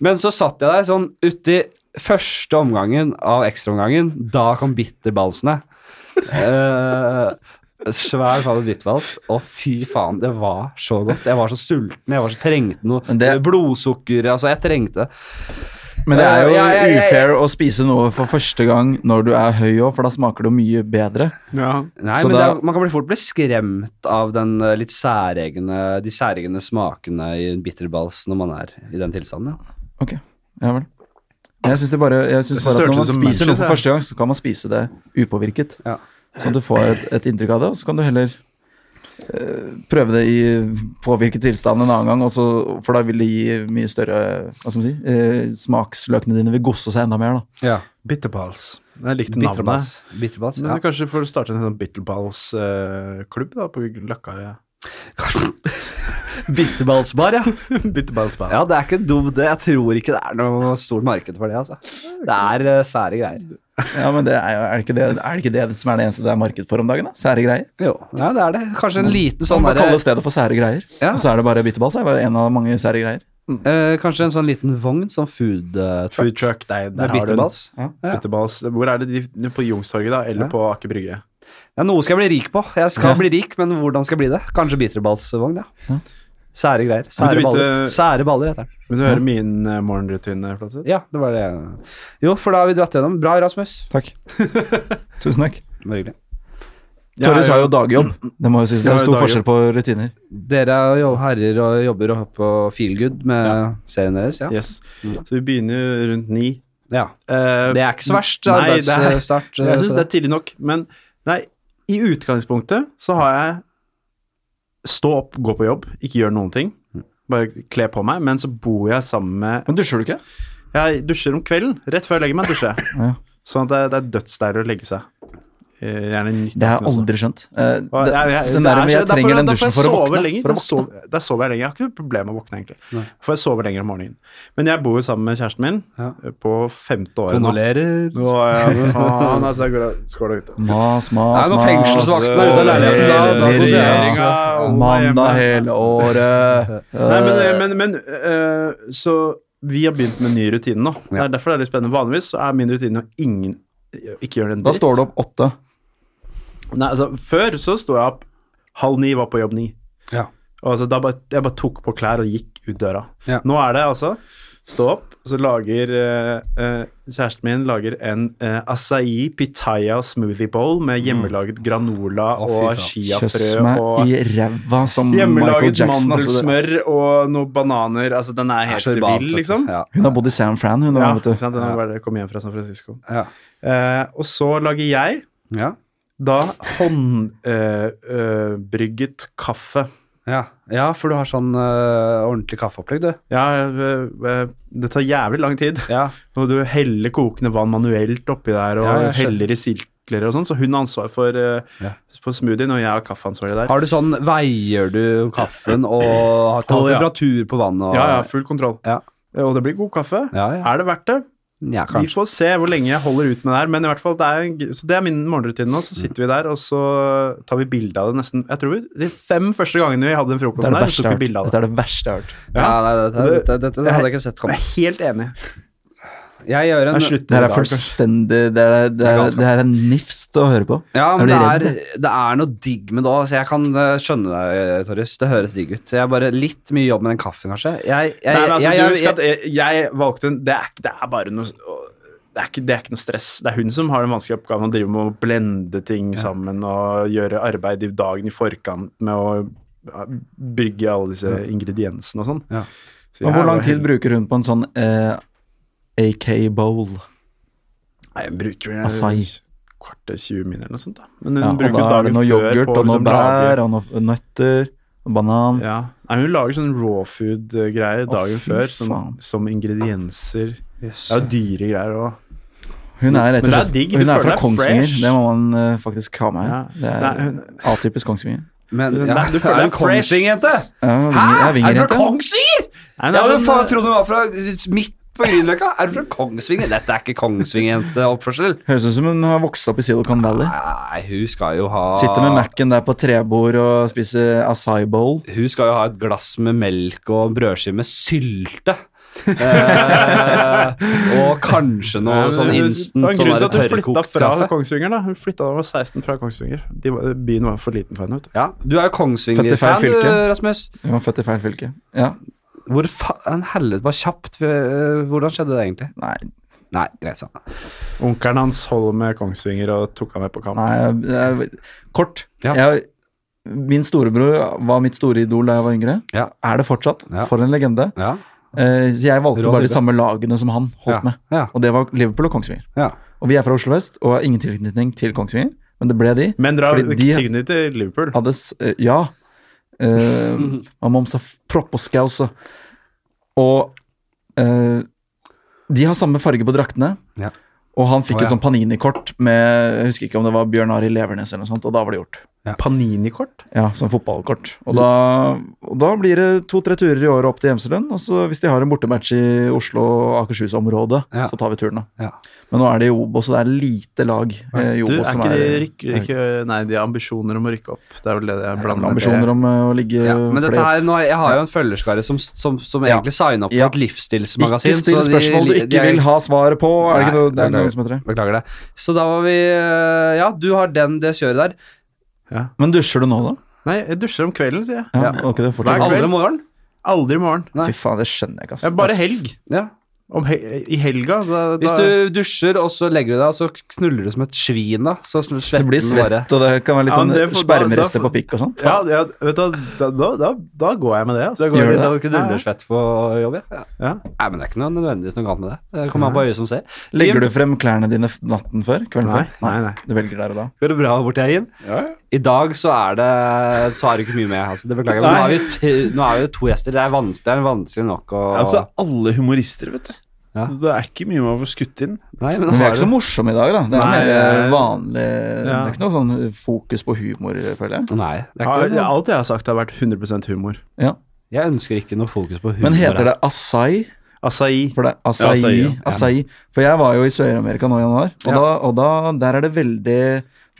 [SPEAKER 1] Men så satt jeg der sånn uti første omgangen av ekstraomgangen. Da kom bitterbalsene. Eh, Svær favoritttvals. Å, fy faen, det var så godt. Jeg var så sulten, jeg var så trengte noe
[SPEAKER 2] Men det-
[SPEAKER 1] blodsukker. Altså, jeg trengte det.
[SPEAKER 2] Men det er jo
[SPEAKER 1] Ja, ja, ja, ja.
[SPEAKER 2] ufair å spise noe for første gang når du er høy òg, for da smaker det jo mye bedre.
[SPEAKER 3] Ja.
[SPEAKER 1] Nei,
[SPEAKER 2] Så
[SPEAKER 1] men
[SPEAKER 2] da-
[SPEAKER 1] det er, Man kan bli fort bli skremt av den eh, litt særegne, de særegne smakene i en bitterbals når man er i den tilstanden. Ja.
[SPEAKER 2] Ok, ja vel. Men Jeg syns bare, jeg synes
[SPEAKER 3] synes
[SPEAKER 2] bare
[SPEAKER 3] det
[SPEAKER 2] at når
[SPEAKER 3] hørtes ut
[SPEAKER 2] man
[SPEAKER 3] som
[SPEAKER 2] spiser noe for
[SPEAKER 3] Munchies,
[SPEAKER 2] første gang, så kan man spise det upåvirket.
[SPEAKER 1] Ja.
[SPEAKER 2] Så du får et, et inntrykk av det, og så kan du heller eh, prøve det i påvirket tilstand en annen gang, og så- for da vil det gi mye større hva skal man si, eh, Smaksløkene dine vil gosse seg enda mer. da.
[SPEAKER 1] Ja.
[SPEAKER 3] Bitterbals. Jeg likte navnet.
[SPEAKER 1] Bitterbals. Bitterbals,
[SPEAKER 3] Men
[SPEAKER 1] ja.
[SPEAKER 3] Kanskje får du starte en sånn Bitterbals-klubb da, på Løkka? Ja.
[SPEAKER 1] Bitterballsbar, ja.
[SPEAKER 3] Bitterballsbar.
[SPEAKER 1] Ja, det er ikke dumt, det. Jeg tror ikke det er noe stort marked for det, altså. Det er eh, sære greier.
[SPEAKER 2] Ja, men det er, jo- er, det ikke det, er det ikke det som er det eneste det er marked for om dagen? da? Sære greier?
[SPEAKER 1] Jo, ja, det er det. Kanskje en liten sånn
[SPEAKER 2] man altså-
[SPEAKER 1] derre
[SPEAKER 2] kaller stedet for sære greier,
[SPEAKER 1] Ja.
[SPEAKER 2] og så er det bare bitterball. Så er det bare en av mange sære greier.
[SPEAKER 1] Eh, kanskje en sånn liten vogn, sånn food eh, truck
[SPEAKER 3] Food truck, der, der
[SPEAKER 1] med
[SPEAKER 3] har du den.
[SPEAKER 1] bitterballs. Ja.
[SPEAKER 3] Bitterbals. Hvor er det de På Youngstorget, da? Eller
[SPEAKER 1] Ja.
[SPEAKER 3] på Aker Brygge?
[SPEAKER 1] Ja, noe skal jeg bli rik på. Jeg skal
[SPEAKER 2] Ja.
[SPEAKER 1] bli rik, men hvordan skal jeg bli det? Kanskje bitterbalsvogn, ja.
[SPEAKER 2] Ja.
[SPEAKER 1] Sære greier.
[SPEAKER 3] Men du
[SPEAKER 1] Sære
[SPEAKER 3] vet,
[SPEAKER 1] baller.
[SPEAKER 3] eh,
[SPEAKER 1] Sære baller heter den.
[SPEAKER 3] Vil du høre min eh, morgenrutine? Flatseth?
[SPEAKER 1] Ja, det var det. jeg- Jo, for da har vi dratt gjennom. Bra, Rasmus.
[SPEAKER 2] Takk. Tusen takk.
[SPEAKER 1] Det var hyggelig.
[SPEAKER 3] Jeg
[SPEAKER 2] Torjus
[SPEAKER 3] er
[SPEAKER 2] har jo dagjobb. Det må jo sies. Det
[SPEAKER 3] Jeg
[SPEAKER 2] er
[SPEAKER 3] har jo
[SPEAKER 2] stor
[SPEAKER 3] dagjobb.
[SPEAKER 2] forskjell på rutiner.
[SPEAKER 1] Dere er jo herrer og jobber og på Feelgood med serien deres, ja.
[SPEAKER 3] Yes. Så vi begynner jo rundt ni.
[SPEAKER 1] ja.
[SPEAKER 3] Eh,
[SPEAKER 1] Det er ikke så verst
[SPEAKER 3] Nei, det er-
[SPEAKER 1] arbeidsstart. eh,
[SPEAKER 3] Jeg syns
[SPEAKER 1] på
[SPEAKER 3] det er tidlig nok, men nei, i utgangspunktet så har jeg stå opp, gå på jobb, ikke gjøre noen ting. Bare kle på meg, men så bor jeg sammen med
[SPEAKER 2] Men dusjer du ikke?
[SPEAKER 3] Jeg dusjer om kvelden, rett før jeg legger meg, dusjer jeg.
[SPEAKER 2] Ja.
[SPEAKER 3] Sånn at det, det er dødsdeilig å legge seg. Eh, Gjerne nytt.
[SPEAKER 2] Det har jeg aldri skjønt. Eh, det-
[SPEAKER 3] Og
[SPEAKER 2] Den
[SPEAKER 3] jeg- jeg- det
[SPEAKER 2] der
[SPEAKER 3] er
[SPEAKER 2] med
[SPEAKER 3] så-
[SPEAKER 2] jeg
[SPEAKER 3] derfor-
[SPEAKER 2] trenger den
[SPEAKER 3] derfor
[SPEAKER 2] dusjen for å
[SPEAKER 3] sover
[SPEAKER 2] våkne.
[SPEAKER 3] lenger.
[SPEAKER 2] For å
[SPEAKER 3] Da
[SPEAKER 2] våkne.
[SPEAKER 3] sover- Da sover jeg lenger. Jeg har ikke noe problem med å våkne, egentlig. For jeg sover lenger om morgenen. Men jeg bor jo sammen med kjæresten min
[SPEAKER 1] Ja.
[SPEAKER 3] eh, på
[SPEAKER 1] det.
[SPEAKER 3] femte året nå.
[SPEAKER 1] Kondolerer.
[SPEAKER 3] Å, ja, faen, altså, jeg går og- skål og ut.
[SPEAKER 2] Mas,
[SPEAKER 1] Nei,
[SPEAKER 2] mas,
[SPEAKER 1] når
[SPEAKER 2] mas.
[SPEAKER 1] fengselsvakten er ute av leiligheten, da- da
[SPEAKER 2] Hele
[SPEAKER 1] koser jeg meg.
[SPEAKER 2] regjeringen. Mandag hele året.
[SPEAKER 3] Nei, men, men, men eh, Så vi har begynt med en ny rutine nå. Det
[SPEAKER 1] Ja.
[SPEAKER 3] er derfor det er litt spennende. Vanligvis så er min rutine å ingen ikke gjøre en dritt.
[SPEAKER 2] Da står du opp åtte.
[SPEAKER 3] Nei, altså, før så sto jeg opp halv ni, var på jobb ni.
[SPEAKER 1] Ja.
[SPEAKER 3] Og altså, da bare, jeg bare tok på klær og gikk ut døra.
[SPEAKER 1] Ja.
[SPEAKER 3] Nå er det altså stå opp, så lager eh, eh, kjæresten min lager en eh, acai pitaya smoothie bowl med hjemmelaget granola
[SPEAKER 1] Mm. Å, fy
[SPEAKER 3] og
[SPEAKER 1] faen.
[SPEAKER 3] chiafrø
[SPEAKER 2] Kjøss meg
[SPEAKER 3] og
[SPEAKER 2] i ræva som Michael
[SPEAKER 3] Hjemmelaget
[SPEAKER 2] Jackson. Altså, det-
[SPEAKER 3] mandelsmør og noen bananer. Altså, den er helt vill, liksom.
[SPEAKER 1] Ja.
[SPEAKER 2] hun har bodd i San Fran, hun.
[SPEAKER 3] Ja,
[SPEAKER 2] da,
[SPEAKER 3] Sånn ikke
[SPEAKER 2] vet du.
[SPEAKER 3] sant? Den har bare kommet hjem fra San Francisco.
[SPEAKER 1] Ja.
[SPEAKER 3] Eh, og så lager jeg
[SPEAKER 1] Ja.
[SPEAKER 3] da håndbrygget eh, brygget kaffe
[SPEAKER 1] Ja, ja for du har sånn øh, ordentlig kaffeopplegg, du.
[SPEAKER 3] Ja, øh, øh, det tar jævlig lang tid.
[SPEAKER 1] Ja.
[SPEAKER 3] Og du heller kokende vann manuelt oppi der, og
[SPEAKER 1] Ja, jeg skjønner.
[SPEAKER 3] heller i silkler og sånn. Så hun har ansvar for, eh,
[SPEAKER 1] Ja.
[SPEAKER 3] for smoothien, og jeg har kaffeansvaret der.
[SPEAKER 1] Har du sånn Veier du kaffen og har tar
[SPEAKER 3] Å, ja.
[SPEAKER 1] temperatur på vannet og
[SPEAKER 3] Ja, ja, full kontroll.
[SPEAKER 1] Ja.
[SPEAKER 3] Eh, Og det blir god kaffe.
[SPEAKER 1] Ja, ja.
[SPEAKER 3] Er det verdt det?
[SPEAKER 1] Ja,
[SPEAKER 3] Vi
[SPEAKER 1] kanskje.
[SPEAKER 3] får se hvor lenge jeg holder ut med det her, men i hvert fall, det er, en g- så det er min morgenrutine nå. Så sitter vi der, og så tar vi bilde av det nesten Jeg tror vi, de fem første gangene vi hadde den
[SPEAKER 2] Det
[SPEAKER 3] frokosten
[SPEAKER 2] er det
[SPEAKER 3] der, så
[SPEAKER 2] verste jeg
[SPEAKER 3] tok vi
[SPEAKER 2] har
[SPEAKER 3] bilde
[SPEAKER 2] hørt.
[SPEAKER 3] av det.
[SPEAKER 2] Dette er det verste jeg har hørt.
[SPEAKER 1] Ja, nei, dette,
[SPEAKER 3] Det-
[SPEAKER 1] dette, dette, det hadde jeg ikke sett
[SPEAKER 3] Jeg
[SPEAKER 1] komme.
[SPEAKER 3] er helt enig.
[SPEAKER 1] Jeg gjør en
[SPEAKER 3] Jeg slutter
[SPEAKER 2] Det
[SPEAKER 3] i
[SPEAKER 2] her
[SPEAKER 3] dag,
[SPEAKER 2] er
[SPEAKER 3] altså. kanskje.
[SPEAKER 2] fullstendig Det er, det er, det er nifst å høre på.
[SPEAKER 1] Ja,
[SPEAKER 2] Jeg
[SPEAKER 1] men det
[SPEAKER 2] blir
[SPEAKER 1] er,
[SPEAKER 2] redd.
[SPEAKER 1] det er noe digg med det òg, så jeg kan øh, skjønne deg, Torjus. Det høres digg ut. Jeg er bare litt mye jobb med den kaffen, kanskje. Jeg, jeg,
[SPEAKER 3] Nei, men altså,
[SPEAKER 1] jeg,
[SPEAKER 3] du
[SPEAKER 1] jeg,
[SPEAKER 3] husker at jeg, jeg valgte en det er, ikke- det er bare noe det er, ikke, det er ikke noe stress. Det er hun som har den vanskelige oppgaven å drive med å blende ting sammen og gjøre arbeid i dagen i forkant med å ja, brygge alle disse ingrediensene og sånn.
[SPEAKER 1] Ja.
[SPEAKER 3] Så
[SPEAKER 2] Men
[SPEAKER 3] jeg
[SPEAKER 2] hvor lang
[SPEAKER 3] var
[SPEAKER 2] tid
[SPEAKER 3] helt-
[SPEAKER 2] bruker hun på en sånn eh, AK-bowl?
[SPEAKER 3] Nei, hun bruker eh,
[SPEAKER 2] Acai.
[SPEAKER 3] kvart til 20 min eller noe sånt. da. Men hun
[SPEAKER 2] Ja, og
[SPEAKER 3] bruker
[SPEAKER 2] da er det
[SPEAKER 3] dagen
[SPEAKER 2] noe
[SPEAKER 3] før
[SPEAKER 2] yoghurt,
[SPEAKER 3] på
[SPEAKER 2] og noe
[SPEAKER 3] liksom lage-
[SPEAKER 2] bær, og noe nøtter, og banan.
[SPEAKER 3] Ja. Nei, hun lager sånn raw food-greier
[SPEAKER 2] Å,
[SPEAKER 3] dagen
[SPEAKER 2] fy
[SPEAKER 3] før som,
[SPEAKER 2] faen.
[SPEAKER 3] som ingredienser.
[SPEAKER 1] Jøs.
[SPEAKER 3] Det er jo dyre greier òg.
[SPEAKER 2] Hun er rett og
[SPEAKER 3] Men det er
[SPEAKER 2] slett
[SPEAKER 3] digg, du
[SPEAKER 2] Hun er
[SPEAKER 3] føler
[SPEAKER 2] fra
[SPEAKER 3] deg
[SPEAKER 2] Kongsvinger,
[SPEAKER 3] fresh.
[SPEAKER 2] det må man eh, faktisk ha med
[SPEAKER 3] Ja.
[SPEAKER 2] her. Det er
[SPEAKER 3] Nei, hun-
[SPEAKER 2] atypisk Kongsvinger.
[SPEAKER 1] Men
[SPEAKER 3] Nei,
[SPEAKER 1] ja,
[SPEAKER 3] du føler
[SPEAKER 1] er
[SPEAKER 3] deg
[SPEAKER 1] en
[SPEAKER 3] fresh.
[SPEAKER 1] Kongsvinger-jente!
[SPEAKER 2] Ja,
[SPEAKER 1] Hæ?
[SPEAKER 2] jeg
[SPEAKER 1] Er du
[SPEAKER 2] vinger
[SPEAKER 1] fra
[SPEAKER 2] ikke.
[SPEAKER 1] Kongsvinger?!
[SPEAKER 3] Nei, det
[SPEAKER 1] Ja,
[SPEAKER 3] er
[SPEAKER 1] men faen,
[SPEAKER 3] sånn, eh,
[SPEAKER 1] jeg trodde du var fra midt på Grünerløkka. Er du fra Kongsvinger? Dette er ikke Kongsvinger-jenteoppførsel.
[SPEAKER 2] Høres ut som hun har vokst opp i Silicon Valley.
[SPEAKER 1] Nei, hun skal jo ha
[SPEAKER 2] Sitter med Mac-en der på trebord og spiser acai bowl.
[SPEAKER 1] Hun skal jo ha et glass med melk og en brødskive med sylte. eh, og kanskje noe
[SPEAKER 3] Nei,
[SPEAKER 1] sånn
[SPEAKER 3] men Det var
[SPEAKER 1] instant
[SPEAKER 3] en
[SPEAKER 1] sånn
[SPEAKER 3] grunn til
[SPEAKER 1] der
[SPEAKER 3] at hun flytta
[SPEAKER 1] tørrkokt
[SPEAKER 3] fra
[SPEAKER 1] kaffe.
[SPEAKER 3] Kongsvinger, da. Hun flytta da hun var 16 fra Kongsvinger. De var, byen var for liten for henne, vet du.
[SPEAKER 1] Ja, du er jo
[SPEAKER 2] Født i feil
[SPEAKER 1] Kongsvinger-fan, du,
[SPEAKER 2] fylke.
[SPEAKER 1] Rasmus.
[SPEAKER 2] Hun var født i feil fylke. Ja,
[SPEAKER 1] Hvor faen helvete Bare kjapt. eh, Hvordan skjedde det egentlig?
[SPEAKER 2] nei,
[SPEAKER 1] Nei, greit sånn.
[SPEAKER 3] Onkelen hans holder med Kongsvinger og tok ham med på kamp.
[SPEAKER 2] nei jeg- jeg- Kort.
[SPEAKER 1] Ja.
[SPEAKER 2] Jeg, min storebror var mitt store idol da jeg var yngre.
[SPEAKER 1] Ja.
[SPEAKER 2] Er det fortsatt.
[SPEAKER 1] Ja.
[SPEAKER 2] For en legende.
[SPEAKER 1] Ja.
[SPEAKER 2] Eh, så jeg valgte
[SPEAKER 1] Rå
[SPEAKER 2] bare de
[SPEAKER 1] type.
[SPEAKER 2] samme lagene som han holdt
[SPEAKER 1] Ja.
[SPEAKER 2] med.
[SPEAKER 1] Ja.
[SPEAKER 2] Og det var Liverpool og Kongsvinger.
[SPEAKER 1] ja.
[SPEAKER 2] Og vi er fra Oslo vest og har ingen tilknytning til Kongsvinger, men det ble de.
[SPEAKER 3] Men dere har
[SPEAKER 2] Fordi de-
[SPEAKER 3] ikke tingene til Liverpool.
[SPEAKER 2] Hadde s eh, Ja. Eh, man må omsa propp og skause. Og eh, de har samme farge på draktene.
[SPEAKER 1] Ja.
[SPEAKER 2] Og han fikk
[SPEAKER 1] Å,
[SPEAKER 2] et
[SPEAKER 1] ja.
[SPEAKER 2] sånn Panini-kort med jeg husker ikke om det var Bjørn Arild Levernes eller noe sånt, og da var det gjort.
[SPEAKER 3] Panini-kort?
[SPEAKER 2] Ja, som fotballkort. Og da, og da blir det to-tre turer i året opp til Gjemselund. Og så hvis de har en bortematch i Oslo- og Akershus-området,
[SPEAKER 1] Ja.
[SPEAKER 2] så tar vi turen, da.
[SPEAKER 1] Ja.
[SPEAKER 2] Men nå er det i Obos, og det er lite lag eh, i
[SPEAKER 3] Du, er
[SPEAKER 2] Obos som
[SPEAKER 3] ikke
[SPEAKER 2] er
[SPEAKER 3] de rykker ikke Nei, de har ambisjoner om å rykke opp. Det er vel det de er blandet
[SPEAKER 2] ambisjoner om eh, å ligge
[SPEAKER 1] Ja, men dette
[SPEAKER 2] playoff.
[SPEAKER 1] her, nå, jeg har jo en følgerskare som, som, som
[SPEAKER 2] Ja.
[SPEAKER 1] egentlig signer opp for
[SPEAKER 2] Ja.
[SPEAKER 1] et livsstilsmagasin.
[SPEAKER 2] Ikke still
[SPEAKER 1] så de-
[SPEAKER 2] spørsmål du
[SPEAKER 1] de- de
[SPEAKER 2] ikke
[SPEAKER 1] er-
[SPEAKER 2] vil ha svaret på. Er det ikke
[SPEAKER 1] Nei,
[SPEAKER 2] noe, det er ikke
[SPEAKER 1] beklager.
[SPEAKER 2] noe som heter det?
[SPEAKER 1] Beklager det. Så da var vi eh, Ja, du har den, det kjøret der.
[SPEAKER 2] Men dusjer du nå, da?
[SPEAKER 3] Nei, jeg dusjer om kvelden, sier jeg.
[SPEAKER 2] Ja,
[SPEAKER 1] Ja.
[SPEAKER 2] ok, det
[SPEAKER 3] Hver
[SPEAKER 2] fortsatt.
[SPEAKER 3] kveld.
[SPEAKER 1] Aldri morgen.
[SPEAKER 3] Aldri i morgen.
[SPEAKER 1] Nei.
[SPEAKER 2] Fy faen, det skjønner jeg ikke,
[SPEAKER 3] Jeg
[SPEAKER 2] ass.
[SPEAKER 3] er bare helg.
[SPEAKER 1] Ja.
[SPEAKER 3] Om he I helga, da, da
[SPEAKER 1] Hvis du dusjer, og så legger du deg, og så knuller du som et svin, da. Så
[SPEAKER 2] Det
[SPEAKER 1] svetten
[SPEAKER 2] blir svett, og det kan være litt
[SPEAKER 3] Ja,
[SPEAKER 2] sånn
[SPEAKER 3] men det får- da-
[SPEAKER 2] spermerester
[SPEAKER 3] da-
[SPEAKER 2] på pikk og sånn.
[SPEAKER 3] ja, ja, vet du, hva, da, da, da, da går jeg med det. Altså.
[SPEAKER 2] Gjør
[SPEAKER 1] Gjør
[SPEAKER 2] det
[SPEAKER 1] det
[SPEAKER 2] det?
[SPEAKER 1] Knullersvett på jobb, ja. ja.
[SPEAKER 3] Ja.
[SPEAKER 1] Nei, men det er ikke noe nødvendigvis noe galt med det. Det kommer an på øyet som ser.
[SPEAKER 2] Legger du frem klærne dine f- natten før? Kvelden
[SPEAKER 3] Nei,
[SPEAKER 2] før?
[SPEAKER 3] nei, nei.
[SPEAKER 2] Du velger der og da.
[SPEAKER 1] Går det bra borti her, Jim? I dag så er det Så er det ikke mye med, altså. Det beklager jeg. Men nå er, vi t nå er vi to gjester. Det er vanskelig, det er vanskelig nok å
[SPEAKER 4] Altså, alle humorister, vet du.
[SPEAKER 1] Ja.
[SPEAKER 4] Det er ikke mye med å få skutt inn.
[SPEAKER 1] Nei, men
[SPEAKER 2] Men vi er
[SPEAKER 1] har
[SPEAKER 2] ikke så
[SPEAKER 1] du
[SPEAKER 2] morsomme i dag, da. Det er
[SPEAKER 3] Nei,
[SPEAKER 2] mer eh,
[SPEAKER 3] det-
[SPEAKER 2] vanlig Det
[SPEAKER 3] Ja.
[SPEAKER 2] er ikke noe sånn fokus på humor, føler jeg.
[SPEAKER 1] Nei. Det er
[SPEAKER 3] Ja,
[SPEAKER 1] ikke noe.
[SPEAKER 3] alt jeg har sagt, har vært 100 humor.
[SPEAKER 2] Ja.
[SPEAKER 1] Jeg ønsker ikke noe fokus på humor.
[SPEAKER 2] Men
[SPEAKER 1] her.
[SPEAKER 2] heter det acai?
[SPEAKER 3] Acai.
[SPEAKER 2] For det er acai,
[SPEAKER 4] Ja, acai,
[SPEAKER 2] acai,
[SPEAKER 4] ja.
[SPEAKER 2] For jeg var jo i Sør-Amerika nå i januar, og,
[SPEAKER 1] Ja.
[SPEAKER 2] da, og da, der er det veldig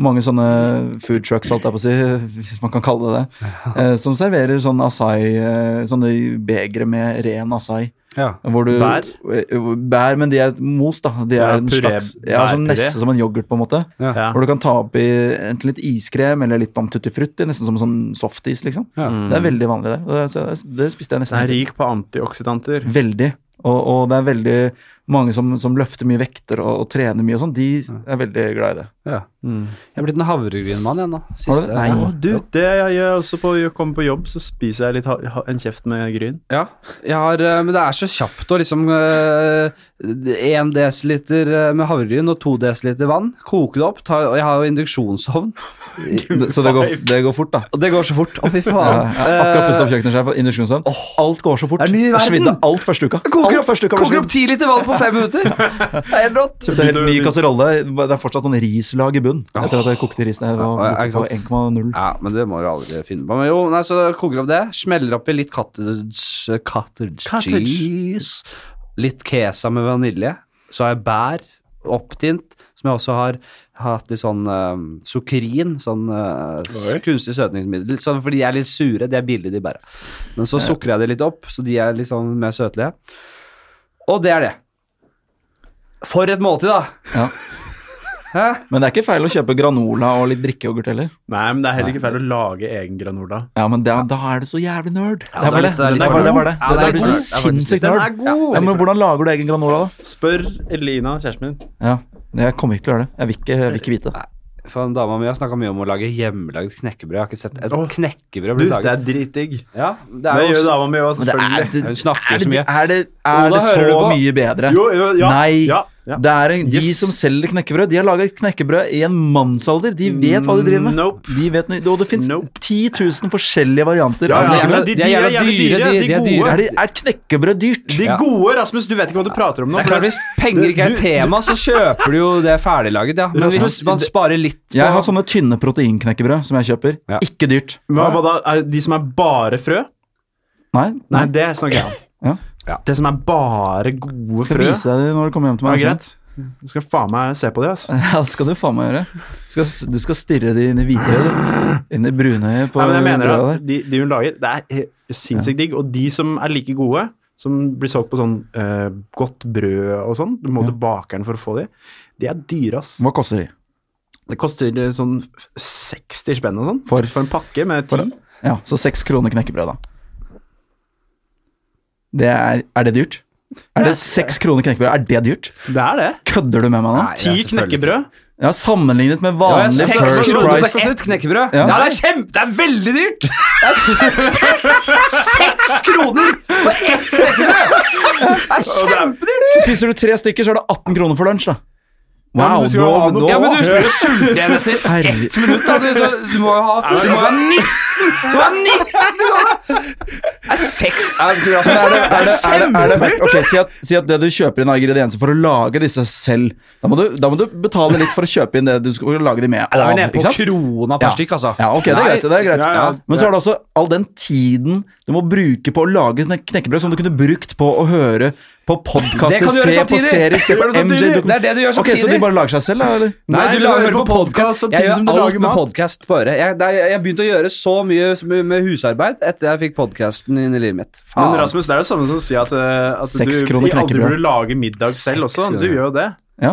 [SPEAKER 2] mange sånne food trucks, holdt jeg på å si, hvis man kan kalle det det, eh, som serverer sånn acai, eh, sånne begre med ren acai.
[SPEAKER 1] Ja.
[SPEAKER 2] Hvor du,
[SPEAKER 3] Bær?
[SPEAKER 2] Eh, Bær, men de er mos, da. De er
[SPEAKER 3] Ja,
[SPEAKER 2] en
[SPEAKER 3] puré-
[SPEAKER 2] slags ja, sånn
[SPEAKER 3] bærpuré.
[SPEAKER 2] Nesten som en yoghurt, på en måte.
[SPEAKER 1] Ja.
[SPEAKER 3] Ja.
[SPEAKER 2] Hvor du kan ta oppi enten litt iskrem eller litt om tutti frutti, nesten som sånn softis, liksom.
[SPEAKER 1] Ja.
[SPEAKER 2] Det
[SPEAKER 3] Mm.
[SPEAKER 2] er veldig vanlig der. og Det, så det, det spiste jeg
[SPEAKER 3] Den
[SPEAKER 2] nesten.
[SPEAKER 3] er rik på antioksidanter.
[SPEAKER 2] Veldig. Og, og det er veldig mange som, som løfter mye vekter og, og trener mye og sånn, de er veldig glad i det.
[SPEAKER 4] Ja.
[SPEAKER 1] Jeg er blitt en havregrynmann, jeg nå. Siste.
[SPEAKER 2] det? Nei.
[SPEAKER 1] Ja.
[SPEAKER 3] Mm. Å, du, det jeg gjør også på å komme på jobb, så spiser jeg litt ha, ha, en kjeft med gryn.
[SPEAKER 1] Ja, jeg har, eh, men det er så kjapt å liksom Én desiliter eh, med havregryn og to desiliter vann. Koke det opp. Ta, og jeg har jo induksjonsovn.
[SPEAKER 2] Så det går, det går fort, da.
[SPEAKER 1] Og det går så fort. Å, fy
[SPEAKER 2] Ja,
[SPEAKER 1] faen.
[SPEAKER 2] jeg har akkurat pusset opp
[SPEAKER 1] Eh,
[SPEAKER 2] kjøkkensjef og induksjonsovn. Alt går så fort.
[SPEAKER 1] Det er ny
[SPEAKER 2] Jeg
[SPEAKER 1] verden.
[SPEAKER 2] svidde alt første uka.
[SPEAKER 1] Koker
[SPEAKER 2] Alt
[SPEAKER 1] opp,
[SPEAKER 2] første sånn. uka
[SPEAKER 1] koker opp
[SPEAKER 2] forsvinner.
[SPEAKER 1] ti liter vann på fem minutter! Det er helt rått.
[SPEAKER 2] Kjøpte en helt ny kasserolle. Det er fortsatt sånn rislag i bunn etter at jeg kokte risen. Jeg var
[SPEAKER 1] Ja, ja,
[SPEAKER 2] oppe
[SPEAKER 1] ikke
[SPEAKER 2] på 1,0.
[SPEAKER 1] Ja, men det må du aldri finne på. Men jo, nei, så koker opp det. Smeller oppi litt cottage, cottage,
[SPEAKER 3] Cottage.
[SPEAKER 1] cheese. Litt kesa med vanilje. Så har jeg bær opptint, som jeg også har hatt i sånn eh, sukkerin. Sånn eh,
[SPEAKER 4] Oi.
[SPEAKER 1] kunstig søtningsmiddel. Sånn, fordi de er litt sure. De er billige, de bæra. Men så sukrer jeg det litt opp, så de er litt sånn mer søtlige. Og det er det. For et måltid, da!
[SPEAKER 2] Ja.
[SPEAKER 1] Hæ?
[SPEAKER 2] Men det er ikke feil å kjøpe granola og litt drikkeyoghurt heller.
[SPEAKER 3] Nei, men det er heller ikke feil å lage egen granola.
[SPEAKER 2] Ja, men da, da er det så jævlig nerd.
[SPEAKER 1] Ja,
[SPEAKER 2] det er bare det.
[SPEAKER 1] det er litt-
[SPEAKER 2] Det er bare det. er bare det.
[SPEAKER 1] Ja, det er
[SPEAKER 2] Da blir du
[SPEAKER 1] litt
[SPEAKER 2] så
[SPEAKER 1] nerd.
[SPEAKER 2] sinnssykt
[SPEAKER 3] Den
[SPEAKER 2] nerd.
[SPEAKER 3] er god!
[SPEAKER 2] Ja, men hvordan lager du egen granola, da?
[SPEAKER 3] Spør Elina, kjæresten min.
[SPEAKER 2] Ja, Jeg kommer ikke til å gjøre det. Jeg vil ikke, jeg vil ikke vite det.
[SPEAKER 1] Faen, dama mi har snakka mye om å lage hjemmelagd knekkebrød. Jeg har ikke sett et
[SPEAKER 3] Åh.
[SPEAKER 1] knekkebrød
[SPEAKER 3] Du,
[SPEAKER 1] bli
[SPEAKER 3] det
[SPEAKER 1] laget.
[SPEAKER 3] er dritdigg.
[SPEAKER 1] Ja, det
[SPEAKER 3] Det
[SPEAKER 1] er jo
[SPEAKER 3] gjør
[SPEAKER 1] også,
[SPEAKER 3] dama mi òg,
[SPEAKER 2] Men det er,
[SPEAKER 3] selvfølgelig.
[SPEAKER 2] det,
[SPEAKER 1] Hun snakker så
[SPEAKER 2] er, det,
[SPEAKER 1] mye.
[SPEAKER 2] er, det, er
[SPEAKER 1] Ola,
[SPEAKER 2] det
[SPEAKER 1] hører du
[SPEAKER 2] så
[SPEAKER 1] på?
[SPEAKER 2] mye bedre?
[SPEAKER 3] Jo, jo, ja,
[SPEAKER 2] Nei.
[SPEAKER 3] ja, ja.
[SPEAKER 2] Det er en, De
[SPEAKER 3] Yes.
[SPEAKER 2] som selger knekkebrød, de har laga knekkebrød i en mannsalder. De vet hva de driver med.
[SPEAKER 3] Nope.
[SPEAKER 2] De vet, nøy- og det fins
[SPEAKER 3] Nope.
[SPEAKER 2] 10 000 forskjellige varianter.
[SPEAKER 3] Ja,
[SPEAKER 2] av
[SPEAKER 3] ja,
[SPEAKER 2] knekkebrød.
[SPEAKER 3] men de,
[SPEAKER 1] De
[SPEAKER 3] de,
[SPEAKER 1] er
[SPEAKER 3] er
[SPEAKER 1] jævla
[SPEAKER 3] jævlig dyre,
[SPEAKER 1] dyre, de- de
[SPEAKER 3] de
[SPEAKER 1] er dyre.
[SPEAKER 3] gode.
[SPEAKER 2] Er, det, er knekkebrød dyrt?
[SPEAKER 3] De
[SPEAKER 1] Ja.
[SPEAKER 3] gode, Rasmus, du vet ikke hva du prater om nå.
[SPEAKER 1] det er klart, Hvis penger ikke er
[SPEAKER 3] Du-
[SPEAKER 1] et tema, så kjøper du jo det ferdiglaget, ja. Men hvis
[SPEAKER 3] Rasmus,
[SPEAKER 1] man sparer litt på
[SPEAKER 2] Jeg har
[SPEAKER 3] sånn
[SPEAKER 2] sånne tynne proteinknekkebrød som jeg kjøper.
[SPEAKER 1] Ja.
[SPEAKER 2] Ikke dyrt.
[SPEAKER 3] Hva, hva da? Er det de som er bare frø?
[SPEAKER 2] Nei,
[SPEAKER 3] Nei, det snakker jeg om.
[SPEAKER 2] Ja.
[SPEAKER 1] Ja.
[SPEAKER 3] Det som er bare gode
[SPEAKER 2] skal
[SPEAKER 3] frø.
[SPEAKER 2] vise deg det når du kommer hjem til
[SPEAKER 3] Ja,
[SPEAKER 2] meg. altså.
[SPEAKER 3] greit. Du skal faen meg se på det, altså.
[SPEAKER 2] Ja, det skal du faen meg gjøre. Du skal, du skal stirre det inn i hvitøyet, du. Inn i brunøyet på
[SPEAKER 3] Nei, men jeg mener
[SPEAKER 2] brødet der.
[SPEAKER 3] at de, de hun lager, det er he- sinnssykt digg. Og de som er like gode, som blir solgt på sånn eh, godt brød og sånn, du må til bakeren for å få de, de er dyre, ass.
[SPEAKER 2] Hva koster de?
[SPEAKER 3] Det koster eh, sånn f- 60 spenn og sånn
[SPEAKER 2] For?
[SPEAKER 3] en pakke med ti.
[SPEAKER 2] For- Ja, så seks kroner knekkebrød, da. Det er, er det dyrt? Er det seks kroner knekkebrød? Er det dyrt?
[SPEAKER 3] Det er det.
[SPEAKER 2] Kødder du med meg nå?
[SPEAKER 1] Nei,
[SPEAKER 3] Ti
[SPEAKER 1] ja, selvfølgelig.
[SPEAKER 3] knekkebrød.
[SPEAKER 2] Ja, sammenlignet med
[SPEAKER 1] Ja,
[SPEAKER 2] vanlig
[SPEAKER 1] seks
[SPEAKER 3] first
[SPEAKER 2] first
[SPEAKER 1] kroner
[SPEAKER 2] price
[SPEAKER 1] for ett knekkebrød?
[SPEAKER 2] Ja.
[SPEAKER 1] Ja, det, er kjempe, det er veldig dyrt! Det er se- Seks kroner for ett knekkebrød! Det er kjempedyrt!
[SPEAKER 2] Spiser du tre stykker, så er det 18 kroner for lunsj, da.
[SPEAKER 3] Ja, men
[SPEAKER 2] Wow,
[SPEAKER 3] du skal jo ha
[SPEAKER 2] nå,
[SPEAKER 3] noe-
[SPEAKER 2] nå
[SPEAKER 1] Ja, men du blir jo sulten igjen etter ett minutt. Da. Du, du, du må jo ha Du må ha 19! Du må ha 19 kroner! Det er seks ja,
[SPEAKER 2] Men
[SPEAKER 1] Rasmus,
[SPEAKER 2] er det, er det, er det, er det
[SPEAKER 1] kjempedyrt!
[SPEAKER 2] verdt, ok, si, at, si at det du kjøper inn av ingredienser for å lage disse selv, da må du, da må du betale litt for å kjøpe inn det du skal lage de med
[SPEAKER 1] Ja, Da er
[SPEAKER 2] av.
[SPEAKER 1] vi nede
[SPEAKER 2] Ikke
[SPEAKER 1] på
[SPEAKER 2] sant?
[SPEAKER 1] krona per
[SPEAKER 2] Ja.
[SPEAKER 1] stykk, altså.
[SPEAKER 2] Ja, ok, det er
[SPEAKER 1] Nei,
[SPEAKER 2] greit. det er greit.
[SPEAKER 3] Ja, ja.
[SPEAKER 2] Men så er det også all den tiden du må bruke på å lage kne- knekkebrød som du kunne brukt på å høre på
[SPEAKER 1] Det
[SPEAKER 2] podkaster,
[SPEAKER 1] kan du gjøre
[SPEAKER 2] se på
[SPEAKER 1] samtidig.
[SPEAKER 2] serier, se
[SPEAKER 3] Du
[SPEAKER 2] på
[SPEAKER 3] gjør det
[SPEAKER 2] MJ
[SPEAKER 3] samtidig.
[SPEAKER 2] dokument-
[SPEAKER 1] Det er det du gjør
[SPEAKER 2] Ok, Så
[SPEAKER 1] samtidig.
[SPEAKER 2] de bare lager seg selv, da? eller?
[SPEAKER 1] Nei,
[SPEAKER 3] Nei,
[SPEAKER 1] du
[SPEAKER 3] du
[SPEAKER 1] lager
[SPEAKER 3] hører
[SPEAKER 1] hører på
[SPEAKER 3] på podcast
[SPEAKER 1] podkast
[SPEAKER 3] samtidig som du lager mat.
[SPEAKER 1] med podkast på øret. Jeg, det er- jeg begynte å gjøre så mye som- med husarbeid etter jeg fikk podkasten inn i livet mitt. Faen.
[SPEAKER 3] Men Rasmus, det er jo samme som å si at, eh, at
[SPEAKER 2] Seks
[SPEAKER 3] du
[SPEAKER 2] kroner
[SPEAKER 3] i aldri
[SPEAKER 2] knekkebrød.
[SPEAKER 3] burde lage middag selv
[SPEAKER 1] Seks
[SPEAKER 3] også. Du
[SPEAKER 1] kroner.
[SPEAKER 3] gjør jo det.
[SPEAKER 2] Ja.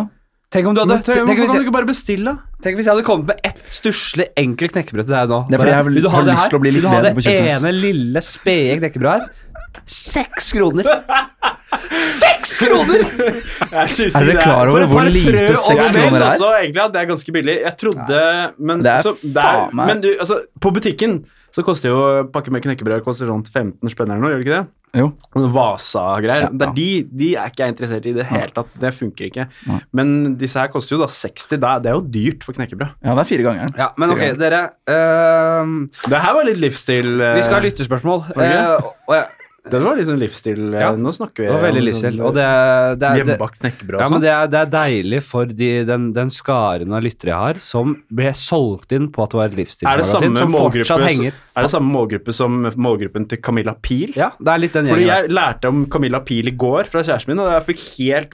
[SPEAKER 1] tenk om du hadde
[SPEAKER 3] Men tenk,
[SPEAKER 1] tenk, hvis
[SPEAKER 3] hvorfor kan du
[SPEAKER 1] jeg,
[SPEAKER 3] ikke bare bestille?
[SPEAKER 1] tenk hvis jeg hadde kommet med ett stusslig, enkelt knekkebrød til deg nå.
[SPEAKER 2] Det er fordi jeg vil-
[SPEAKER 1] Vil du ha
[SPEAKER 2] har
[SPEAKER 1] det
[SPEAKER 2] lyst
[SPEAKER 1] her?
[SPEAKER 2] til å bli litt
[SPEAKER 1] Vil du ha
[SPEAKER 2] bedre
[SPEAKER 1] det
[SPEAKER 2] på kjøkkenet?
[SPEAKER 1] ene lille, spede knekkebrødet her? Seks kroner! Seks kroner!
[SPEAKER 2] Er dere klar over hvor lite seks kroner
[SPEAKER 3] Jeg synes
[SPEAKER 2] er?
[SPEAKER 3] også egentlig at det er ganske billig. Jeg trodde Men,
[SPEAKER 2] Det er
[SPEAKER 3] så,
[SPEAKER 2] faen meg-
[SPEAKER 3] men du, altså, på butikken så koster jo pakke med knekkebrød koster sånn 15 spenn eller noe, gjør det ikke det?
[SPEAKER 2] Jo.
[SPEAKER 3] Noen Vasa-greier.
[SPEAKER 2] Ja,
[SPEAKER 3] Det er
[SPEAKER 2] ja.
[SPEAKER 3] De, de er ikke jeg interessert i i det hele tatt. Det funker ikke.
[SPEAKER 2] Nei.
[SPEAKER 3] Men disse her koster jo da 60. Da- Det er jo dyrt for knekkebrød.
[SPEAKER 2] ja, det er fire ganger.
[SPEAKER 1] Ja, men ok, dere. øhm,
[SPEAKER 3] Det her var litt livsstil. eh,
[SPEAKER 1] vi skal ha lyttespørsmål.
[SPEAKER 3] det ikke?
[SPEAKER 1] Eh, og jeg-
[SPEAKER 3] Det var litt sånn livsstil. eh,
[SPEAKER 1] Ja.
[SPEAKER 3] Nå snakker vi
[SPEAKER 1] Det var veldig
[SPEAKER 3] om
[SPEAKER 1] livsstil.
[SPEAKER 3] sånn,
[SPEAKER 1] Og det, det, det,
[SPEAKER 3] Hjemmebakt knekkebrød
[SPEAKER 1] Ja,
[SPEAKER 3] og
[SPEAKER 1] men
[SPEAKER 3] sånn.
[SPEAKER 1] det er, det er deilig for de, den, den skaren av lyttere jeg har, som ble solgt inn på at det var et
[SPEAKER 3] Er det
[SPEAKER 1] livsstilsmagasin,
[SPEAKER 3] samme
[SPEAKER 1] som
[SPEAKER 3] målgruppe
[SPEAKER 1] fortsatt
[SPEAKER 3] som-
[SPEAKER 1] henger.
[SPEAKER 3] er det samme målgruppe som målgruppen til Camilla Pil?
[SPEAKER 1] Ja, det er litt den
[SPEAKER 3] Fordi
[SPEAKER 1] gjengen.
[SPEAKER 3] jeg lærte om Camilla Pil i går fra kjæresten min, og jeg fikk helt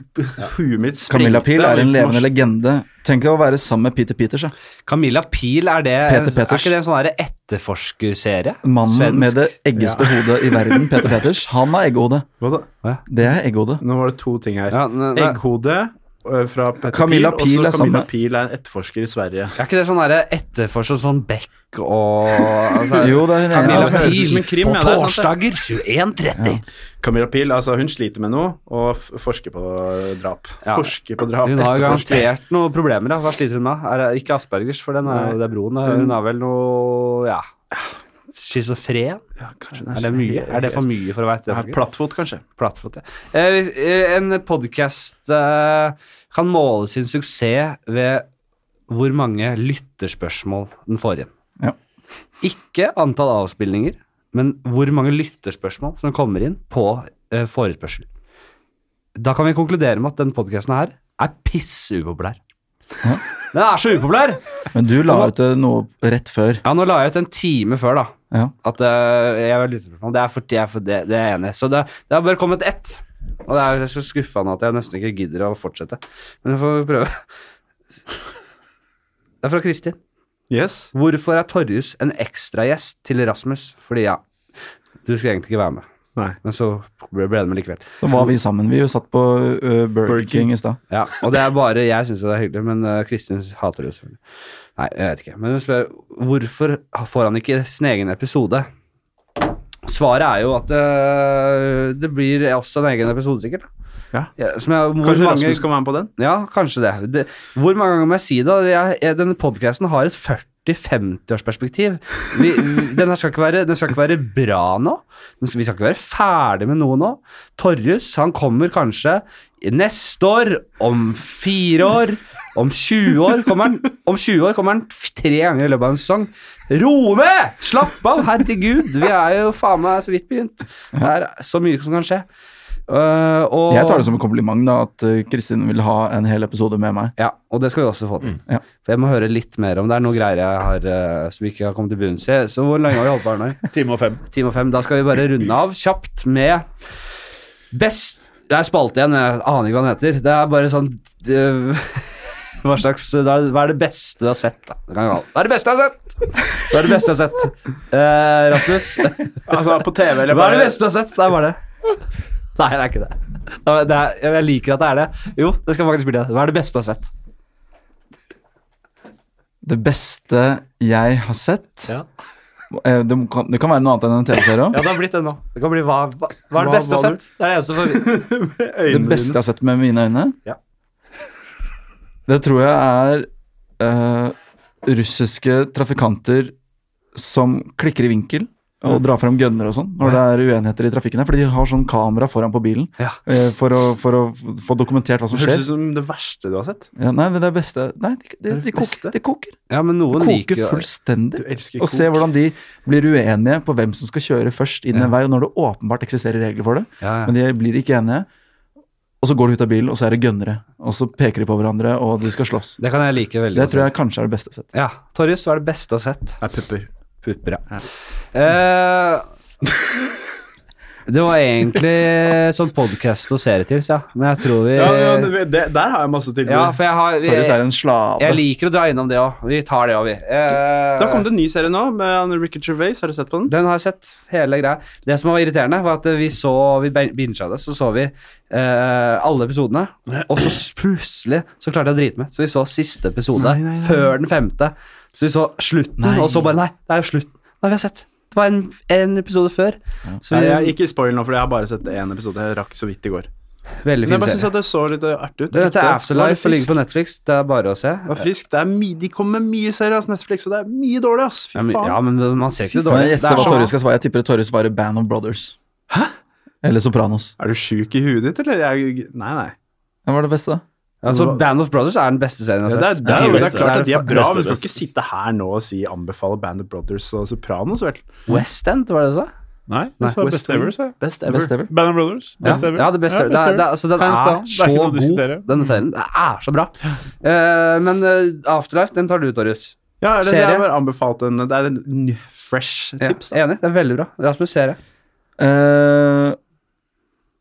[SPEAKER 3] huet mitt sprengte.
[SPEAKER 2] Camilla Pil
[SPEAKER 3] av
[SPEAKER 2] er en levende
[SPEAKER 3] informasjon.
[SPEAKER 2] legende. Tenk deg å være sammen med Peter Peters. Ja.
[SPEAKER 1] der. Camilla Pil, er det
[SPEAKER 2] Peter
[SPEAKER 1] en, er
[SPEAKER 2] Peters.
[SPEAKER 1] ikke det en sånn der etterforskerserie?
[SPEAKER 2] Mannen
[SPEAKER 1] Svensk.
[SPEAKER 2] med det eggeste hodet i verden, Peter Peters, han har egghode.
[SPEAKER 3] Hva da?
[SPEAKER 2] Det er egghode.
[SPEAKER 3] Nå var det to ting her.
[SPEAKER 1] Ja, ne- ne-
[SPEAKER 3] Egghode eh, fra Petter
[SPEAKER 2] Camilla Pihl
[SPEAKER 3] og
[SPEAKER 2] er
[SPEAKER 3] så Camilla
[SPEAKER 2] sammen.
[SPEAKER 3] Pihl er en etterforsker i Sverige.
[SPEAKER 1] Er ikke det sånn derre etterforsker sånn Beck og altså,
[SPEAKER 2] Jo, det er hun
[SPEAKER 1] Camilla
[SPEAKER 3] Ja, det høres ut som
[SPEAKER 1] Pil
[SPEAKER 3] en krim,
[SPEAKER 1] på
[SPEAKER 3] ja, det er sant, det.
[SPEAKER 1] torsdager 21.30.
[SPEAKER 3] Camilla Pihl, altså hun sliter med noe, og f forsker på drap.
[SPEAKER 1] Ja.
[SPEAKER 3] Forsker på drap.
[SPEAKER 1] Hun har jo
[SPEAKER 3] etterforsker.
[SPEAKER 1] garantert noen problemer. Da. Hva sliter hun med? Er det ikke Aspergers, for den er jo det er broen. da. Hun har vel noe ja. Schizofren?
[SPEAKER 3] Ja, kanskje
[SPEAKER 1] Er det mye? Er det for mye for å være
[SPEAKER 3] Ja,
[SPEAKER 1] etterforsker?
[SPEAKER 3] Plattfot, kanskje.
[SPEAKER 1] Plattfot, ja. Eh, hvis- eh, en podkast eh, kan måle sin suksess ved hvor mange lytterspørsmål den får inn.
[SPEAKER 2] Ja.
[SPEAKER 1] Ikke antall avspillinger, men hvor mange lytterspørsmål som kommer inn på eh, forespørsel. Da kan vi konkludere med at den podkasten her er pissupopulær. Den er så upopulær!
[SPEAKER 2] Men du la ut eh, noe rett før.
[SPEAKER 1] Ja, nå la jeg ut en time før, da.
[SPEAKER 2] Ja.
[SPEAKER 1] At eh, jeg var lytterspørsmål. Det er for, det er for det, det er jeg enig. i. Så det, det har bare kommet ett. Og det er jeg er så skuffa nå at jeg nesten ikke gidder å fortsette. Men jeg får prøve. Det er fra Kristin.
[SPEAKER 3] Yes.
[SPEAKER 1] Hvorfor er Torjus en ekstragjest til Rasmus? Fordi ja, du skulle egentlig ikke være med.
[SPEAKER 3] Nei.
[SPEAKER 1] Men så ble ble det med likevel.
[SPEAKER 2] Så var vi sammen. Vi jo satt på eh, Burger
[SPEAKER 3] Burger King.
[SPEAKER 2] King i stad.
[SPEAKER 1] Ja, og det er bare jeg syns det er hyggelig, men eh, Kristin hater det jo selvfølgelig. Nei, jeg vet ikke. Men hun spør hvorfor får han ikke sin egen episode? Svaret er jo at eh, det blir også en egen episode, sikkert.
[SPEAKER 3] Ja.
[SPEAKER 1] som jeg, hvor
[SPEAKER 3] Kanskje
[SPEAKER 1] mange,
[SPEAKER 3] Rasmus kan være med på den?
[SPEAKER 1] Ja, kanskje det. det. Hvor mange ganger må jeg si det? Altså, Jeg, jeg, denne podkasten har et 40-50-årsperspektiv. Vi- vi- Den, her skal ikke være- den skal ikke være bra nå. Den skal, vi skal ikke være ferdig med noe nå. Torjus han kommer kanskje neste år, om fire år, om 20 år kommer han, Om 20 år kommer han f- tre ganger i løpet av en sesong. Ro ned! Slapp av, herregud! Vi er jo faen meg så vidt begynt. Det er så mye som kan skje. Eh, og-
[SPEAKER 2] Jeg tar det som en kompliment da, at eh, Kristin vil ha en hel episode med meg.
[SPEAKER 1] ja, og det skal vi også få til.
[SPEAKER 3] Mm.
[SPEAKER 2] Ja.
[SPEAKER 1] For jeg må høre litt mer om det. Det er noe greier jeg har eh, som vi ikke har kommet til bunns i. Så hvor lenge har vi holdt på her nå?
[SPEAKER 4] Time og fem.
[SPEAKER 1] Time og fem. Da skal vi bare runde av kjapt med best Det er spalte igjen, jeg aner ikke hva den heter. Det er bare sånn eh, Hva slags da er det- Hva er det beste du har sett, da? Det kan jeg kalle det. Hva er det beste jeg har sett? Hva er det beste jeg har sett? Eh, Rasmus?
[SPEAKER 3] Altså på TV, eller
[SPEAKER 1] Hva er
[SPEAKER 3] bare
[SPEAKER 1] det beste du har sett? Det er bare det. Nei, det er ikke det. Det er, det er, jeg liker at det er det. Jo, det skal faktisk bli det. Hva er det beste du har sett?
[SPEAKER 2] Det beste jeg har sett
[SPEAKER 1] Ja.
[SPEAKER 2] eh, det, kan, det kan være noe annet enn en TV-serie òg.
[SPEAKER 1] Ja, det har blitt det nå. Det kan bli hva, hva, hva er det
[SPEAKER 3] Hva-
[SPEAKER 1] beste jeg
[SPEAKER 3] hva
[SPEAKER 1] har sett? Det er det eneste for
[SPEAKER 2] Det
[SPEAKER 3] øynene
[SPEAKER 2] beste jeg har sett med mine øyne?
[SPEAKER 1] Ja.
[SPEAKER 2] Det tror jeg er eh, russiske trafikanter som klikker i vinkel og drar frem gønner og sånn når det er uenigheter i trafikken. her, Fordi de har sånn kamera foran på bilen
[SPEAKER 1] Ja.
[SPEAKER 2] eh, for, å, for å f- få dokumentert hva som
[SPEAKER 3] dine? Høres
[SPEAKER 2] skjer.
[SPEAKER 3] ut som det verste du har sett.
[SPEAKER 2] Ja, nei, men det er beste Nei, de, de,
[SPEAKER 1] Det er
[SPEAKER 2] de
[SPEAKER 1] det beste.
[SPEAKER 2] koker. De koker,
[SPEAKER 1] Ja, men
[SPEAKER 2] de
[SPEAKER 1] noen liker
[SPEAKER 2] koker
[SPEAKER 1] jo
[SPEAKER 2] fullstendig.
[SPEAKER 3] Du elsker
[SPEAKER 2] Og se hvordan de blir uenige på hvem som skal kjøre først inn
[SPEAKER 1] Ja.
[SPEAKER 2] en vei, og når det åpenbart eksisterer regler for det.
[SPEAKER 1] ja, ja.
[SPEAKER 2] Men de blir ikke enige. Og så går de ut av bilen, og så er det gønnere. Og så peker de på hverandre, og de skal slåss.
[SPEAKER 1] Det kan jeg like veldig
[SPEAKER 2] Det tror jeg kanskje er det beste sett.
[SPEAKER 1] Ja. Torjus, hva er det beste du har sett?
[SPEAKER 3] Nei, pupper.
[SPEAKER 1] Pupper, ja. Eh, det var egentlig sånn podkast og serietips, ja. Men jeg tror vi
[SPEAKER 3] Ja, ja, det, det, der har jeg masse tilbud.
[SPEAKER 1] Ja, for jeg har
[SPEAKER 2] Torjus er
[SPEAKER 1] jeg,
[SPEAKER 2] en slave.
[SPEAKER 1] jeg liker å dra innom det òg. Vi tar det òg, vi. Eh,
[SPEAKER 3] Da kom det en ny serie nå med han Ricky Gervais. Har du sett på den?
[SPEAKER 1] Den har jeg sett, hele greia. Det som var irriterende, var at vi så Vi binga det, så så vi eh, alle episodene, og så s- plutselig så klarte jeg å drite meg. Så vi så siste episode før den femte. Så vi så slutten, og så bare Nei, det er jo slutten. Nei, vi har sett. Det var en, en episode før. Så vi,
[SPEAKER 3] Nei, jeg, ikke spoil nå, for jeg har bare sett én episode. Jeg rakk så vidt i går.
[SPEAKER 1] Veldig
[SPEAKER 3] Men jeg
[SPEAKER 1] fin
[SPEAKER 3] bare synes
[SPEAKER 1] serie.
[SPEAKER 3] at det så litt eh, artig ut.
[SPEAKER 1] Det heter
[SPEAKER 3] Riktig.
[SPEAKER 1] Afterlife og
[SPEAKER 3] Det var litt
[SPEAKER 1] ligger på
[SPEAKER 3] friskt.
[SPEAKER 1] Netflix. Det er bare å se.
[SPEAKER 3] Det var friskt. Det er mye- De kommer med mye serier, ass, Netflix, og det er mye dårlig, ass. Fy
[SPEAKER 1] Ja, men,
[SPEAKER 3] faen.
[SPEAKER 1] ja, men man ser ikke det
[SPEAKER 2] Men
[SPEAKER 1] dårlig.
[SPEAKER 2] jeg
[SPEAKER 1] Det
[SPEAKER 2] gjetter
[SPEAKER 1] er
[SPEAKER 2] hva
[SPEAKER 1] sånn.
[SPEAKER 2] Torjus skal svare. Jeg tipper at Torjus svarer Band of Brothers. Hæ? Eller Sopranos.
[SPEAKER 3] Er du sjuk i huet ditt, eller? Jeg, nei, nei.
[SPEAKER 2] Hvem var det beste, da?
[SPEAKER 1] Altså, Band of Brothers Altså, er den beste serien jeg
[SPEAKER 3] Det
[SPEAKER 1] har
[SPEAKER 3] er, det er,
[SPEAKER 1] sett.
[SPEAKER 3] det er,
[SPEAKER 1] Tidligere.
[SPEAKER 3] klart at de er
[SPEAKER 1] det
[SPEAKER 3] bra,
[SPEAKER 4] beste,
[SPEAKER 3] men du skal
[SPEAKER 4] beste.
[SPEAKER 3] ikke sitte her nå og si anbefale Band of Brothers og Sopranos, vel?
[SPEAKER 1] West End, var det det du sa?
[SPEAKER 4] Nei,
[SPEAKER 1] Nei,
[SPEAKER 4] det var
[SPEAKER 3] West
[SPEAKER 4] best ever, sa jeg.
[SPEAKER 1] Best ever.
[SPEAKER 2] Best ever.
[SPEAKER 4] Band of Brothers.
[SPEAKER 1] Ja,
[SPEAKER 4] Best ever.
[SPEAKER 1] ja, det beste.
[SPEAKER 4] Ja,
[SPEAKER 1] det er, det er, altså, den
[SPEAKER 4] Hands
[SPEAKER 1] er,
[SPEAKER 4] down. Det
[SPEAKER 1] så
[SPEAKER 4] er ikke noe å
[SPEAKER 1] god,
[SPEAKER 4] diskutere. Mm.
[SPEAKER 1] denne serien. Den er så bra. Eh, men eh, Afterlife, den tar du, Torjus.
[SPEAKER 3] Ja, eller,
[SPEAKER 1] Serie?
[SPEAKER 3] Jeg har bare anbefalt en Det er en ny- fresh
[SPEAKER 1] Ja,
[SPEAKER 3] tips. Da.
[SPEAKER 1] enig, det er veldig bra. Rasmus, serie.
[SPEAKER 2] Eh,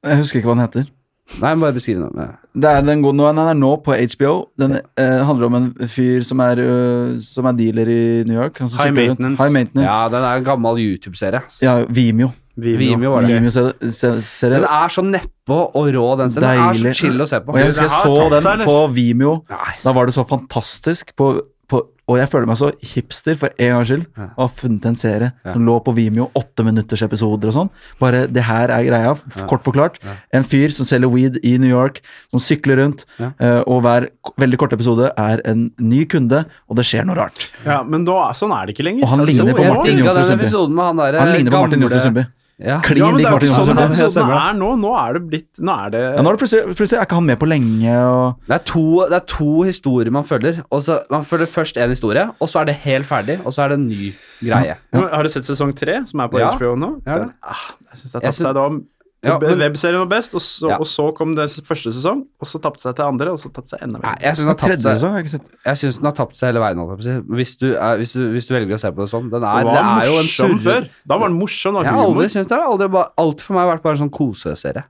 [SPEAKER 2] jeg husker ikke hva den heter.
[SPEAKER 1] Nei, jeg må bare beskrive noe.
[SPEAKER 2] Det er den gode, nå- den er nå på HBO. Den eh, handler om en fyr som er, øh, som er dealer i New York. Han som
[SPEAKER 3] High
[SPEAKER 2] sykler rundt.
[SPEAKER 3] maintenance.
[SPEAKER 2] High maintenance.
[SPEAKER 1] Ja, den er en gammel YouTube-serie.
[SPEAKER 2] Ja, Vimeo.
[SPEAKER 1] Vimeo var det.
[SPEAKER 2] Vimeo ser, ser, ser
[SPEAKER 1] Den er så nedpå og rå, den scenen. Den er så
[SPEAKER 2] Deilig.
[SPEAKER 1] chill å se på.
[SPEAKER 2] Og jeg husker jeg
[SPEAKER 4] Den har
[SPEAKER 2] så
[SPEAKER 4] tatt seg,
[SPEAKER 2] den
[SPEAKER 4] eller?
[SPEAKER 2] på Vimeo.
[SPEAKER 1] Nei.
[SPEAKER 2] Da var det så fantastisk. På, på, og jeg føler meg så hipster for en gangs skyld. Og har funnet en serie som lå på Vimeo, åtte minutters episoder og sånn. Bare det her er greia, f- kort forklart. En fyr som selger weed i New York, som sykler rundt, eh, og hver k- veldig kort episode er en ny kunde, og det skjer noe rart.
[SPEAKER 3] Ja, men nå, sånn er det ikke lenger.
[SPEAKER 2] Og han ligner på
[SPEAKER 1] jeg
[SPEAKER 2] Martin
[SPEAKER 1] digga
[SPEAKER 2] Johnsrud
[SPEAKER 1] den
[SPEAKER 2] Sundby.
[SPEAKER 1] episoden med han der
[SPEAKER 2] Han ligner på Martin
[SPEAKER 1] gamle-
[SPEAKER 2] Johnsrud Sundby.
[SPEAKER 1] Ja.
[SPEAKER 2] Klin
[SPEAKER 3] Ja, men det
[SPEAKER 2] lik
[SPEAKER 3] er jo
[SPEAKER 2] Martin
[SPEAKER 3] ikke
[SPEAKER 2] Johnsrud
[SPEAKER 3] sånn
[SPEAKER 2] Sundby.
[SPEAKER 3] episoden
[SPEAKER 1] stemmer det.
[SPEAKER 3] er nå. Nå er det blitt Nå er det
[SPEAKER 2] Ja, nå er det plutselig, plutselig er ikke han med på lenge. Og,
[SPEAKER 1] Det er, to, det er to historier man følger. Og så, man følger først en historie, og så er det helt ferdig, og så er det en ny greie.
[SPEAKER 3] Men Har du sett sesong tre, som er på
[SPEAKER 1] Ja.
[SPEAKER 3] HBO nå?
[SPEAKER 1] Ja.
[SPEAKER 3] Den, ah, jeg syns det har
[SPEAKER 1] Jeg
[SPEAKER 3] tapt seg da.
[SPEAKER 1] Ja, men-
[SPEAKER 3] Webserien var best, og så,
[SPEAKER 1] Ja.
[SPEAKER 3] og så kom det første sesong, og så tapte seg til andre, og så tapte seg enda
[SPEAKER 1] Nei,
[SPEAKER 3] mer.
[SPEAKER 1] jeg syns den, har tapt
[SPEAKER 2] tredje
[SPEAKER 1] seg-
[SPEAKER 2] sesong, har jeg ikke sett.
[SPEAKER 1] jeg synes den har tapt seg hele veien. holdt jeg på å si. Hvis du, er, hvis, du, hvis du velger å se på det sånn. Den er,
[SPEAKER 3] Den
[SPEAKER 1] det,
[SPEAKER 3] var
[SPEAKER 1] er jo en
[SPEAKER 3] morsom
[SPEAKER 1] surre-
[SPEAKER 3] før. Da var den morsom og
[SPEAKER 1] Jeg har aldri
[SPEAKER 3] humor.
[SPEAKER 1] syntes det. har Aldri, bare- alt for meg har vært bare en sånn koseserie.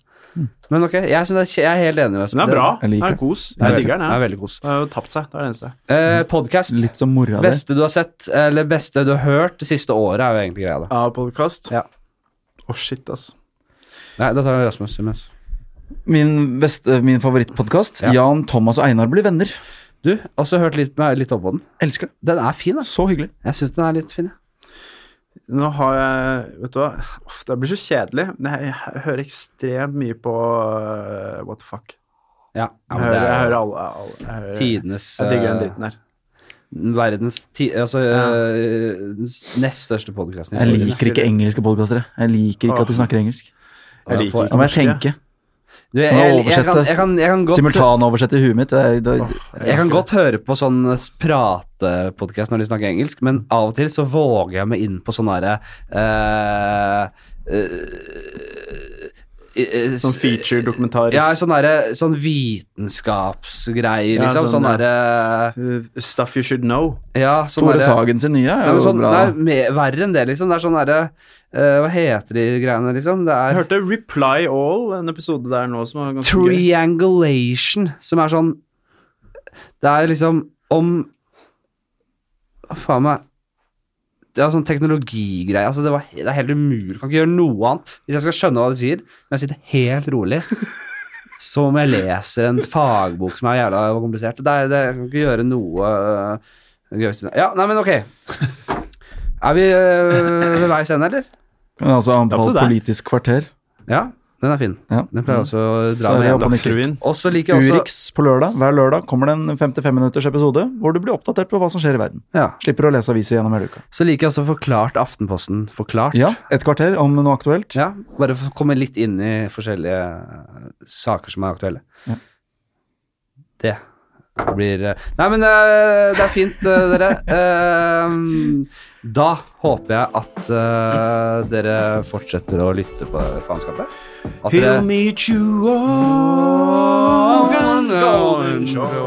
[SPEAKER 1] Men ok, jeg, synes det, er kje- jeg er helt enig med deg.
[SPEAKER 3] Mm. Den er bra.
[SPEAKER 2] Jeg
[SPEAKER 3] Den
[SPEAKER 2] liker
[SPEAKER 3] er
[SPEAKER 2] den.
[SPEAKER 3] kos.
[SPEAKER 1] Den er
[SPEAKER 3] Jeg digger
[SPEAKER 1] veldig- den er
[SPEAKER 3] den.
[SPEAKER 1] veldig kos.
[SPEAKER 3] Den har jo tapt seg, det er det eneste.
[SPEAKER 1] Eh, Podkast.
[SPEAKER 2] Litt som mora di.
[SPEAKER 1] Beste du har sett, eller beste du har hørt det siste året, er jo egentlig greia. da.
[SPEAKER 3] Ja, podkast.
[SPEAKER 1] Ja.
[SPEAKER 3] Å, shit, ass.
[SPEAKER 1] Nei, da tar vi Rasmus imens.
[SPEAKER 2] Min, beste- min favorittpodkast.
[SPEAKER 1] Ja.
[SPEAKER 2] Jan, Thomas og Einar blir venner.
[SPEAKER 1] Du, også hørt litt, litt opp på den.
[SPEAKER 2] Elsker det.
[SPEAKER 1] Den er fin, da.
[SPEAKER 2] Så hyggelig.
[SPEAKER 1] Jeg syns den er litt fin, jeg.
[SPEAKER 3] Nå har jeg Vet du hva, Uff, det blir så kjedelig. Men jeg, jeg hører ekstremt mye på øh, What the fuck.
[SPEAKER 1] Ja, ja
[SPEAKER 3] Jeg
[SPEAKER 1] men det
[SPEAKER 3] hører, jeg
[SPEAKER 1] er
[SPEAKER 3] hører
[SPEAKER 1] jo
[SPEAKER 3] alle, alle jeg, hører,
[SPEAKER 1] tidenes
[SPEAKER 3] jeg digger den
[SPEAKER 1] eh,
[SPEAKER 3] dritten her.
[SPEAKER 1] Verdens ti, altså, eh, nest største podkasten
[SPEAKER 2] Jeg liker ikke engelske podkastere. Jeg liker ikke at de snakker engelsk.
[SPEAKER 3] Jeg liker ikke
[SPEAKER 2] Da må jeg tenke.
[SPEAKER 1] Du, jeg,
[SPEAKER 2] Må
[SPEAKER 1] jeg, jeg,
[SPEAKER 2] oversette.
[SPEAKER 1] kan, jeg, kan, jeg, kan godt,
[SPEAKER 2] Simultanoversett i huet mitt. Det, er- det,
[SPEAKER 1] jeg kan godt høre på sånn pratepodkast når de snakker engelsk, men av og til så våger jeg meg inn på sånn derre eh,
[SPEAKER 3] Sånn feature-dokumentarisk.
[SPEAKER 1] Ja, sånn derre Sånn vitenskapsgreier,
[SPEAKER 3] Ja,
[SPEAKER 1] liksom.
[SPEAKER 3] sånn,
[SPEAKER 1] Sånn
[SPEAKER 3] ja.
[SPEAKER 1] derre
[SPEAKER 3] Uh, Stuff you should know.
[SPEAKER 1] Ja, sånn
[SPEAKER 2] Tore
[SPEAKER 1] derre-
[SPEAKER 2] Sagen sin nye
[SPEAKER 1] Nei,
[SPEAKER 2] er
[SPEAKER 1] men
[SPEAKER 2] jo
[SPEAKER 1] sånn,
[SPEAKER 2] bra.
[SPEAKER 1] det er mer, verre enn det, liksom. Det er sånn derre eh, Hva heter de greiene, liksom? Det
[SPEAKER 3] Jeg
[SPEAKER 1] er
[SPEAKER 3] hørte Reply All, en episode der nå som var ganske gøy.
[SPEAKER 1] triangulation, som er sånn Det er liksom om Hva faen meg Det er sånn teknologigreie. Altså, det, var, det er helt umulig. Kan ikke gjøre noe annet. Hvis jeg skal skjønne hva de sier, men jeg sitter helt rolig som om jeg leser en fagbok som er jævla komplisert. Det, er, det jeg kan ikke gjøre noe øh, gøy. Ja, nei, men ok. Er vi øh, ved veis ende, eller?
[SPEAKER 2] Men altså anbefale
[SPEAKER 3] Det er opp til
[SPEAKER 2] Politisk kvarter.
[SPEAKER 1] Ja, den er fin.
[SPEAKER 2] Ja.
[SPEAKER 1] Den pleier jeg også å
[SPEAKER 2] Mm. Så
[SPEAKER 1] dra
[SPEAKER 2] er
[SPEAKER 1] med
[SPEAKER 2] det
[SPEAKER 1] hjem.
[SPEAKER 2] opp-
[SPEAKER 3] Dagsrevyen.
[SPEAKER 1] Og så liker jeg også
[SPEAKER 2] Urix på lørdag. Hver lørdag kommer det en 55 minutters episode hvor du blir oppdatert på hva som skjer i verden.
[SPEAKER 1] ja,
[SPEAKER 2] Slipper å lese aviser gjennom hele uka.
[SPEAKER 1] Så liker jeg også Forklart Aftenposten. Forklart.
[SPEAKER 2] Ja, et kvarter om noe aktuelt.
[SPEAKER 1] Ja, bare for å komme litt inn i forskjellige eh, saker som er aktuelle.
[SPEAKER 2] Ja.
[SPEAKER 1] Det blir eh, Nei, men eh, det er fint, eh, dere. Eh, da håper jeg at eh, dere fortsetter å lytte på faenskapet. At dere
[SPEAKER 3] He'll meet you all guns golden shore.